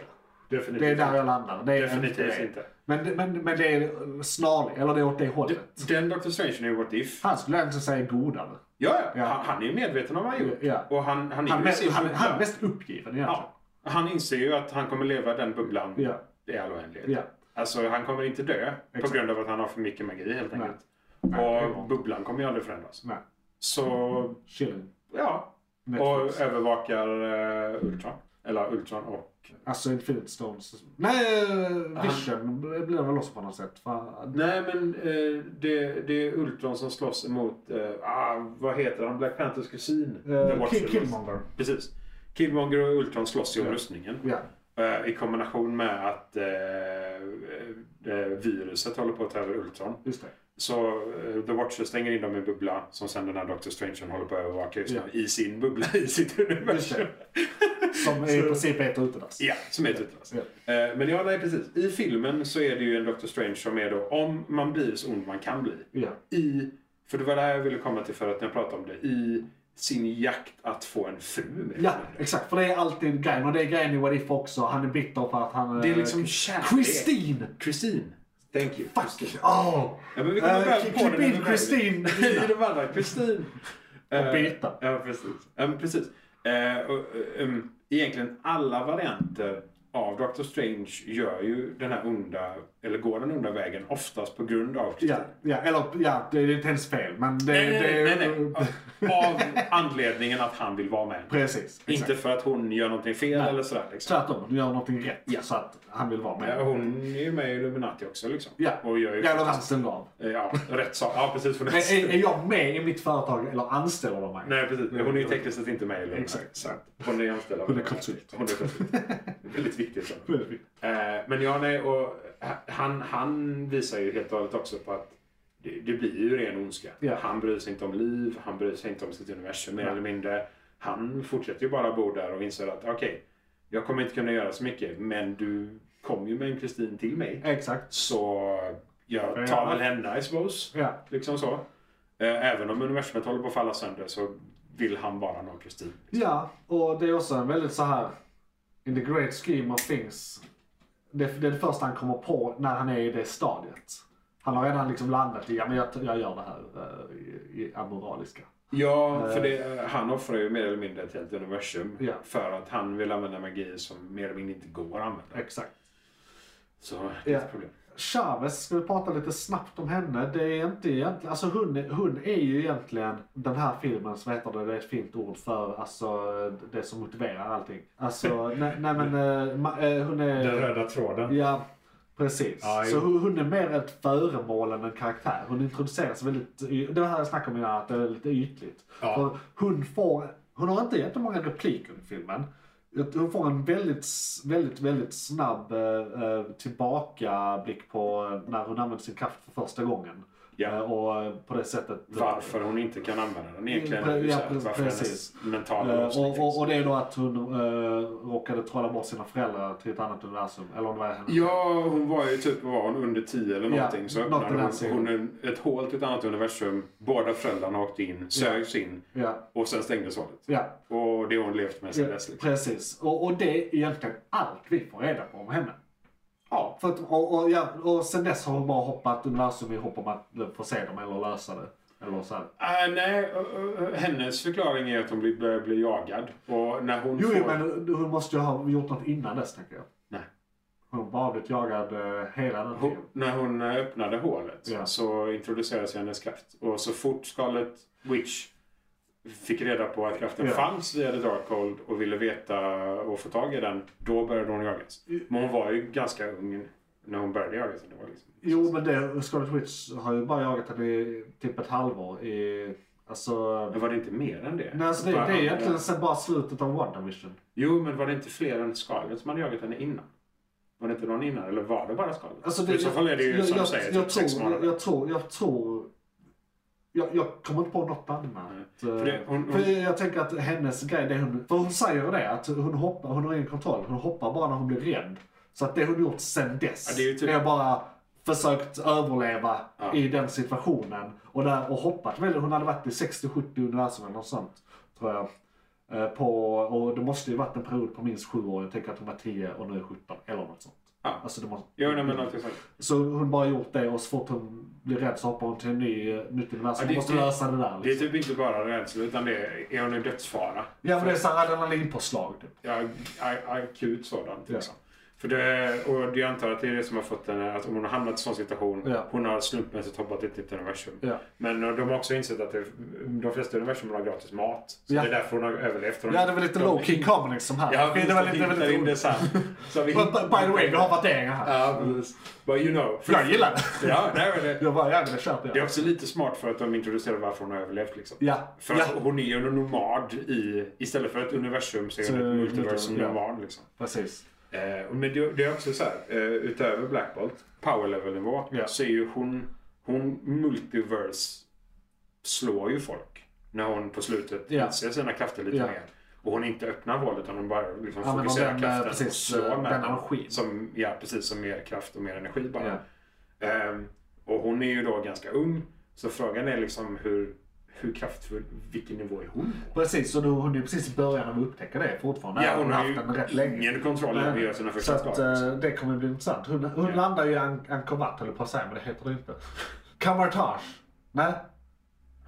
Speaker 4: det.
Speaker 5: Definitivt.
Speaker 4: Det är där jag landar. Det är
Speaker 5: Definitivt
Speaker 4: det.
Speaker 5: inte.
Speaker 4: Men, men, men det är snarligt, eller det är åt det hållet.
Speaker 5: Den Dr. Strange är ju What If.
Speaker 4: Han skulle egentligen säga godare.
Speaker 5: Ja, ja.
Speaker 4: Ja.
Speaker 5: Han, han är ju medveten om vad han gjort.
Speaker 4: Ja.
Speaker 5: Och han, han
Speaker 4: Han
Speaker 5: är
Speaker 4: är
Speaker 5: ju i
Speaker 4: mest,
Speaker 5: sin
Speaker 4: han,
Speaker 5: bubbla.
Speaker 4: han är mest uppgiven egentligen.
Speaker 5: Ja. Han inser ju att han kommer leva den bubblan
Speaker 4: Ja.
Speaker 5: i all oändlighet.
Speaker 4: Ja.
Speaker 5: Alltså han kommer inte dö
Speaker 4: Exakt.
Speaker 5: på grund av att han har för mycket magi helt
Speaker 4: Nej.
Speaker 5: enkelt.
Speaker 4: Nej, det är bra.
Speaker 5: Och bubblan kommer ju aldrig förändras.
Speaker 4: Nej.
Speaker 5: Så
Speaker 4: Chilling.
Speaker 5: ja,
Speaker 4: Netflix.
Speaker 5: och övervakar eh, Ultron. Eller Ultron och...
Speaker 4: Alltså Infinite Stones. Nej, eh, Vision blir väl loss på något sätt. Fan.
Speaker 5: Nej men eh, det, det är Ultron som slåss emot, eh, ah, vad heter han, Black Panthers kusin? The
Speaker 4: Eh,
Speaker 5: Watcher
Speaker 4: Kill-
Speaker 5: slåss.
Speaker 4: Killmonger.
Speaker 5: Precis. Killmonger och Ultron slåss ju om
Speaker 4: Ja.
Speaker 5: rustningen.
Speaker 4: Ja.
Speaker 5: Eh, I kombination med att eh, eh, viruset håller på att ta över Ultron.
Speaker 4: Just det.
Speaker 5: Så eh, The Watcher stänger in dem i en bubbla som sen den här Doctor Strange håller på att övervaka just nu.
Speaker 4: Ja.
Speaker 5: I sin bubbla, i sitt
Speaker 4: Just
Speaker 5: universum.
Speaker 4: det. Som i princip är ett utedass.
Speaker 5: Ja, som är ett utlös.
Speaker 4: Ja.
Speaker 5: Eh, Men ja, nej precis. I filmen så är det ju en Doctor Strange som är då om man blir så ond man kan bli.
Speaker 4: Ja.
Speaker 5: I, för det var det här jag ville komma till förut när jag pratade om det. I sin jakt att få en fru med.
Speaker 4: ja, exakt. För det är alltid grejen. Och det är grejen i What If också. Han är bitter för att han...
Speaker 5: Det är
Speaker 4: eh,
Speaker 5: liksom kärlek.
Speaker 4: Christine!
Speaker 5: Christine. Thank you.
Speaker 4: Fuck! Oh.
Speaker 5: Ja, men vi kommer
Speaker 4: Eh,
Speaker 5: väl
Speaker 4: klipp-
Speaker 5: på
Speaker 4: klipp
Speaker 5: det
Speaker 4: in
Speaker 5: när vi-
Speaker 4: Christine.
Speaker 5: I de andra. Kristin. Eh,
Speaker 4: Och Beta.
Speaker 5: Ja, precis. Ja, men precis. Eh, och, eh, um, egentligen alla varianter av Doctor Strange gör ju den här onda, eller går den onda vägen oftast på grund av Kristin.
Speaker 4: Ja, ja, eller ja, det är inte hennes fel. Men det,
Speaker 5: Nej, nej,
Speaker 4: det
Speaker 5: nej, nej, nej. Av anledningen att han vill vara med.
Speaker 4: Precis. Exakt.
Speaker 5: Inte för att hon gör någonting fel eller sådär. Liksom.
Speaker 4: Tvärtom, hon gör någonting rätt
Speaker 5: Ja.
Speaker 4: så att han vill vara
Speaker 5: Eh,
Speaker 4: med.
Speaker 5: Hon är ju med i Illuminati också liksom.
Speaker 4: Ja,
Speaker 5: Och gör ju...
Speaker 4: ja eller anställd av.
Speaker 5: Eh, Ja, rätt sak. Ja, precis. Hon
Speaker 4: Är, är är jag med i mitt företag eller anställer de mig?
Speaker 5: Nej, precis. Hon är ju tekniskt sett inte med i Illuminati.
Speaker 4: Mm. Exakt. Så att-
Speaker 5: Hon är anställd av...
Speaker 4: Hon är konsult.
Speaker 5: Hon är konsult. Väldigt viktigt. Så. Eh, men ja, nej, och han, han visar ju helt och hållet också på att det, det blir ju ren ondska.
Speaker 4: Ja.
Speaker 5: Han bryr sig inte om liv, han bryr sig inte om sitt universum mer
Speaker 4: Ja.
Speaker 5: eller mindre. Han fortsätter ju bara bo där och inser att okej, jag kommer inte kunna göra så mycket, men du kom ju med en Kristin till mig.
Speaker 4: Exakt.
Speaker 5: Så jag
Speaker 4: Ja.
Speaker 5: tar väl henne, I suppose.
Speaker 4: Ja.
Speaker 5: Liksom så. Eh, Även om universumet håller på att falla sönder så vill han bara nå Kristin.
Speaker 4: ja, och det är också en väldigt så här in the great scheme of things. Det, det är det första han kommer på när han är i det stadiet. Han har redan liksom landat i, ja men jag, jag gör det här eh, i, i amoraliska.
Speaker 5: Ja, för det, eh, han offrar ju mer eller mindre ett helt universum
Speaker 4: Eh. Ja.
Speaker 5: för att han vill använda magi som mer eller mindre inte går att använda.
Speaker 4: Exakt.
Speaker 5: Så det är
Speaker 4: Ja.
Speaker 5: ett problem.
Speaker 4: Chavez, ska vi prata lite snabbt om henne? Det är inte egentligen, alltså hon, är- hon är ju egentligen den här filmen, som heter det, det är ett fint ord för alltså det som motiverar allting. Alltså, nej, nej men eh, ma- eh, hon är,
Speaker 5: röda tråden.
Speaker 4: ja precis.
Speaker 5: Ja,
Speaker 4: Så hon hon är mer ett föremål än en karaktär. Hon introduceras väldigt, y- det var här jag snackade om innan, att det är lite ytligt.
Speaker 5: Ja.
Speaker 4: För hon får, hon har inte jättemånga repliker i filmen. Hon får en väldigt, väldigt, väldigt snabb eh, eh, tillbakablick på eh, när hon använder sin kraft för första gången.
Speaker 5: Ja.
Speaker 4: Eh, och eh, på det sättet.
Speaker 5: Varför hon inte kan använda den egentligen.
Speaker 4: Pre- ja,
Speaker 5: Så här,
Speaker 4: pre-
Speaker 5: varför
Speaker 4: precis.
Speaker 5: hennes mentala liksom?
Speaker 4: Eh,
Speaker 5: låsning
Speaker 4: och, och, och det är då att hon eh, råkade trolla bort sina föräldrar till ett annat universum. Eller om det var
Speaker 5: finns.
Speaker 4: henne.
Speaker 5: Ja, hon var ju typ vad var hon, under 10 eller
Speaker 4: Ja,
Speaker 5: någonting. så
Speaker 4: något i den
Speaker 5: öppnade hon,
Speaker 4: stilen.
Speaker 5: hon en, ett hål till ett annat universum. Båda föräldrarna åkte in, sögs in
Speaker 4: Ja.
Speaker 5: och sen stängdes hålet.
Speaker 4: ja.
Speaker 5: Och det har hon levt med sen dess. Liksom.
Speaker 4: Precis, och, och det är egentligen allt vi får reda på om henne. Ja, för att, och, och, ja, och sen dess har hon bara hoppat universum i hopp om att eh, få se dem eller lösa det. Eller så här.
Speaker 5: Ah, nej, ö- ö- ö- hennes förklaring är att hon blir, börjar bli jagad. Och när hon
Speaker 4: Jo,
Speaker 5: får...
Speaker 4: jo, men hon måste ju ha gjort något innan dess, tänker jag.
Speaker 5: Nej.
Speaker 4: Hon har bara blivit jagad eh, hela den
Speaker 5: Hon,
Speaker 4: tiden.
Speaker 5: när hon eh, öppnade hålet
Speaker 4: Ja.
Speaker 5: så introducerades ju hennes kraft. Och så fort skalet Witch fick reda på att kraften
Speaker 4: Ja.
Speaker 5: fanns via The Darkhold och ville veta och få tag i den, då började hon jagas. Men hon var ju ganska ung när hon började jagas. Det var liksom...
Speaker 4: Jo, men det, Scarlet Witch har ju bara jagat henne i typ ett halvår. I, alltså...
Speaker 5: Men var det inte mer än det?
Speaker 4: Nej, alltså det, det
Speaker 5: Bara
Speaker 4: är
Speaker 5: andra-
Speaker 4: egentligen sen bara slutet av WandaVision.
Speaker 5: Jo, men var det inte fler än skalet som hade jagat henne innan? Var det inte någon innan? Eller var det bara skalet?
Speaker 4: Alltså det,
Speaker 5: I så fall är det ju som du säger, typ
Speaker 4: jag,
Speaker 5: sex
Speaker 4: tror, jag,
Speaker 5: månader.
Speaker 4: jag tror, jag tror... Jag, jag kommer inte på något annat.
Speaker 5: Nej.
Speaker 4: För
Speaker 5: För det- hon-
Speaker 4: för
Speaker 5: hon-
Speaker 4: jag tänker att hennes grej, det hon, för hon säger ju det, att hon hoppar, hon har ingen kontroll. Hon hoppar bara när hon blir rädd. Så att det hon gjort sen dess,
Speaker 5: Ja, det är ju typ-
Speaker 4: bara försökt överleva
Speaker 5: Ja.
Speaker 4: i den situationen. Och, där, och hoppat väl, hon hade varit i 60-70 universum eller något sånt. Tror jag. Eh, På, och det måste ju varit en period på minst sju år. Jag tänker att hon var 10 och nu är 17 eller något sånt.
Speaker 5: Ja.
Speaker 4: Alltså, det var...
Speaker 5: Jo, nej, men någonting sånt.
Speaker 4: Så hon bara gjort det och så fort hon blir rädd så hoppar hon till en ny, eh, nytt universum.
Speaker 5: Ja,
Speaker 4: Hon
Speaker 5: det-
Speaker 4: måste
Speaker 5: det-
Speaker 4: lösa det där.
Speaker 5: Det är
Speaker 4: Liksom.
Speaker 5: typ inte bara rädsla, utan det är, är hon i dödsfara?
Speaker 4: Ja, men det är såhär adrenalinpåslag. Typ.
Speaker 5: Ja, a- akut sådant.
Speaker 4: Ja.
Speaker 5: Liksom. För det, och jag antar att det är det som har fått henne, att om hon har hamnat i en sån situation,
Speaker 4: Ja.
Speaker 5: hon har slumpmässigt hoppat in i ett universum.
Speaker 4: Ja.
Speaker 5: Men eh, de har också insett att det, de flesta universum har gratis mat. Så
Speaker 4: Ja.
Speaker 5: det är därför hon har överlevt.
Speaker 4: Ja, det var lite
Speaker 5: de-
Speaker 4: low key comedy som här.
Speaker 5: Ja,
Speaker 4: det
Speaker 5: visst,
Speaker 4: var
Speaker 5: de
Speaker 4: lite, det var
Speaker 5: hittar
Speaker 4: lite
Speaker 5: in det
Speaker 4: roligt.
Speaker 5: sen. Så vi
Speaker 4: But, but, by the way, vi har värderingar här.
Speaker 5: Ja, precis. But you know.
Speaker 4: För jag gillar det.
Speaker 5: Ja, nej, men det.
Speaker 4: Jag bara, ja, men det köper
Speaker 5: Det är
Speaker 4: jag.
Speaker 5: också lite smart för att de introducerar varför hon har överlevt. Liksom.
Speaker 4: Ja,
Speaker 5: För
Speaker 4: ja.
Speaker 5: att hon är ju en nomad i, istället för ett universum så är
Speaker 4: Så
Speaker 5: hon ett multiversum
Speaker 4: multiversum, ja.
Speaker 5: nomad. Liksom.
Speaker 4: precis.
Speaker 5: Eh, och men det, det är också så här, eh, utöver Black Bolt, power level nivå,
Speaker 4: Ja.
Speaker 5: så är ju hon, hon multiverse slår ju folk. När hon på slutet
Speaker 4: Ja.
Speaker 5: utser sina krafter lite
Speaker 4: Ja.
Speaker 5: mer. Och hon inte öppnar hål utan hon bara liksom
Speaker 4: Ja, men
Speaker 5: fokuserar
Speaker 4: hon vänder
Speaker 5: kraften och
Speaker 4: precis,
Speaker 5: slår
Speaker 4: eh,
Speaker 5: med
Speaker 4: vänder
Speaker 5: den.
Speaker 4: energin.
Speaker 5: Som, ja, precis. Som mer kraft och mer energi bara.
Speaker 4: Ja.
Speaker 5: Ehm, och hon är ju då ganska ung. Så frågan är liksom hur, hur kraftfull, vilken nivå är hon på?
Speaker 4: Precis, så då, hon är precis i början när vi upptäcker det fortfarande.
Speaker 5: Ja, hon har
Speaker 4: haft den rätt
Speaker 5: ju
Speaker 4: länge.
Speaker 5: ingen kontroll över hur sina
Speaker 4: Eh, Så
Speaker 5: första
Speaker 4: att,
Speaker 5: slag.
Speaker 4: eh, det kommer bli intressant. Hon, hon
Speaker 5: Ja.
Speaker 4: landar ju i An- Angkor Wat höll jag på att säga, men det heter det inte. Kamartage. Nej.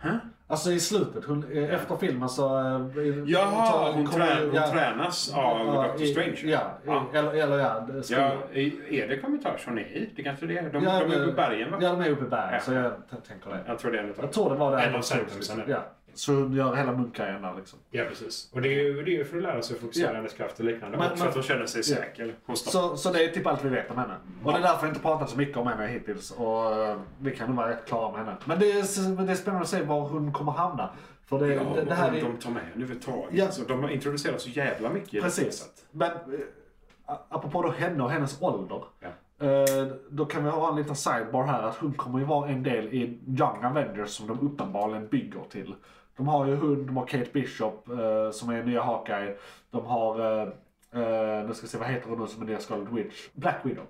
Speaker 5: Huh?
Speaker 4: Alltså i slutet, hon, eh, efter filmen så... eh,
Speaker 5: Jaha,
Speaker 4: tar-
Speaker 5: hon,
Speaker 4: kommer-
Speaker 5: trä, hon
Speaker 4: ja,
Speaker 5: tränas av
Speaker 4: ja,
Speaker 5: Dr.
Speaker 4: i-
Speaker 5: Strange.
Speaker 4: Ja, i- Eller, eller ja, det-
Speaker 5: ja, i- är det kommentarer hon är i? Det kanske det är. De, de är uppe i bergen va?
Speaker 4: Ja, de är uppe i bergen,
Speaker 5: Ja.
Speaker 4: så jag t- tänker det.
Speaker 5: Jag tror det är en utav
Speaker 4: Jag tror det var där.
Speaker 5: En av
Speaker 4: de sågs,
Speaker 5: sentenserna.
Speaker 4: liksom. Ja. Så hon gör hela munkgrejen där liksom.
Speaker 5: Ja, precis. Och det är ju det är ju för att lära sig att fokusera
Speaker 4: Ja.
Speaker 5: hennes kraft och liknande.
Speaker 4: Men-
Speaker 5: Men, också
Speaker 4: men-
Speaker 5: att hon känner sig
Speaker 4: Ja.
Speaker 5: säker. Hon stoppar.
Speaker 4: Så, så det är typ allt vi vet om henne. Och det är därför jag inte pratat så mycket om henne hittills. Och eh, vi kan nog vara rätt klara med henne. Men det är, men det är spännande att se var hon kommer hamna. För det,
Speaker 5: Ja,
Speaker 4: det, det här
Speaker 5: och
Speaker 4: är...
Speaker 5: de tar med henne överhuvudtaget.
Speaker 4: Ja.
Speaker 5: Så de har introducerat så jävla mycket i det här
Speaker 4: Precis.
Speaker 5: sättet.
Speaker 4: Men eh, apropå då henne och hennes ålder.
Speaker 5: Ja.
Speaker 4: eh, Då kan vi ha en liten sidebar här att hon kommer ju vara en del i Young Avengers som de uppenbarligen bygger till. De har ju hon, de har Kate Bishop eh, som är nya Hawkeye. De har, eh, eh, nu ska vi se vad heter hon nu som är nya Scarlet Witch? Black Widow.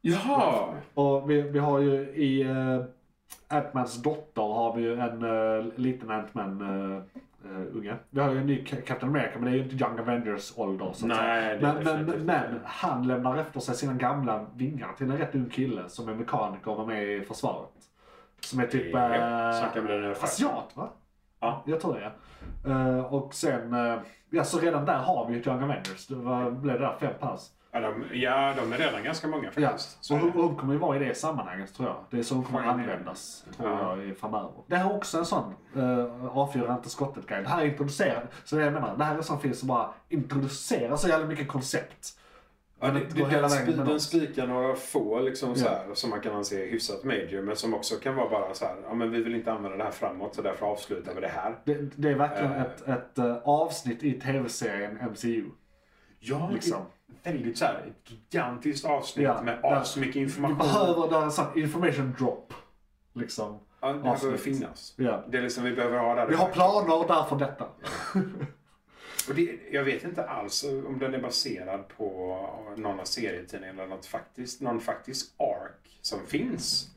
Speaker 5: Jaha!
Speaker 4: Och vi, vi har ju i uh, Ant-Mans dotter har vi ju en eh, liten Ant-Man eh, eh, unge. Vi har ju en ny Ca- Captain America men det är ju inte Young Avengers ålder så att
Speaker 5: Nej,
Speaker 4: säga.
Speaker 5: det är
Speaker 4: Men, men,
Speaker 5: definitivt inte.
Speaker 4: men han lämnar efter sig sina gamla vingar till en rätt ung kille som är mekaniker och är med i försvaret. Som är typ
Speaker 5: Ja,
Speaker 4: eh,
Speaker 5: snacka om den här faktorn.
Speaker 4: asiat va?
Speaker 5: Ja.
Speaker 4: Jag tror det ja. Eh, och sen, eh, ja så redan där har vi ju ett Young Avengers. Det var, blev det där fem pers.
Speaker 5: Ja, de, ja, de är redan ganska många
Speaker 4: Ja,
Speaker 5: faktiskt. Så
Speaker 4: och
Speaker 5: är
Speaker 4: hon,
Speaker 5: det.
Speaker 4: hon kommer ju vara i det sammanhanget tror jag. Det är så hon kommer att användas tror
Speaker 5: Ja.
Speaker 4: jag i framöver. Det här är också en sån uh, avfyra inte skottet grej. Det här är introducerat. Så det jag menar, det här är en sån film som bara introducerar så jävla mycket koncept.
Speaker 5: Ja, det,
Speaker 4: Men
Speaker 5: det,
Speaker 4: går hela
Speaker 5: den,
Speaker 4: vägen
Speaker 5: spi,
Speaker 4: med
Speaker 5: den
Speaker 4: oss.
Speaker 5: spikar några få liksom, så här, som man kan anse hyfsat major men som också kan vara bara så här, ja men vi vill inte använda det här framåt så därför avslutar vi det här.
Speaker 4: Det, det är verkligen
Speaker 5: Eh.
Speaker 4: ett, ett eh, avsnitt i tv-serien MCU.
Speaker 5: Ja,
Speaker 4: Liksom.
Speaker 5: det är väldigt så här, ett gigantiskt avsnitt
Speaker 4: Ja,
Speaker 5: med
Speaker 4: där-
Speaker 5: asmycket mycket
Speaker 4: Du
Speaker 5: information.
Speaker 4: behöver det här en sån information drop. Liksom.
Speaker 5: ja, det här behöver
Speaker 4: avsnitt.
Speaker 5: finnas.
Speaker 4: Ja.
Speaker 5: Det är liksom vi behöver ha där.
Speaker 4: Vi har planer därför detta.
Speaker 5: Och det, jag vet inte alls om den är baserad på någon av serietidningarna eller något faktiskt, någon faktisk ark som finns.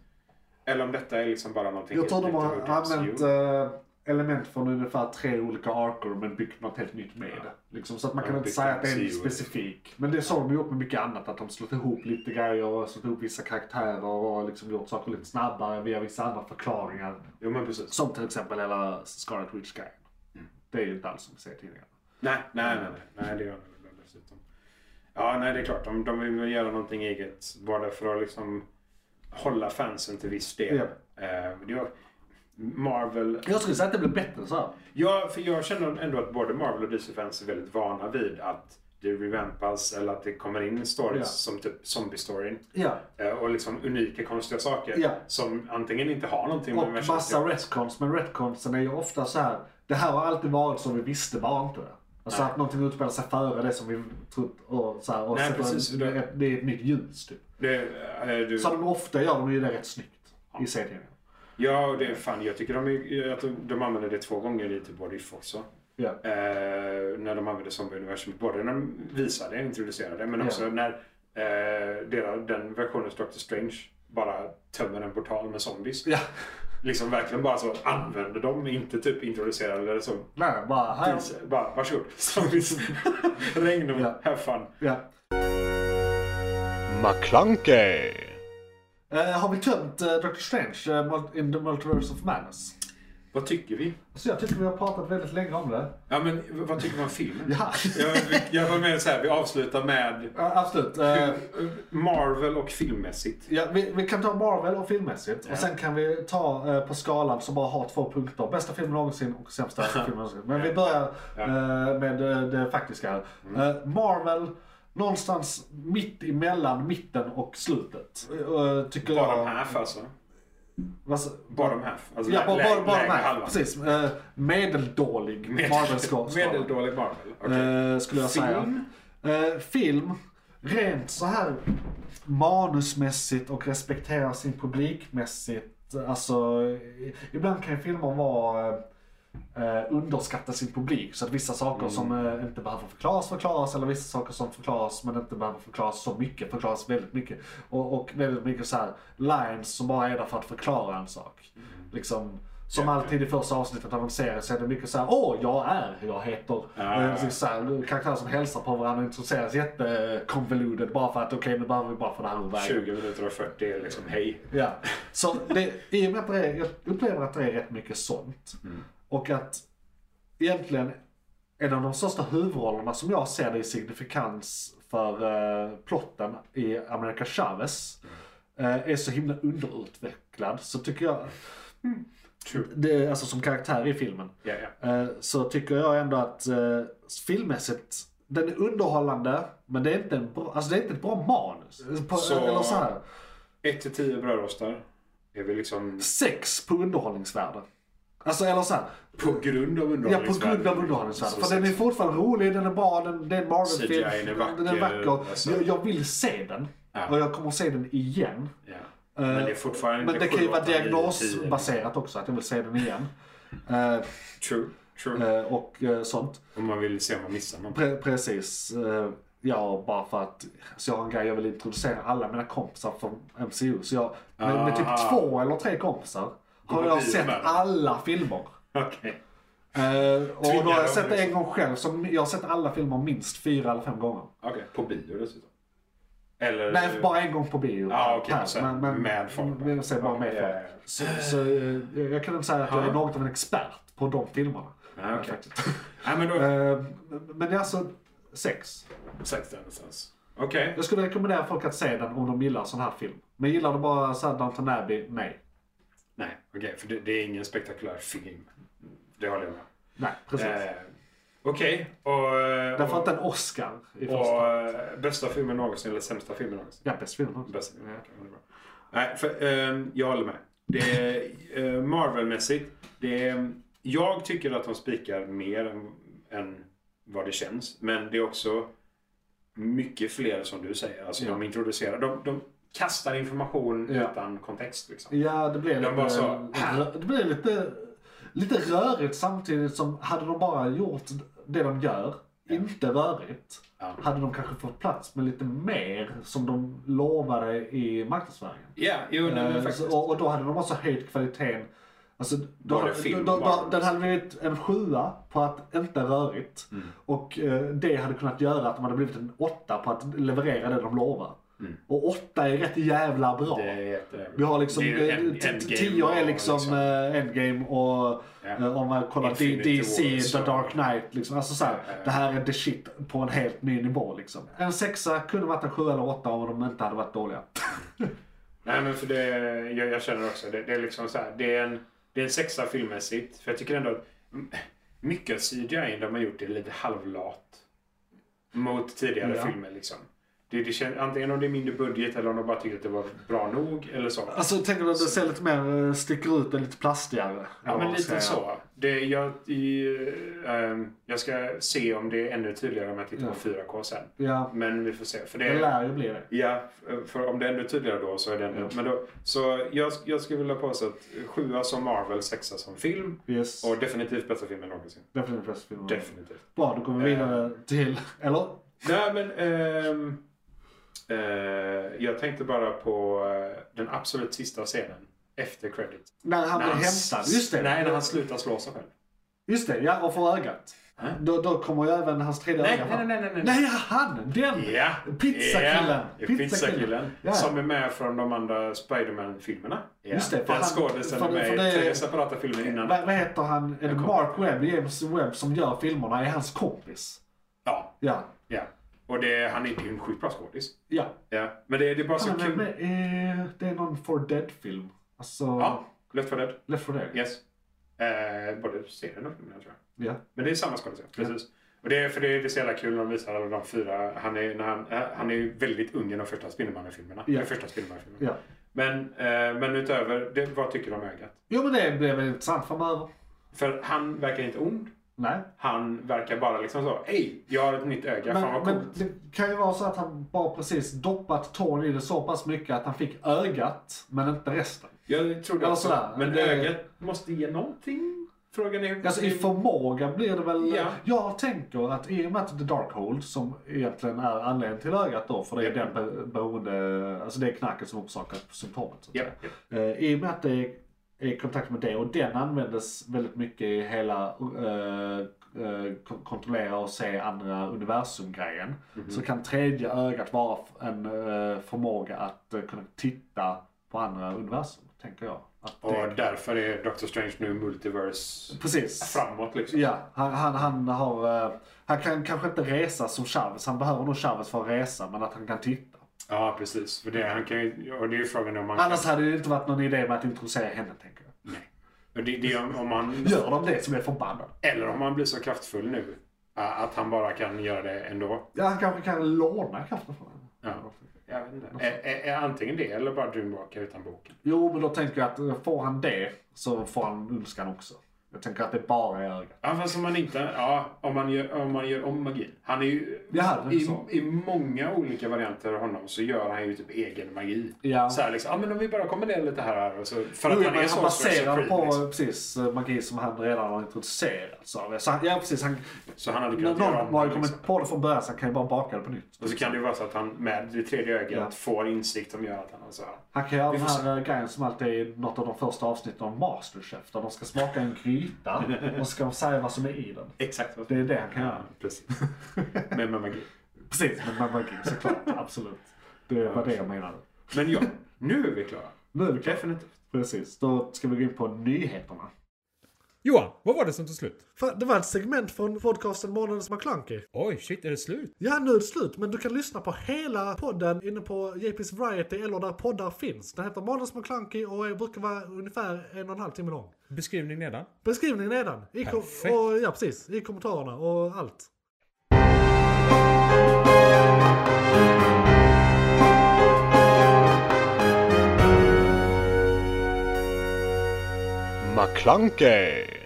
Speaker 5: Eller om detta är liksom bara någonting
Speaker 4: Jag tror de
Speaker 5: helt
Speaker 4: har
Speaker 5: nytt och
Speaker 4: använt eh, element från ungefär tre olika arker men byggt något helt nytt med det. Liksom, så att man
Speaker 5: Ja,
Speaker 4: kan inte
Speaker 5: byggt
Speaker 4: säga att det är
Speaker 5: MCU.
Speaker 4: en specifik. Men det såg de ju upp med mycket annat. Att de slått ihop lite grejer och slått ihop vissa karaktärer och liksom gjort saker lite snabbare via vissa andra förklaringar.
Speaker 5: Jo men precis.
Speaker 4: Som till exempel hela Scarlet Witch-grejen. Det är ju inte alls som vi ser tidigare.
Speaker 5: Nej, nej,
Speaker 4: Mm.
Speaker 5: nej, nej, nej det gör de väl dessutom. Ja, nej, det är klart. De, de vill väl göra någonting eget. Bara för att liksom hålla fansen till viss del.
Speaker 4: Ja.
Speaker 5: Eh, det var Marvel...
Speaker 4: Jag skulle säga att det blev bättre så här.
Speaker 5: Ja, för jag känner ändå att både Marvel och DC-fans är väldigt vana vid att det revampas eller att det kommer in stories
Speaker 4: Ja.
Speaker 5: som typ zombie-storyn.
Speaker 4: Ja.
Speaker 5: eh, Och liksom unika konstiga saker
Speaker 4: Ja.
Speaker 5: som antingen inte har någonting
Speaker 4: Och
Speaker 5: universum att
Speaker 4: massa retcons, men retconsen är ju ofta så här. Det här har alltid varit som vi visste bara inte. Alltså
Speaker 5: Nej.
Speaker 4: att någonting utspelar sig före det som vi trott och så här, och
Speaker 5: Nej,
Speaker 4: sätter
Speaker 5: precis,
Speaker 4: en,
Speaker 5: för det-
Speaker 4: det, det är ett nytt ljus typ.
Speaker 5: Det, eh, du...
Speaker 4: Så de ofta gör de ju det rätt snyggt i serien.
Speaker 5: Ja, och det är fan. Jag tycker de, är- att de, de använder det två gånger i typ både If också.
Speaker 4: Ja.
Speaker 5: eh, när de använde zombieuniversum. Både när de visade, introducerade, men
Speaker 4: Ja.
Speaker 5: också när eh, deras, den versionen av Doctor Strange bara tömmer en portal med zombies.
Speaker 4: ja.
Speaker 5: Liksom verkligen bara så använder dem, inte typ introducerar eller så.
Speaker 4: Nej, bara här.
Speaker 5: Vis- Bara, varsågod. Zombies. Regn och
Speaker 4: Ja.
Speaker 5: have fun.
Speaker 4: Ja.
Speaker 5: McClunkey.
Speaker 4: Eh, har vi tömt eh, Doctor Strange eh, Mul- in the Multiverse of Madness?
Speaker 5: Vad tycker vi?
Speaker 4: Så jag tycker vi har pratat väldigt länge om det.
Speaker 5: Ja, men v- vad tycker man om filmen?
Speaker 4: Ja,
Speaker 5: jag, jag var med så här, vi avslutar med
Speaker 4: ja, absolut. Eh,
Speaker 5: Marvel och filmmässigt.
Speaker 4: ja, vi, vi kan ta Marvel och filmmässigt.
Speaker 5: Ja.
Speaker 4: Och sen kan vi ta eh, på skalan som bara har två punkter. Bästa filmen någonsin och sämsta filmen någonsin. Men vi börjar
Speaker 5: Ja. Mm.
Speaker 4: eh, med eh, det faktiska. här. Eh, Marvel, någonstans mitt emellan mitten och slutet. Eh, tycker
Speaker 5: Bara
Speaker 4: jag.
Speaker 5: de här alltså.
Speaker 4: Vad sa-
Speaker 5: Bara de här. Alltså,
Speaker 4: Ja,
Speaker 5: lä-
Speaker 4: bara,
Speaker 5: lä-
Speaker 4: bara, bara
Speaker 5: lägre
Speaker 4: de här.
Speaker 5: halvan.
Speaker 4: Precis. Eh, medeldålig
Speaker 5: Med-
Speaker 4: Marvel-skala.
Speaker 5: Medeldålig Marvel. okej.
Speaker 4: Eh, skulle jag
Speaker 5: Film?
Speaker 4: säga. Eh, film, rent så här manusmässigt och respektera sin publikmässigt. Alltså, i- ibland kan ju filmer vara eh, eh, underskatta sin publik. Så att vissa saker
Speaker 5: Mm.
Speaker 4: som eh, inte behöver förklaras förklaras eller vissa saker som förklaras men inte behöver förklaras så mycket förklaras väldigt mycket. Och, och väldigt mycket så här lines som bara är där för att förklara en sak. Liksom, som
Speaker 5: Mm. Ja, ja.
Speaker 4: alltid i första avsnittet av en serie så är det mycket så här, åh jag är, jag heter.
Speaker 5: Ja.
Speaker 4: Eh, så- så här, karaktärer som hälsar på varandra och introduceras jättekonvolutet bara för att okej nu behöver vi bara få det här ur vägen.
Speaker 5: 20 minuter och 40 är liksom hej.
Speaker 4: Ja. Så det, i och med att det är, jag upplever att det är rätt mycket sånt.
Speaker 5: Mm.
Speaker 4: Och att egentligen en av de största huvudrollerna som jag ser det i signifikans för eh, plotten i America Chavez
Speaker 5: Mm.
Speaker 4: eh, är så himla underutvecklad. Så tycker jag,
Speaker 5: True.
Speaker 4: det, är alltså som karaktär i filmen.
Speaker 5: Ja, ja.
Speaker 4: Eh, så tycker jag ändå att eh, filmmässigt, den är underhållande, men det är inte, en bra, alltså det är inte ett bra manus. På,
Speaker 5: Så-
Speaker 4: Eller så här,
Speaker 5: 1 till 10 brödrostar. Är vi liksom
Speaker 4: sex på underhållningsvärde. Alltså eller så här,
Speaker 5: på grund av
Speaker 4: ja på grund av
Speaker 5: Så
Speaker 4: underhållningsvärde. För
Speaker 5: sex.
Speaker 4: den är fortfarande rolig, den är bra, den, det är en Marvel-film.
Speaker 5: CGI är vacker,
Speaker 4: Den är vacker.
Speaker 5: alltså.
Speaker 4: Jag, jag vill se den.
Speaker 5: Ja.
Speaker 4: Och jag kommer se den igen.
Speaker 5: Ja. Men det är fortfarande
Speaker 4: Eh, Men det
Speaker 5: sju,
Speaker 4: kan ju vara
Speaker 5: åtta, nio, tio.
Speaker 4: diagnosbaserat också, att jag vill se den igen. Eh,
Speaker 5: True. True.
Speaker 4: eh, och eh, sånt.
Speaker 5: Om man vill se om man missar någon.
Speaker 4: Pre- precis. Eh, Ja, bara för att så jag har en grej jag vill introducera alla mina kompisar från MCU. Så jag, med, med typ
Speaker 5: Ah.
Speaker 4: två eller tre kompisar har
Speaker 5: var
Speaker 4: jag
Speaker 5: bio
Speaker 4: sett
Speaker 5: med.
Speaker 4: alla filmer.
Speaker 5: Okej.
Speaker 4: Eh, och då har
Speaker 5: dem
Speaker 4: jag sett det
Speaker 5: liksom.
Speaker 4: en gång själv. Så jag har sett alla filmer minst fyra eller fem gånger.
Speaker 5: Okej. På bio dessutom. Eller?
Speaker 4: Nej, bara en gång på bio.
Speaker 5: Ja, Eh. Ah, okej,
Speaker 4: Här.
Speaker 5: så med folk.
Speaker 4: Men, jag säger bara
Speaker 5: Ja,
Speaker 4: med
Speaker 5: ja, ja.
Speaker 4: folk. Så, så eh, jag kan inte säga att jag är
Speaker 5: Ja.
Speaker 4: något av en expert på de filmerna.
Speaker 5: Ja, Ah, okej.
Speaker 4: Faktiskt.
Speaker 5: Nej, men då...
Speaker 4: Eh, men det är alltså sex.
Speaker 5: Sex där någonstans. Okej.
Speaker 4: Jag skulle rekommendera folk att se den om de gillar sån här film. Men gillar du bara så här Downton Abbey? Nej.
Speaker 5: Nej, okej. För det, det är ingen spektakulär film. Det håller jag med.
Speaker 4: Nej, precis.
Speaker 5: Eh, Okej. Och... eh,
Speaker 4: Därför
Speaker 5: och-
Speaker 4: att den Oscar i första.
Speaker 5: Och eh, bästa filmen någonsin eller sämsta filmen någonsin?
Speaker 4: Ja, bäst film också.
Speaker 5: Bästa filmen, okej, det är bra. Nej, för, ehm, jag håller med. Det är, eh, Marvel-mässigt, det är, jag tycker att de spikar mer än, än vad det känns. Men det är också mycket fler som du säger. Alltså
Speaker 4: Ja.
Speaker 5: de introducerar, de, de kastar information
Speaker 4: Ja.
Speaker 5: utan kontext liksom.
Speaker 4: Ja, det blev
Speaker 5: Den var
Speaker 4: lite,
Speaker 5: så-
Speaker 4: rö- det blev lite, lite rörigt samtidigt som hade de bara gjort det de gör, inte rörigt,
Speaker 5: Ja.
Speaker 4: hade de kanske fått plats med lite mer som de lovade i marknadsföringen.
Speaker 5: Ja, jo, nej, men
Speaker 4: Eh,
Speaker 5: faktiskt.
Speaker 4: så- och, och då hade de också höjt kvaliteten. Alltså, då,
Speaker 5: Var det
Speaker 4: då,
Speaker 5: film
Speaker 4: då, då,
Speaker 5: bara?
Speaker 4: den hade blivit en sjua på att inte rörigt.
Speaker 5: Mm.
Speaker 4: Och eh, det hade kunnat göra att de hade blivit en åtta på att leverera det de lovar. Och åtta är rätt jävla bra.
Speaker 5: Mm. Det är jätte-
Speaker 4: Vi har liksom,
Speaker 5: det är ju en-
Speaker 4: eh, t-
Speaker 5: Endgame
Speaker 4: tio är
Speaker 5: och
Speaker 4: liksom, eh, endgame och
Speaker 5: Ja.
Speaker 4: eh, om man kollar D-
Speaker 5: Infinity
Speaker 4: DC,
Speaker 5: War, så-
Speaker 4: The Dark Knight. Liksom. Alltså så här,
Speaker 5: Ja, ja, ja.
Speaker 4: Det här är the shit på en helt ny nivå. Liksom. En sexa kunde varit en sjua eller åtta om de inte hade varit dåliga.
Speaker 5: Nej, men för det, jag, jag känner också det. Det är liksom så här, det är en, det är en sexa filmmässigt. För jag tycker ändå att m- mycket av CGI de har gjort är lite halvlat. Mot tidigare
Speaker 4: Ja.
Speaker 5: filmer liksom. Det, det känns, antingen om det är mindre budget eller om de bara tycker att det var bra nog eller så.
Speaker 4: Alltså tänker du att det ser lite mer, eh, sticker ut och lite plastigare?
Speaker 5: Ja,
Speaker 4: Eller
Speaker 5: men
Speaker 4: vad ska
Speaker 5: lite
Speaker 4: jag göra?
Speaker 5: så. Det, jag, i, ehm, jag ska se om det är ännu tydligare om jag tittar på 4K sen.
Speaker 4: Ja,
Speaker 5: Men vi får se. För det,
Speaker 4: det lär ju bli det.
Speaker 5: Ja, för om det är ännu tydligare då så är det ännu... Men då, så jag, jag skulle vilja påstå att sjua som Marvel, sexa som film.
Speaker 4: Yes.
Speaker 5: Och definitivt bästa filmen någonsin.
Speaker 4: Definitivt bäst film.
Speaker 5: Definitivt. Eh.
Speaker 4: Bra, då går vi vidare till... Eller?
Speaker 5: Nej men... ehm, eh, jag tänkte bara på eh, den absolut sista scenen. Efter credit.
Speaker 4: När han
Speaker 5: När
Speaker 4: blir
Speaker 5: han
Speaker 4: hämtad. Just det.
Speaker 5: Nej, när han slutar slå sig själv.
Speaker 4: Just det, ja. Och får ögat. Då, då kommer ju även hans tredje
Speaker 5: Äh? Nej,
Speaker 4: öga
Speaker 5: nej,
Speaker 4: fram.
Speaker 5: nej, nej, nej.
Speaker 4: Nej, han! Den!
Speaker 5: Ja.
Speaker 4: Pizzakillen.
Speaker 5: Ja,
Speaker 4: Pizzakillen.
Speaker 5: Pizzakillen.
Speaker 4: Ja.
Speaker 5: Som är med från de andra Spiderman-filmerna. Ja.
Speaker 4: Just det, för
Speaker 5: Den
Speaker 4: han-
Speaker 5: skådisen
Speaker 4: för-
Speaker 5: är med
Speaker 4: för
Speaker 5: i
Speaker 4: det-
Speaker 5: tre separata filmer innan.
Speaker 4: Vad, vad heter han? Är det
Speaker 5: kommer-
Speaker 4: Mark Webb, James Webb, som gör filmerna? Är hans kompis?
Speaker 5: Ja,
Speaker 4: Ja.
Speaker 5: ja. Och det, han är ju en sjukt bra skådis.
Speaker 4: Ja.
Speaker 5: Ja. Men det, det är bara så
Speaker 4: Han är
Speaker 5: kul.
Speaker 4: med, eh, det är någon For Dead-film. Alltså,
Speaker 5: Ja, Left 4 Dead.
Speaker 4: Left For Dead.
Speaker 5: Yes. Eh, både serien och filmen tror jag.
Speaker 4: Ja.
Speaker 5: Men det är samma skådespelare, precis. Och det, är- för det, är- det är så jävla kul när de visar alla de fyra. Han är, när han, eh, han är ju väldigt ung i de första Spindelmannen-filmerna.
Speaker 4: Ja.
Speaker 5: Den första Spindelmannen-filmen.
Speaker 4: ja.
Speaker 5: Men, eh, men utöver, det, vad tycker du om ögat?
Speaker 4: Jo, men det blev väl intressant framöver.
Speaker 5: För han verkar inte ond.
Speaker 4: Nej.
Speaker 5: Han verkar bara liksom så, hej, jag har ett nytt öga, fan
Speaker 4: Men,
Speaker 5: vad
Speaker 4: men
Speaker 5: coolt.
Speaker 4: det kan ju vara så att han bara precis doppat tån i det så pass mycket att han fick ögat, men inte resten.
Speaker 5: Jag tror det
Speaker 4: Ja,
Speaker 5: också.
Speaker 4: sådär.
Speaker 5: Men
Speaker 4: Eh.
Speaker 5: ögat måste ge någonting. Frågan är hur...
Speaker 4: Alltså i förmåga blir det väl...
Speaker 5: Ja.
Speaker 4: Jag tänker att i och med att The Darkhold, som egentligen är anledningen till ögat då, för det är
Speaker 5: Ja.
Speaker 4: den be- beroende... Alltså det är knacket som orsakar symptomet. Så att
Speaker 5: Ja,
Speaker 4: säga.
Speaker 5: ja.
Speaker 4: Eh, I och med att det är, är i kontakt med det och den användes väldigt mycket i hela eh, eh, kon- kontrollera och se andra universum-grejen. Så kan tredje ögat vara f- en eh, förmåga att eh, kunna titta på andra universum, tänker jag. Att det,
Speaker 5: Och därför är Doctor Strange nu multiverse
Speaker 4: Precis.
Speaker 5: framåt liksom.
Speaker 4: Ja, han, han, han har... eh, Han kan kanske inte resa som Chavez. Han behöver nog Chavez för att resa, men att han kan titta.
Speaker 5: Ja, precis. För det, han kan ju, och det är ju frågan om man
Speaker 4: Annars hade det inte varit någon idé med att introducera henne, tänker jag.
Speaker 5: Och Det, det är om, om man,
Speaker 4: Gör de det som är förbannad?
Speaker 5: eller om han blir så kraftfull nu ä, att han bara kan göra det ändå.
Speaker 4: Ja, han kanske kan låna kraften från henne.
Speaker 5: Ja. Jag vet inte. Ä, ä, ä, antingen det eller bara Dreamwalker utan boken.
Speaker 4: Jo, men då tänker jag att eh, får han det så får han ondskan också. Jag tänker att det bara är ögat.
Speaker 5: Ja, fast om man inte... Ja, om man gör om, man gör om magin. Han är ju...
Speaker 4: Ja, det är
Speaker 5: i,
Speaker 4: så.
Speaker 5: I många olika varianter av honom så gör han ju typ egen magi.
Speaker 4: Ja.
Speaker 5: Så här liksom, ja men om vi bara kombinerar lite här och här. Och så, för
Speaker 4: Jo,
Speaker 5: att
Speaker 4: men
Speaker 5: han är så
Speaker 4: han baserar
Speaker 5: sorcerer
Speaker 4: på
Speaker 5: liksom.
Speaker 4: precis eh, magi som han redan har introducerat. Så, så han, ja, precis. Han,
Speaker 5: Så han hade kunnat göra
Speaker 4: någon
Speaker 5: om
Speaker 4: har
Speaker 5: det,
Speaker 4: ju
Speaker 5: liksom.
Speaker 4: kommit på det från början så han kan ju bara baka det på nytt.
Speaker 5: Och så kan det ju vara så att han med det tredje ögat
Speaker 4: Ja.
Speaker 5: får insikt som gör att han så här,
Speaker 4: Han kan göra
Speaker 5: Vi
Speaker 4: den
Speaker 5: får
Speaker 4: här eh, grejen som alltid är i något av de första avsnitten av Masterchef. Där de ska smaka en gryta och så ska de säga vad som är i den.
Speaker 5: Exakt vad
Speaker 4: Det är det han kan göra.
Speaker 5: precis. Med, med magi.
Speaker 4: Precis, men man magi såklart. Absolut. Det var det jag menade.
Speaker 5: Men ja, nu är vi klara.
Speaker 4: Nu är vi klara.
Speaker 5: Definitivt.
Speaker 4: Precis, då ska vi gå in på nyheterna.
Speaker 2: Johan, vad var det som tog slut?
Speaker 3: Fan, Det var ett segment från podcasten Månadens McKlunky.
Speaker 2: Oj, shit, är det slut?
Speaker 3: Ja, nu är det slut, men du kan lyssna på hela podden inne på JP's Variety eller där poddar finns. Den heter Månadens McKlunky och är- brukar vara ungefär en och en halv timme lång.
Speaker 2: Beskrivning nedan.
Speaker 3: Beskrivningen nedan. I kom-
Speaker 2: Perfekt.
Speaker 3: och, ja, precis. I kommentarerna och allt.
Speaker 6: McClunkey.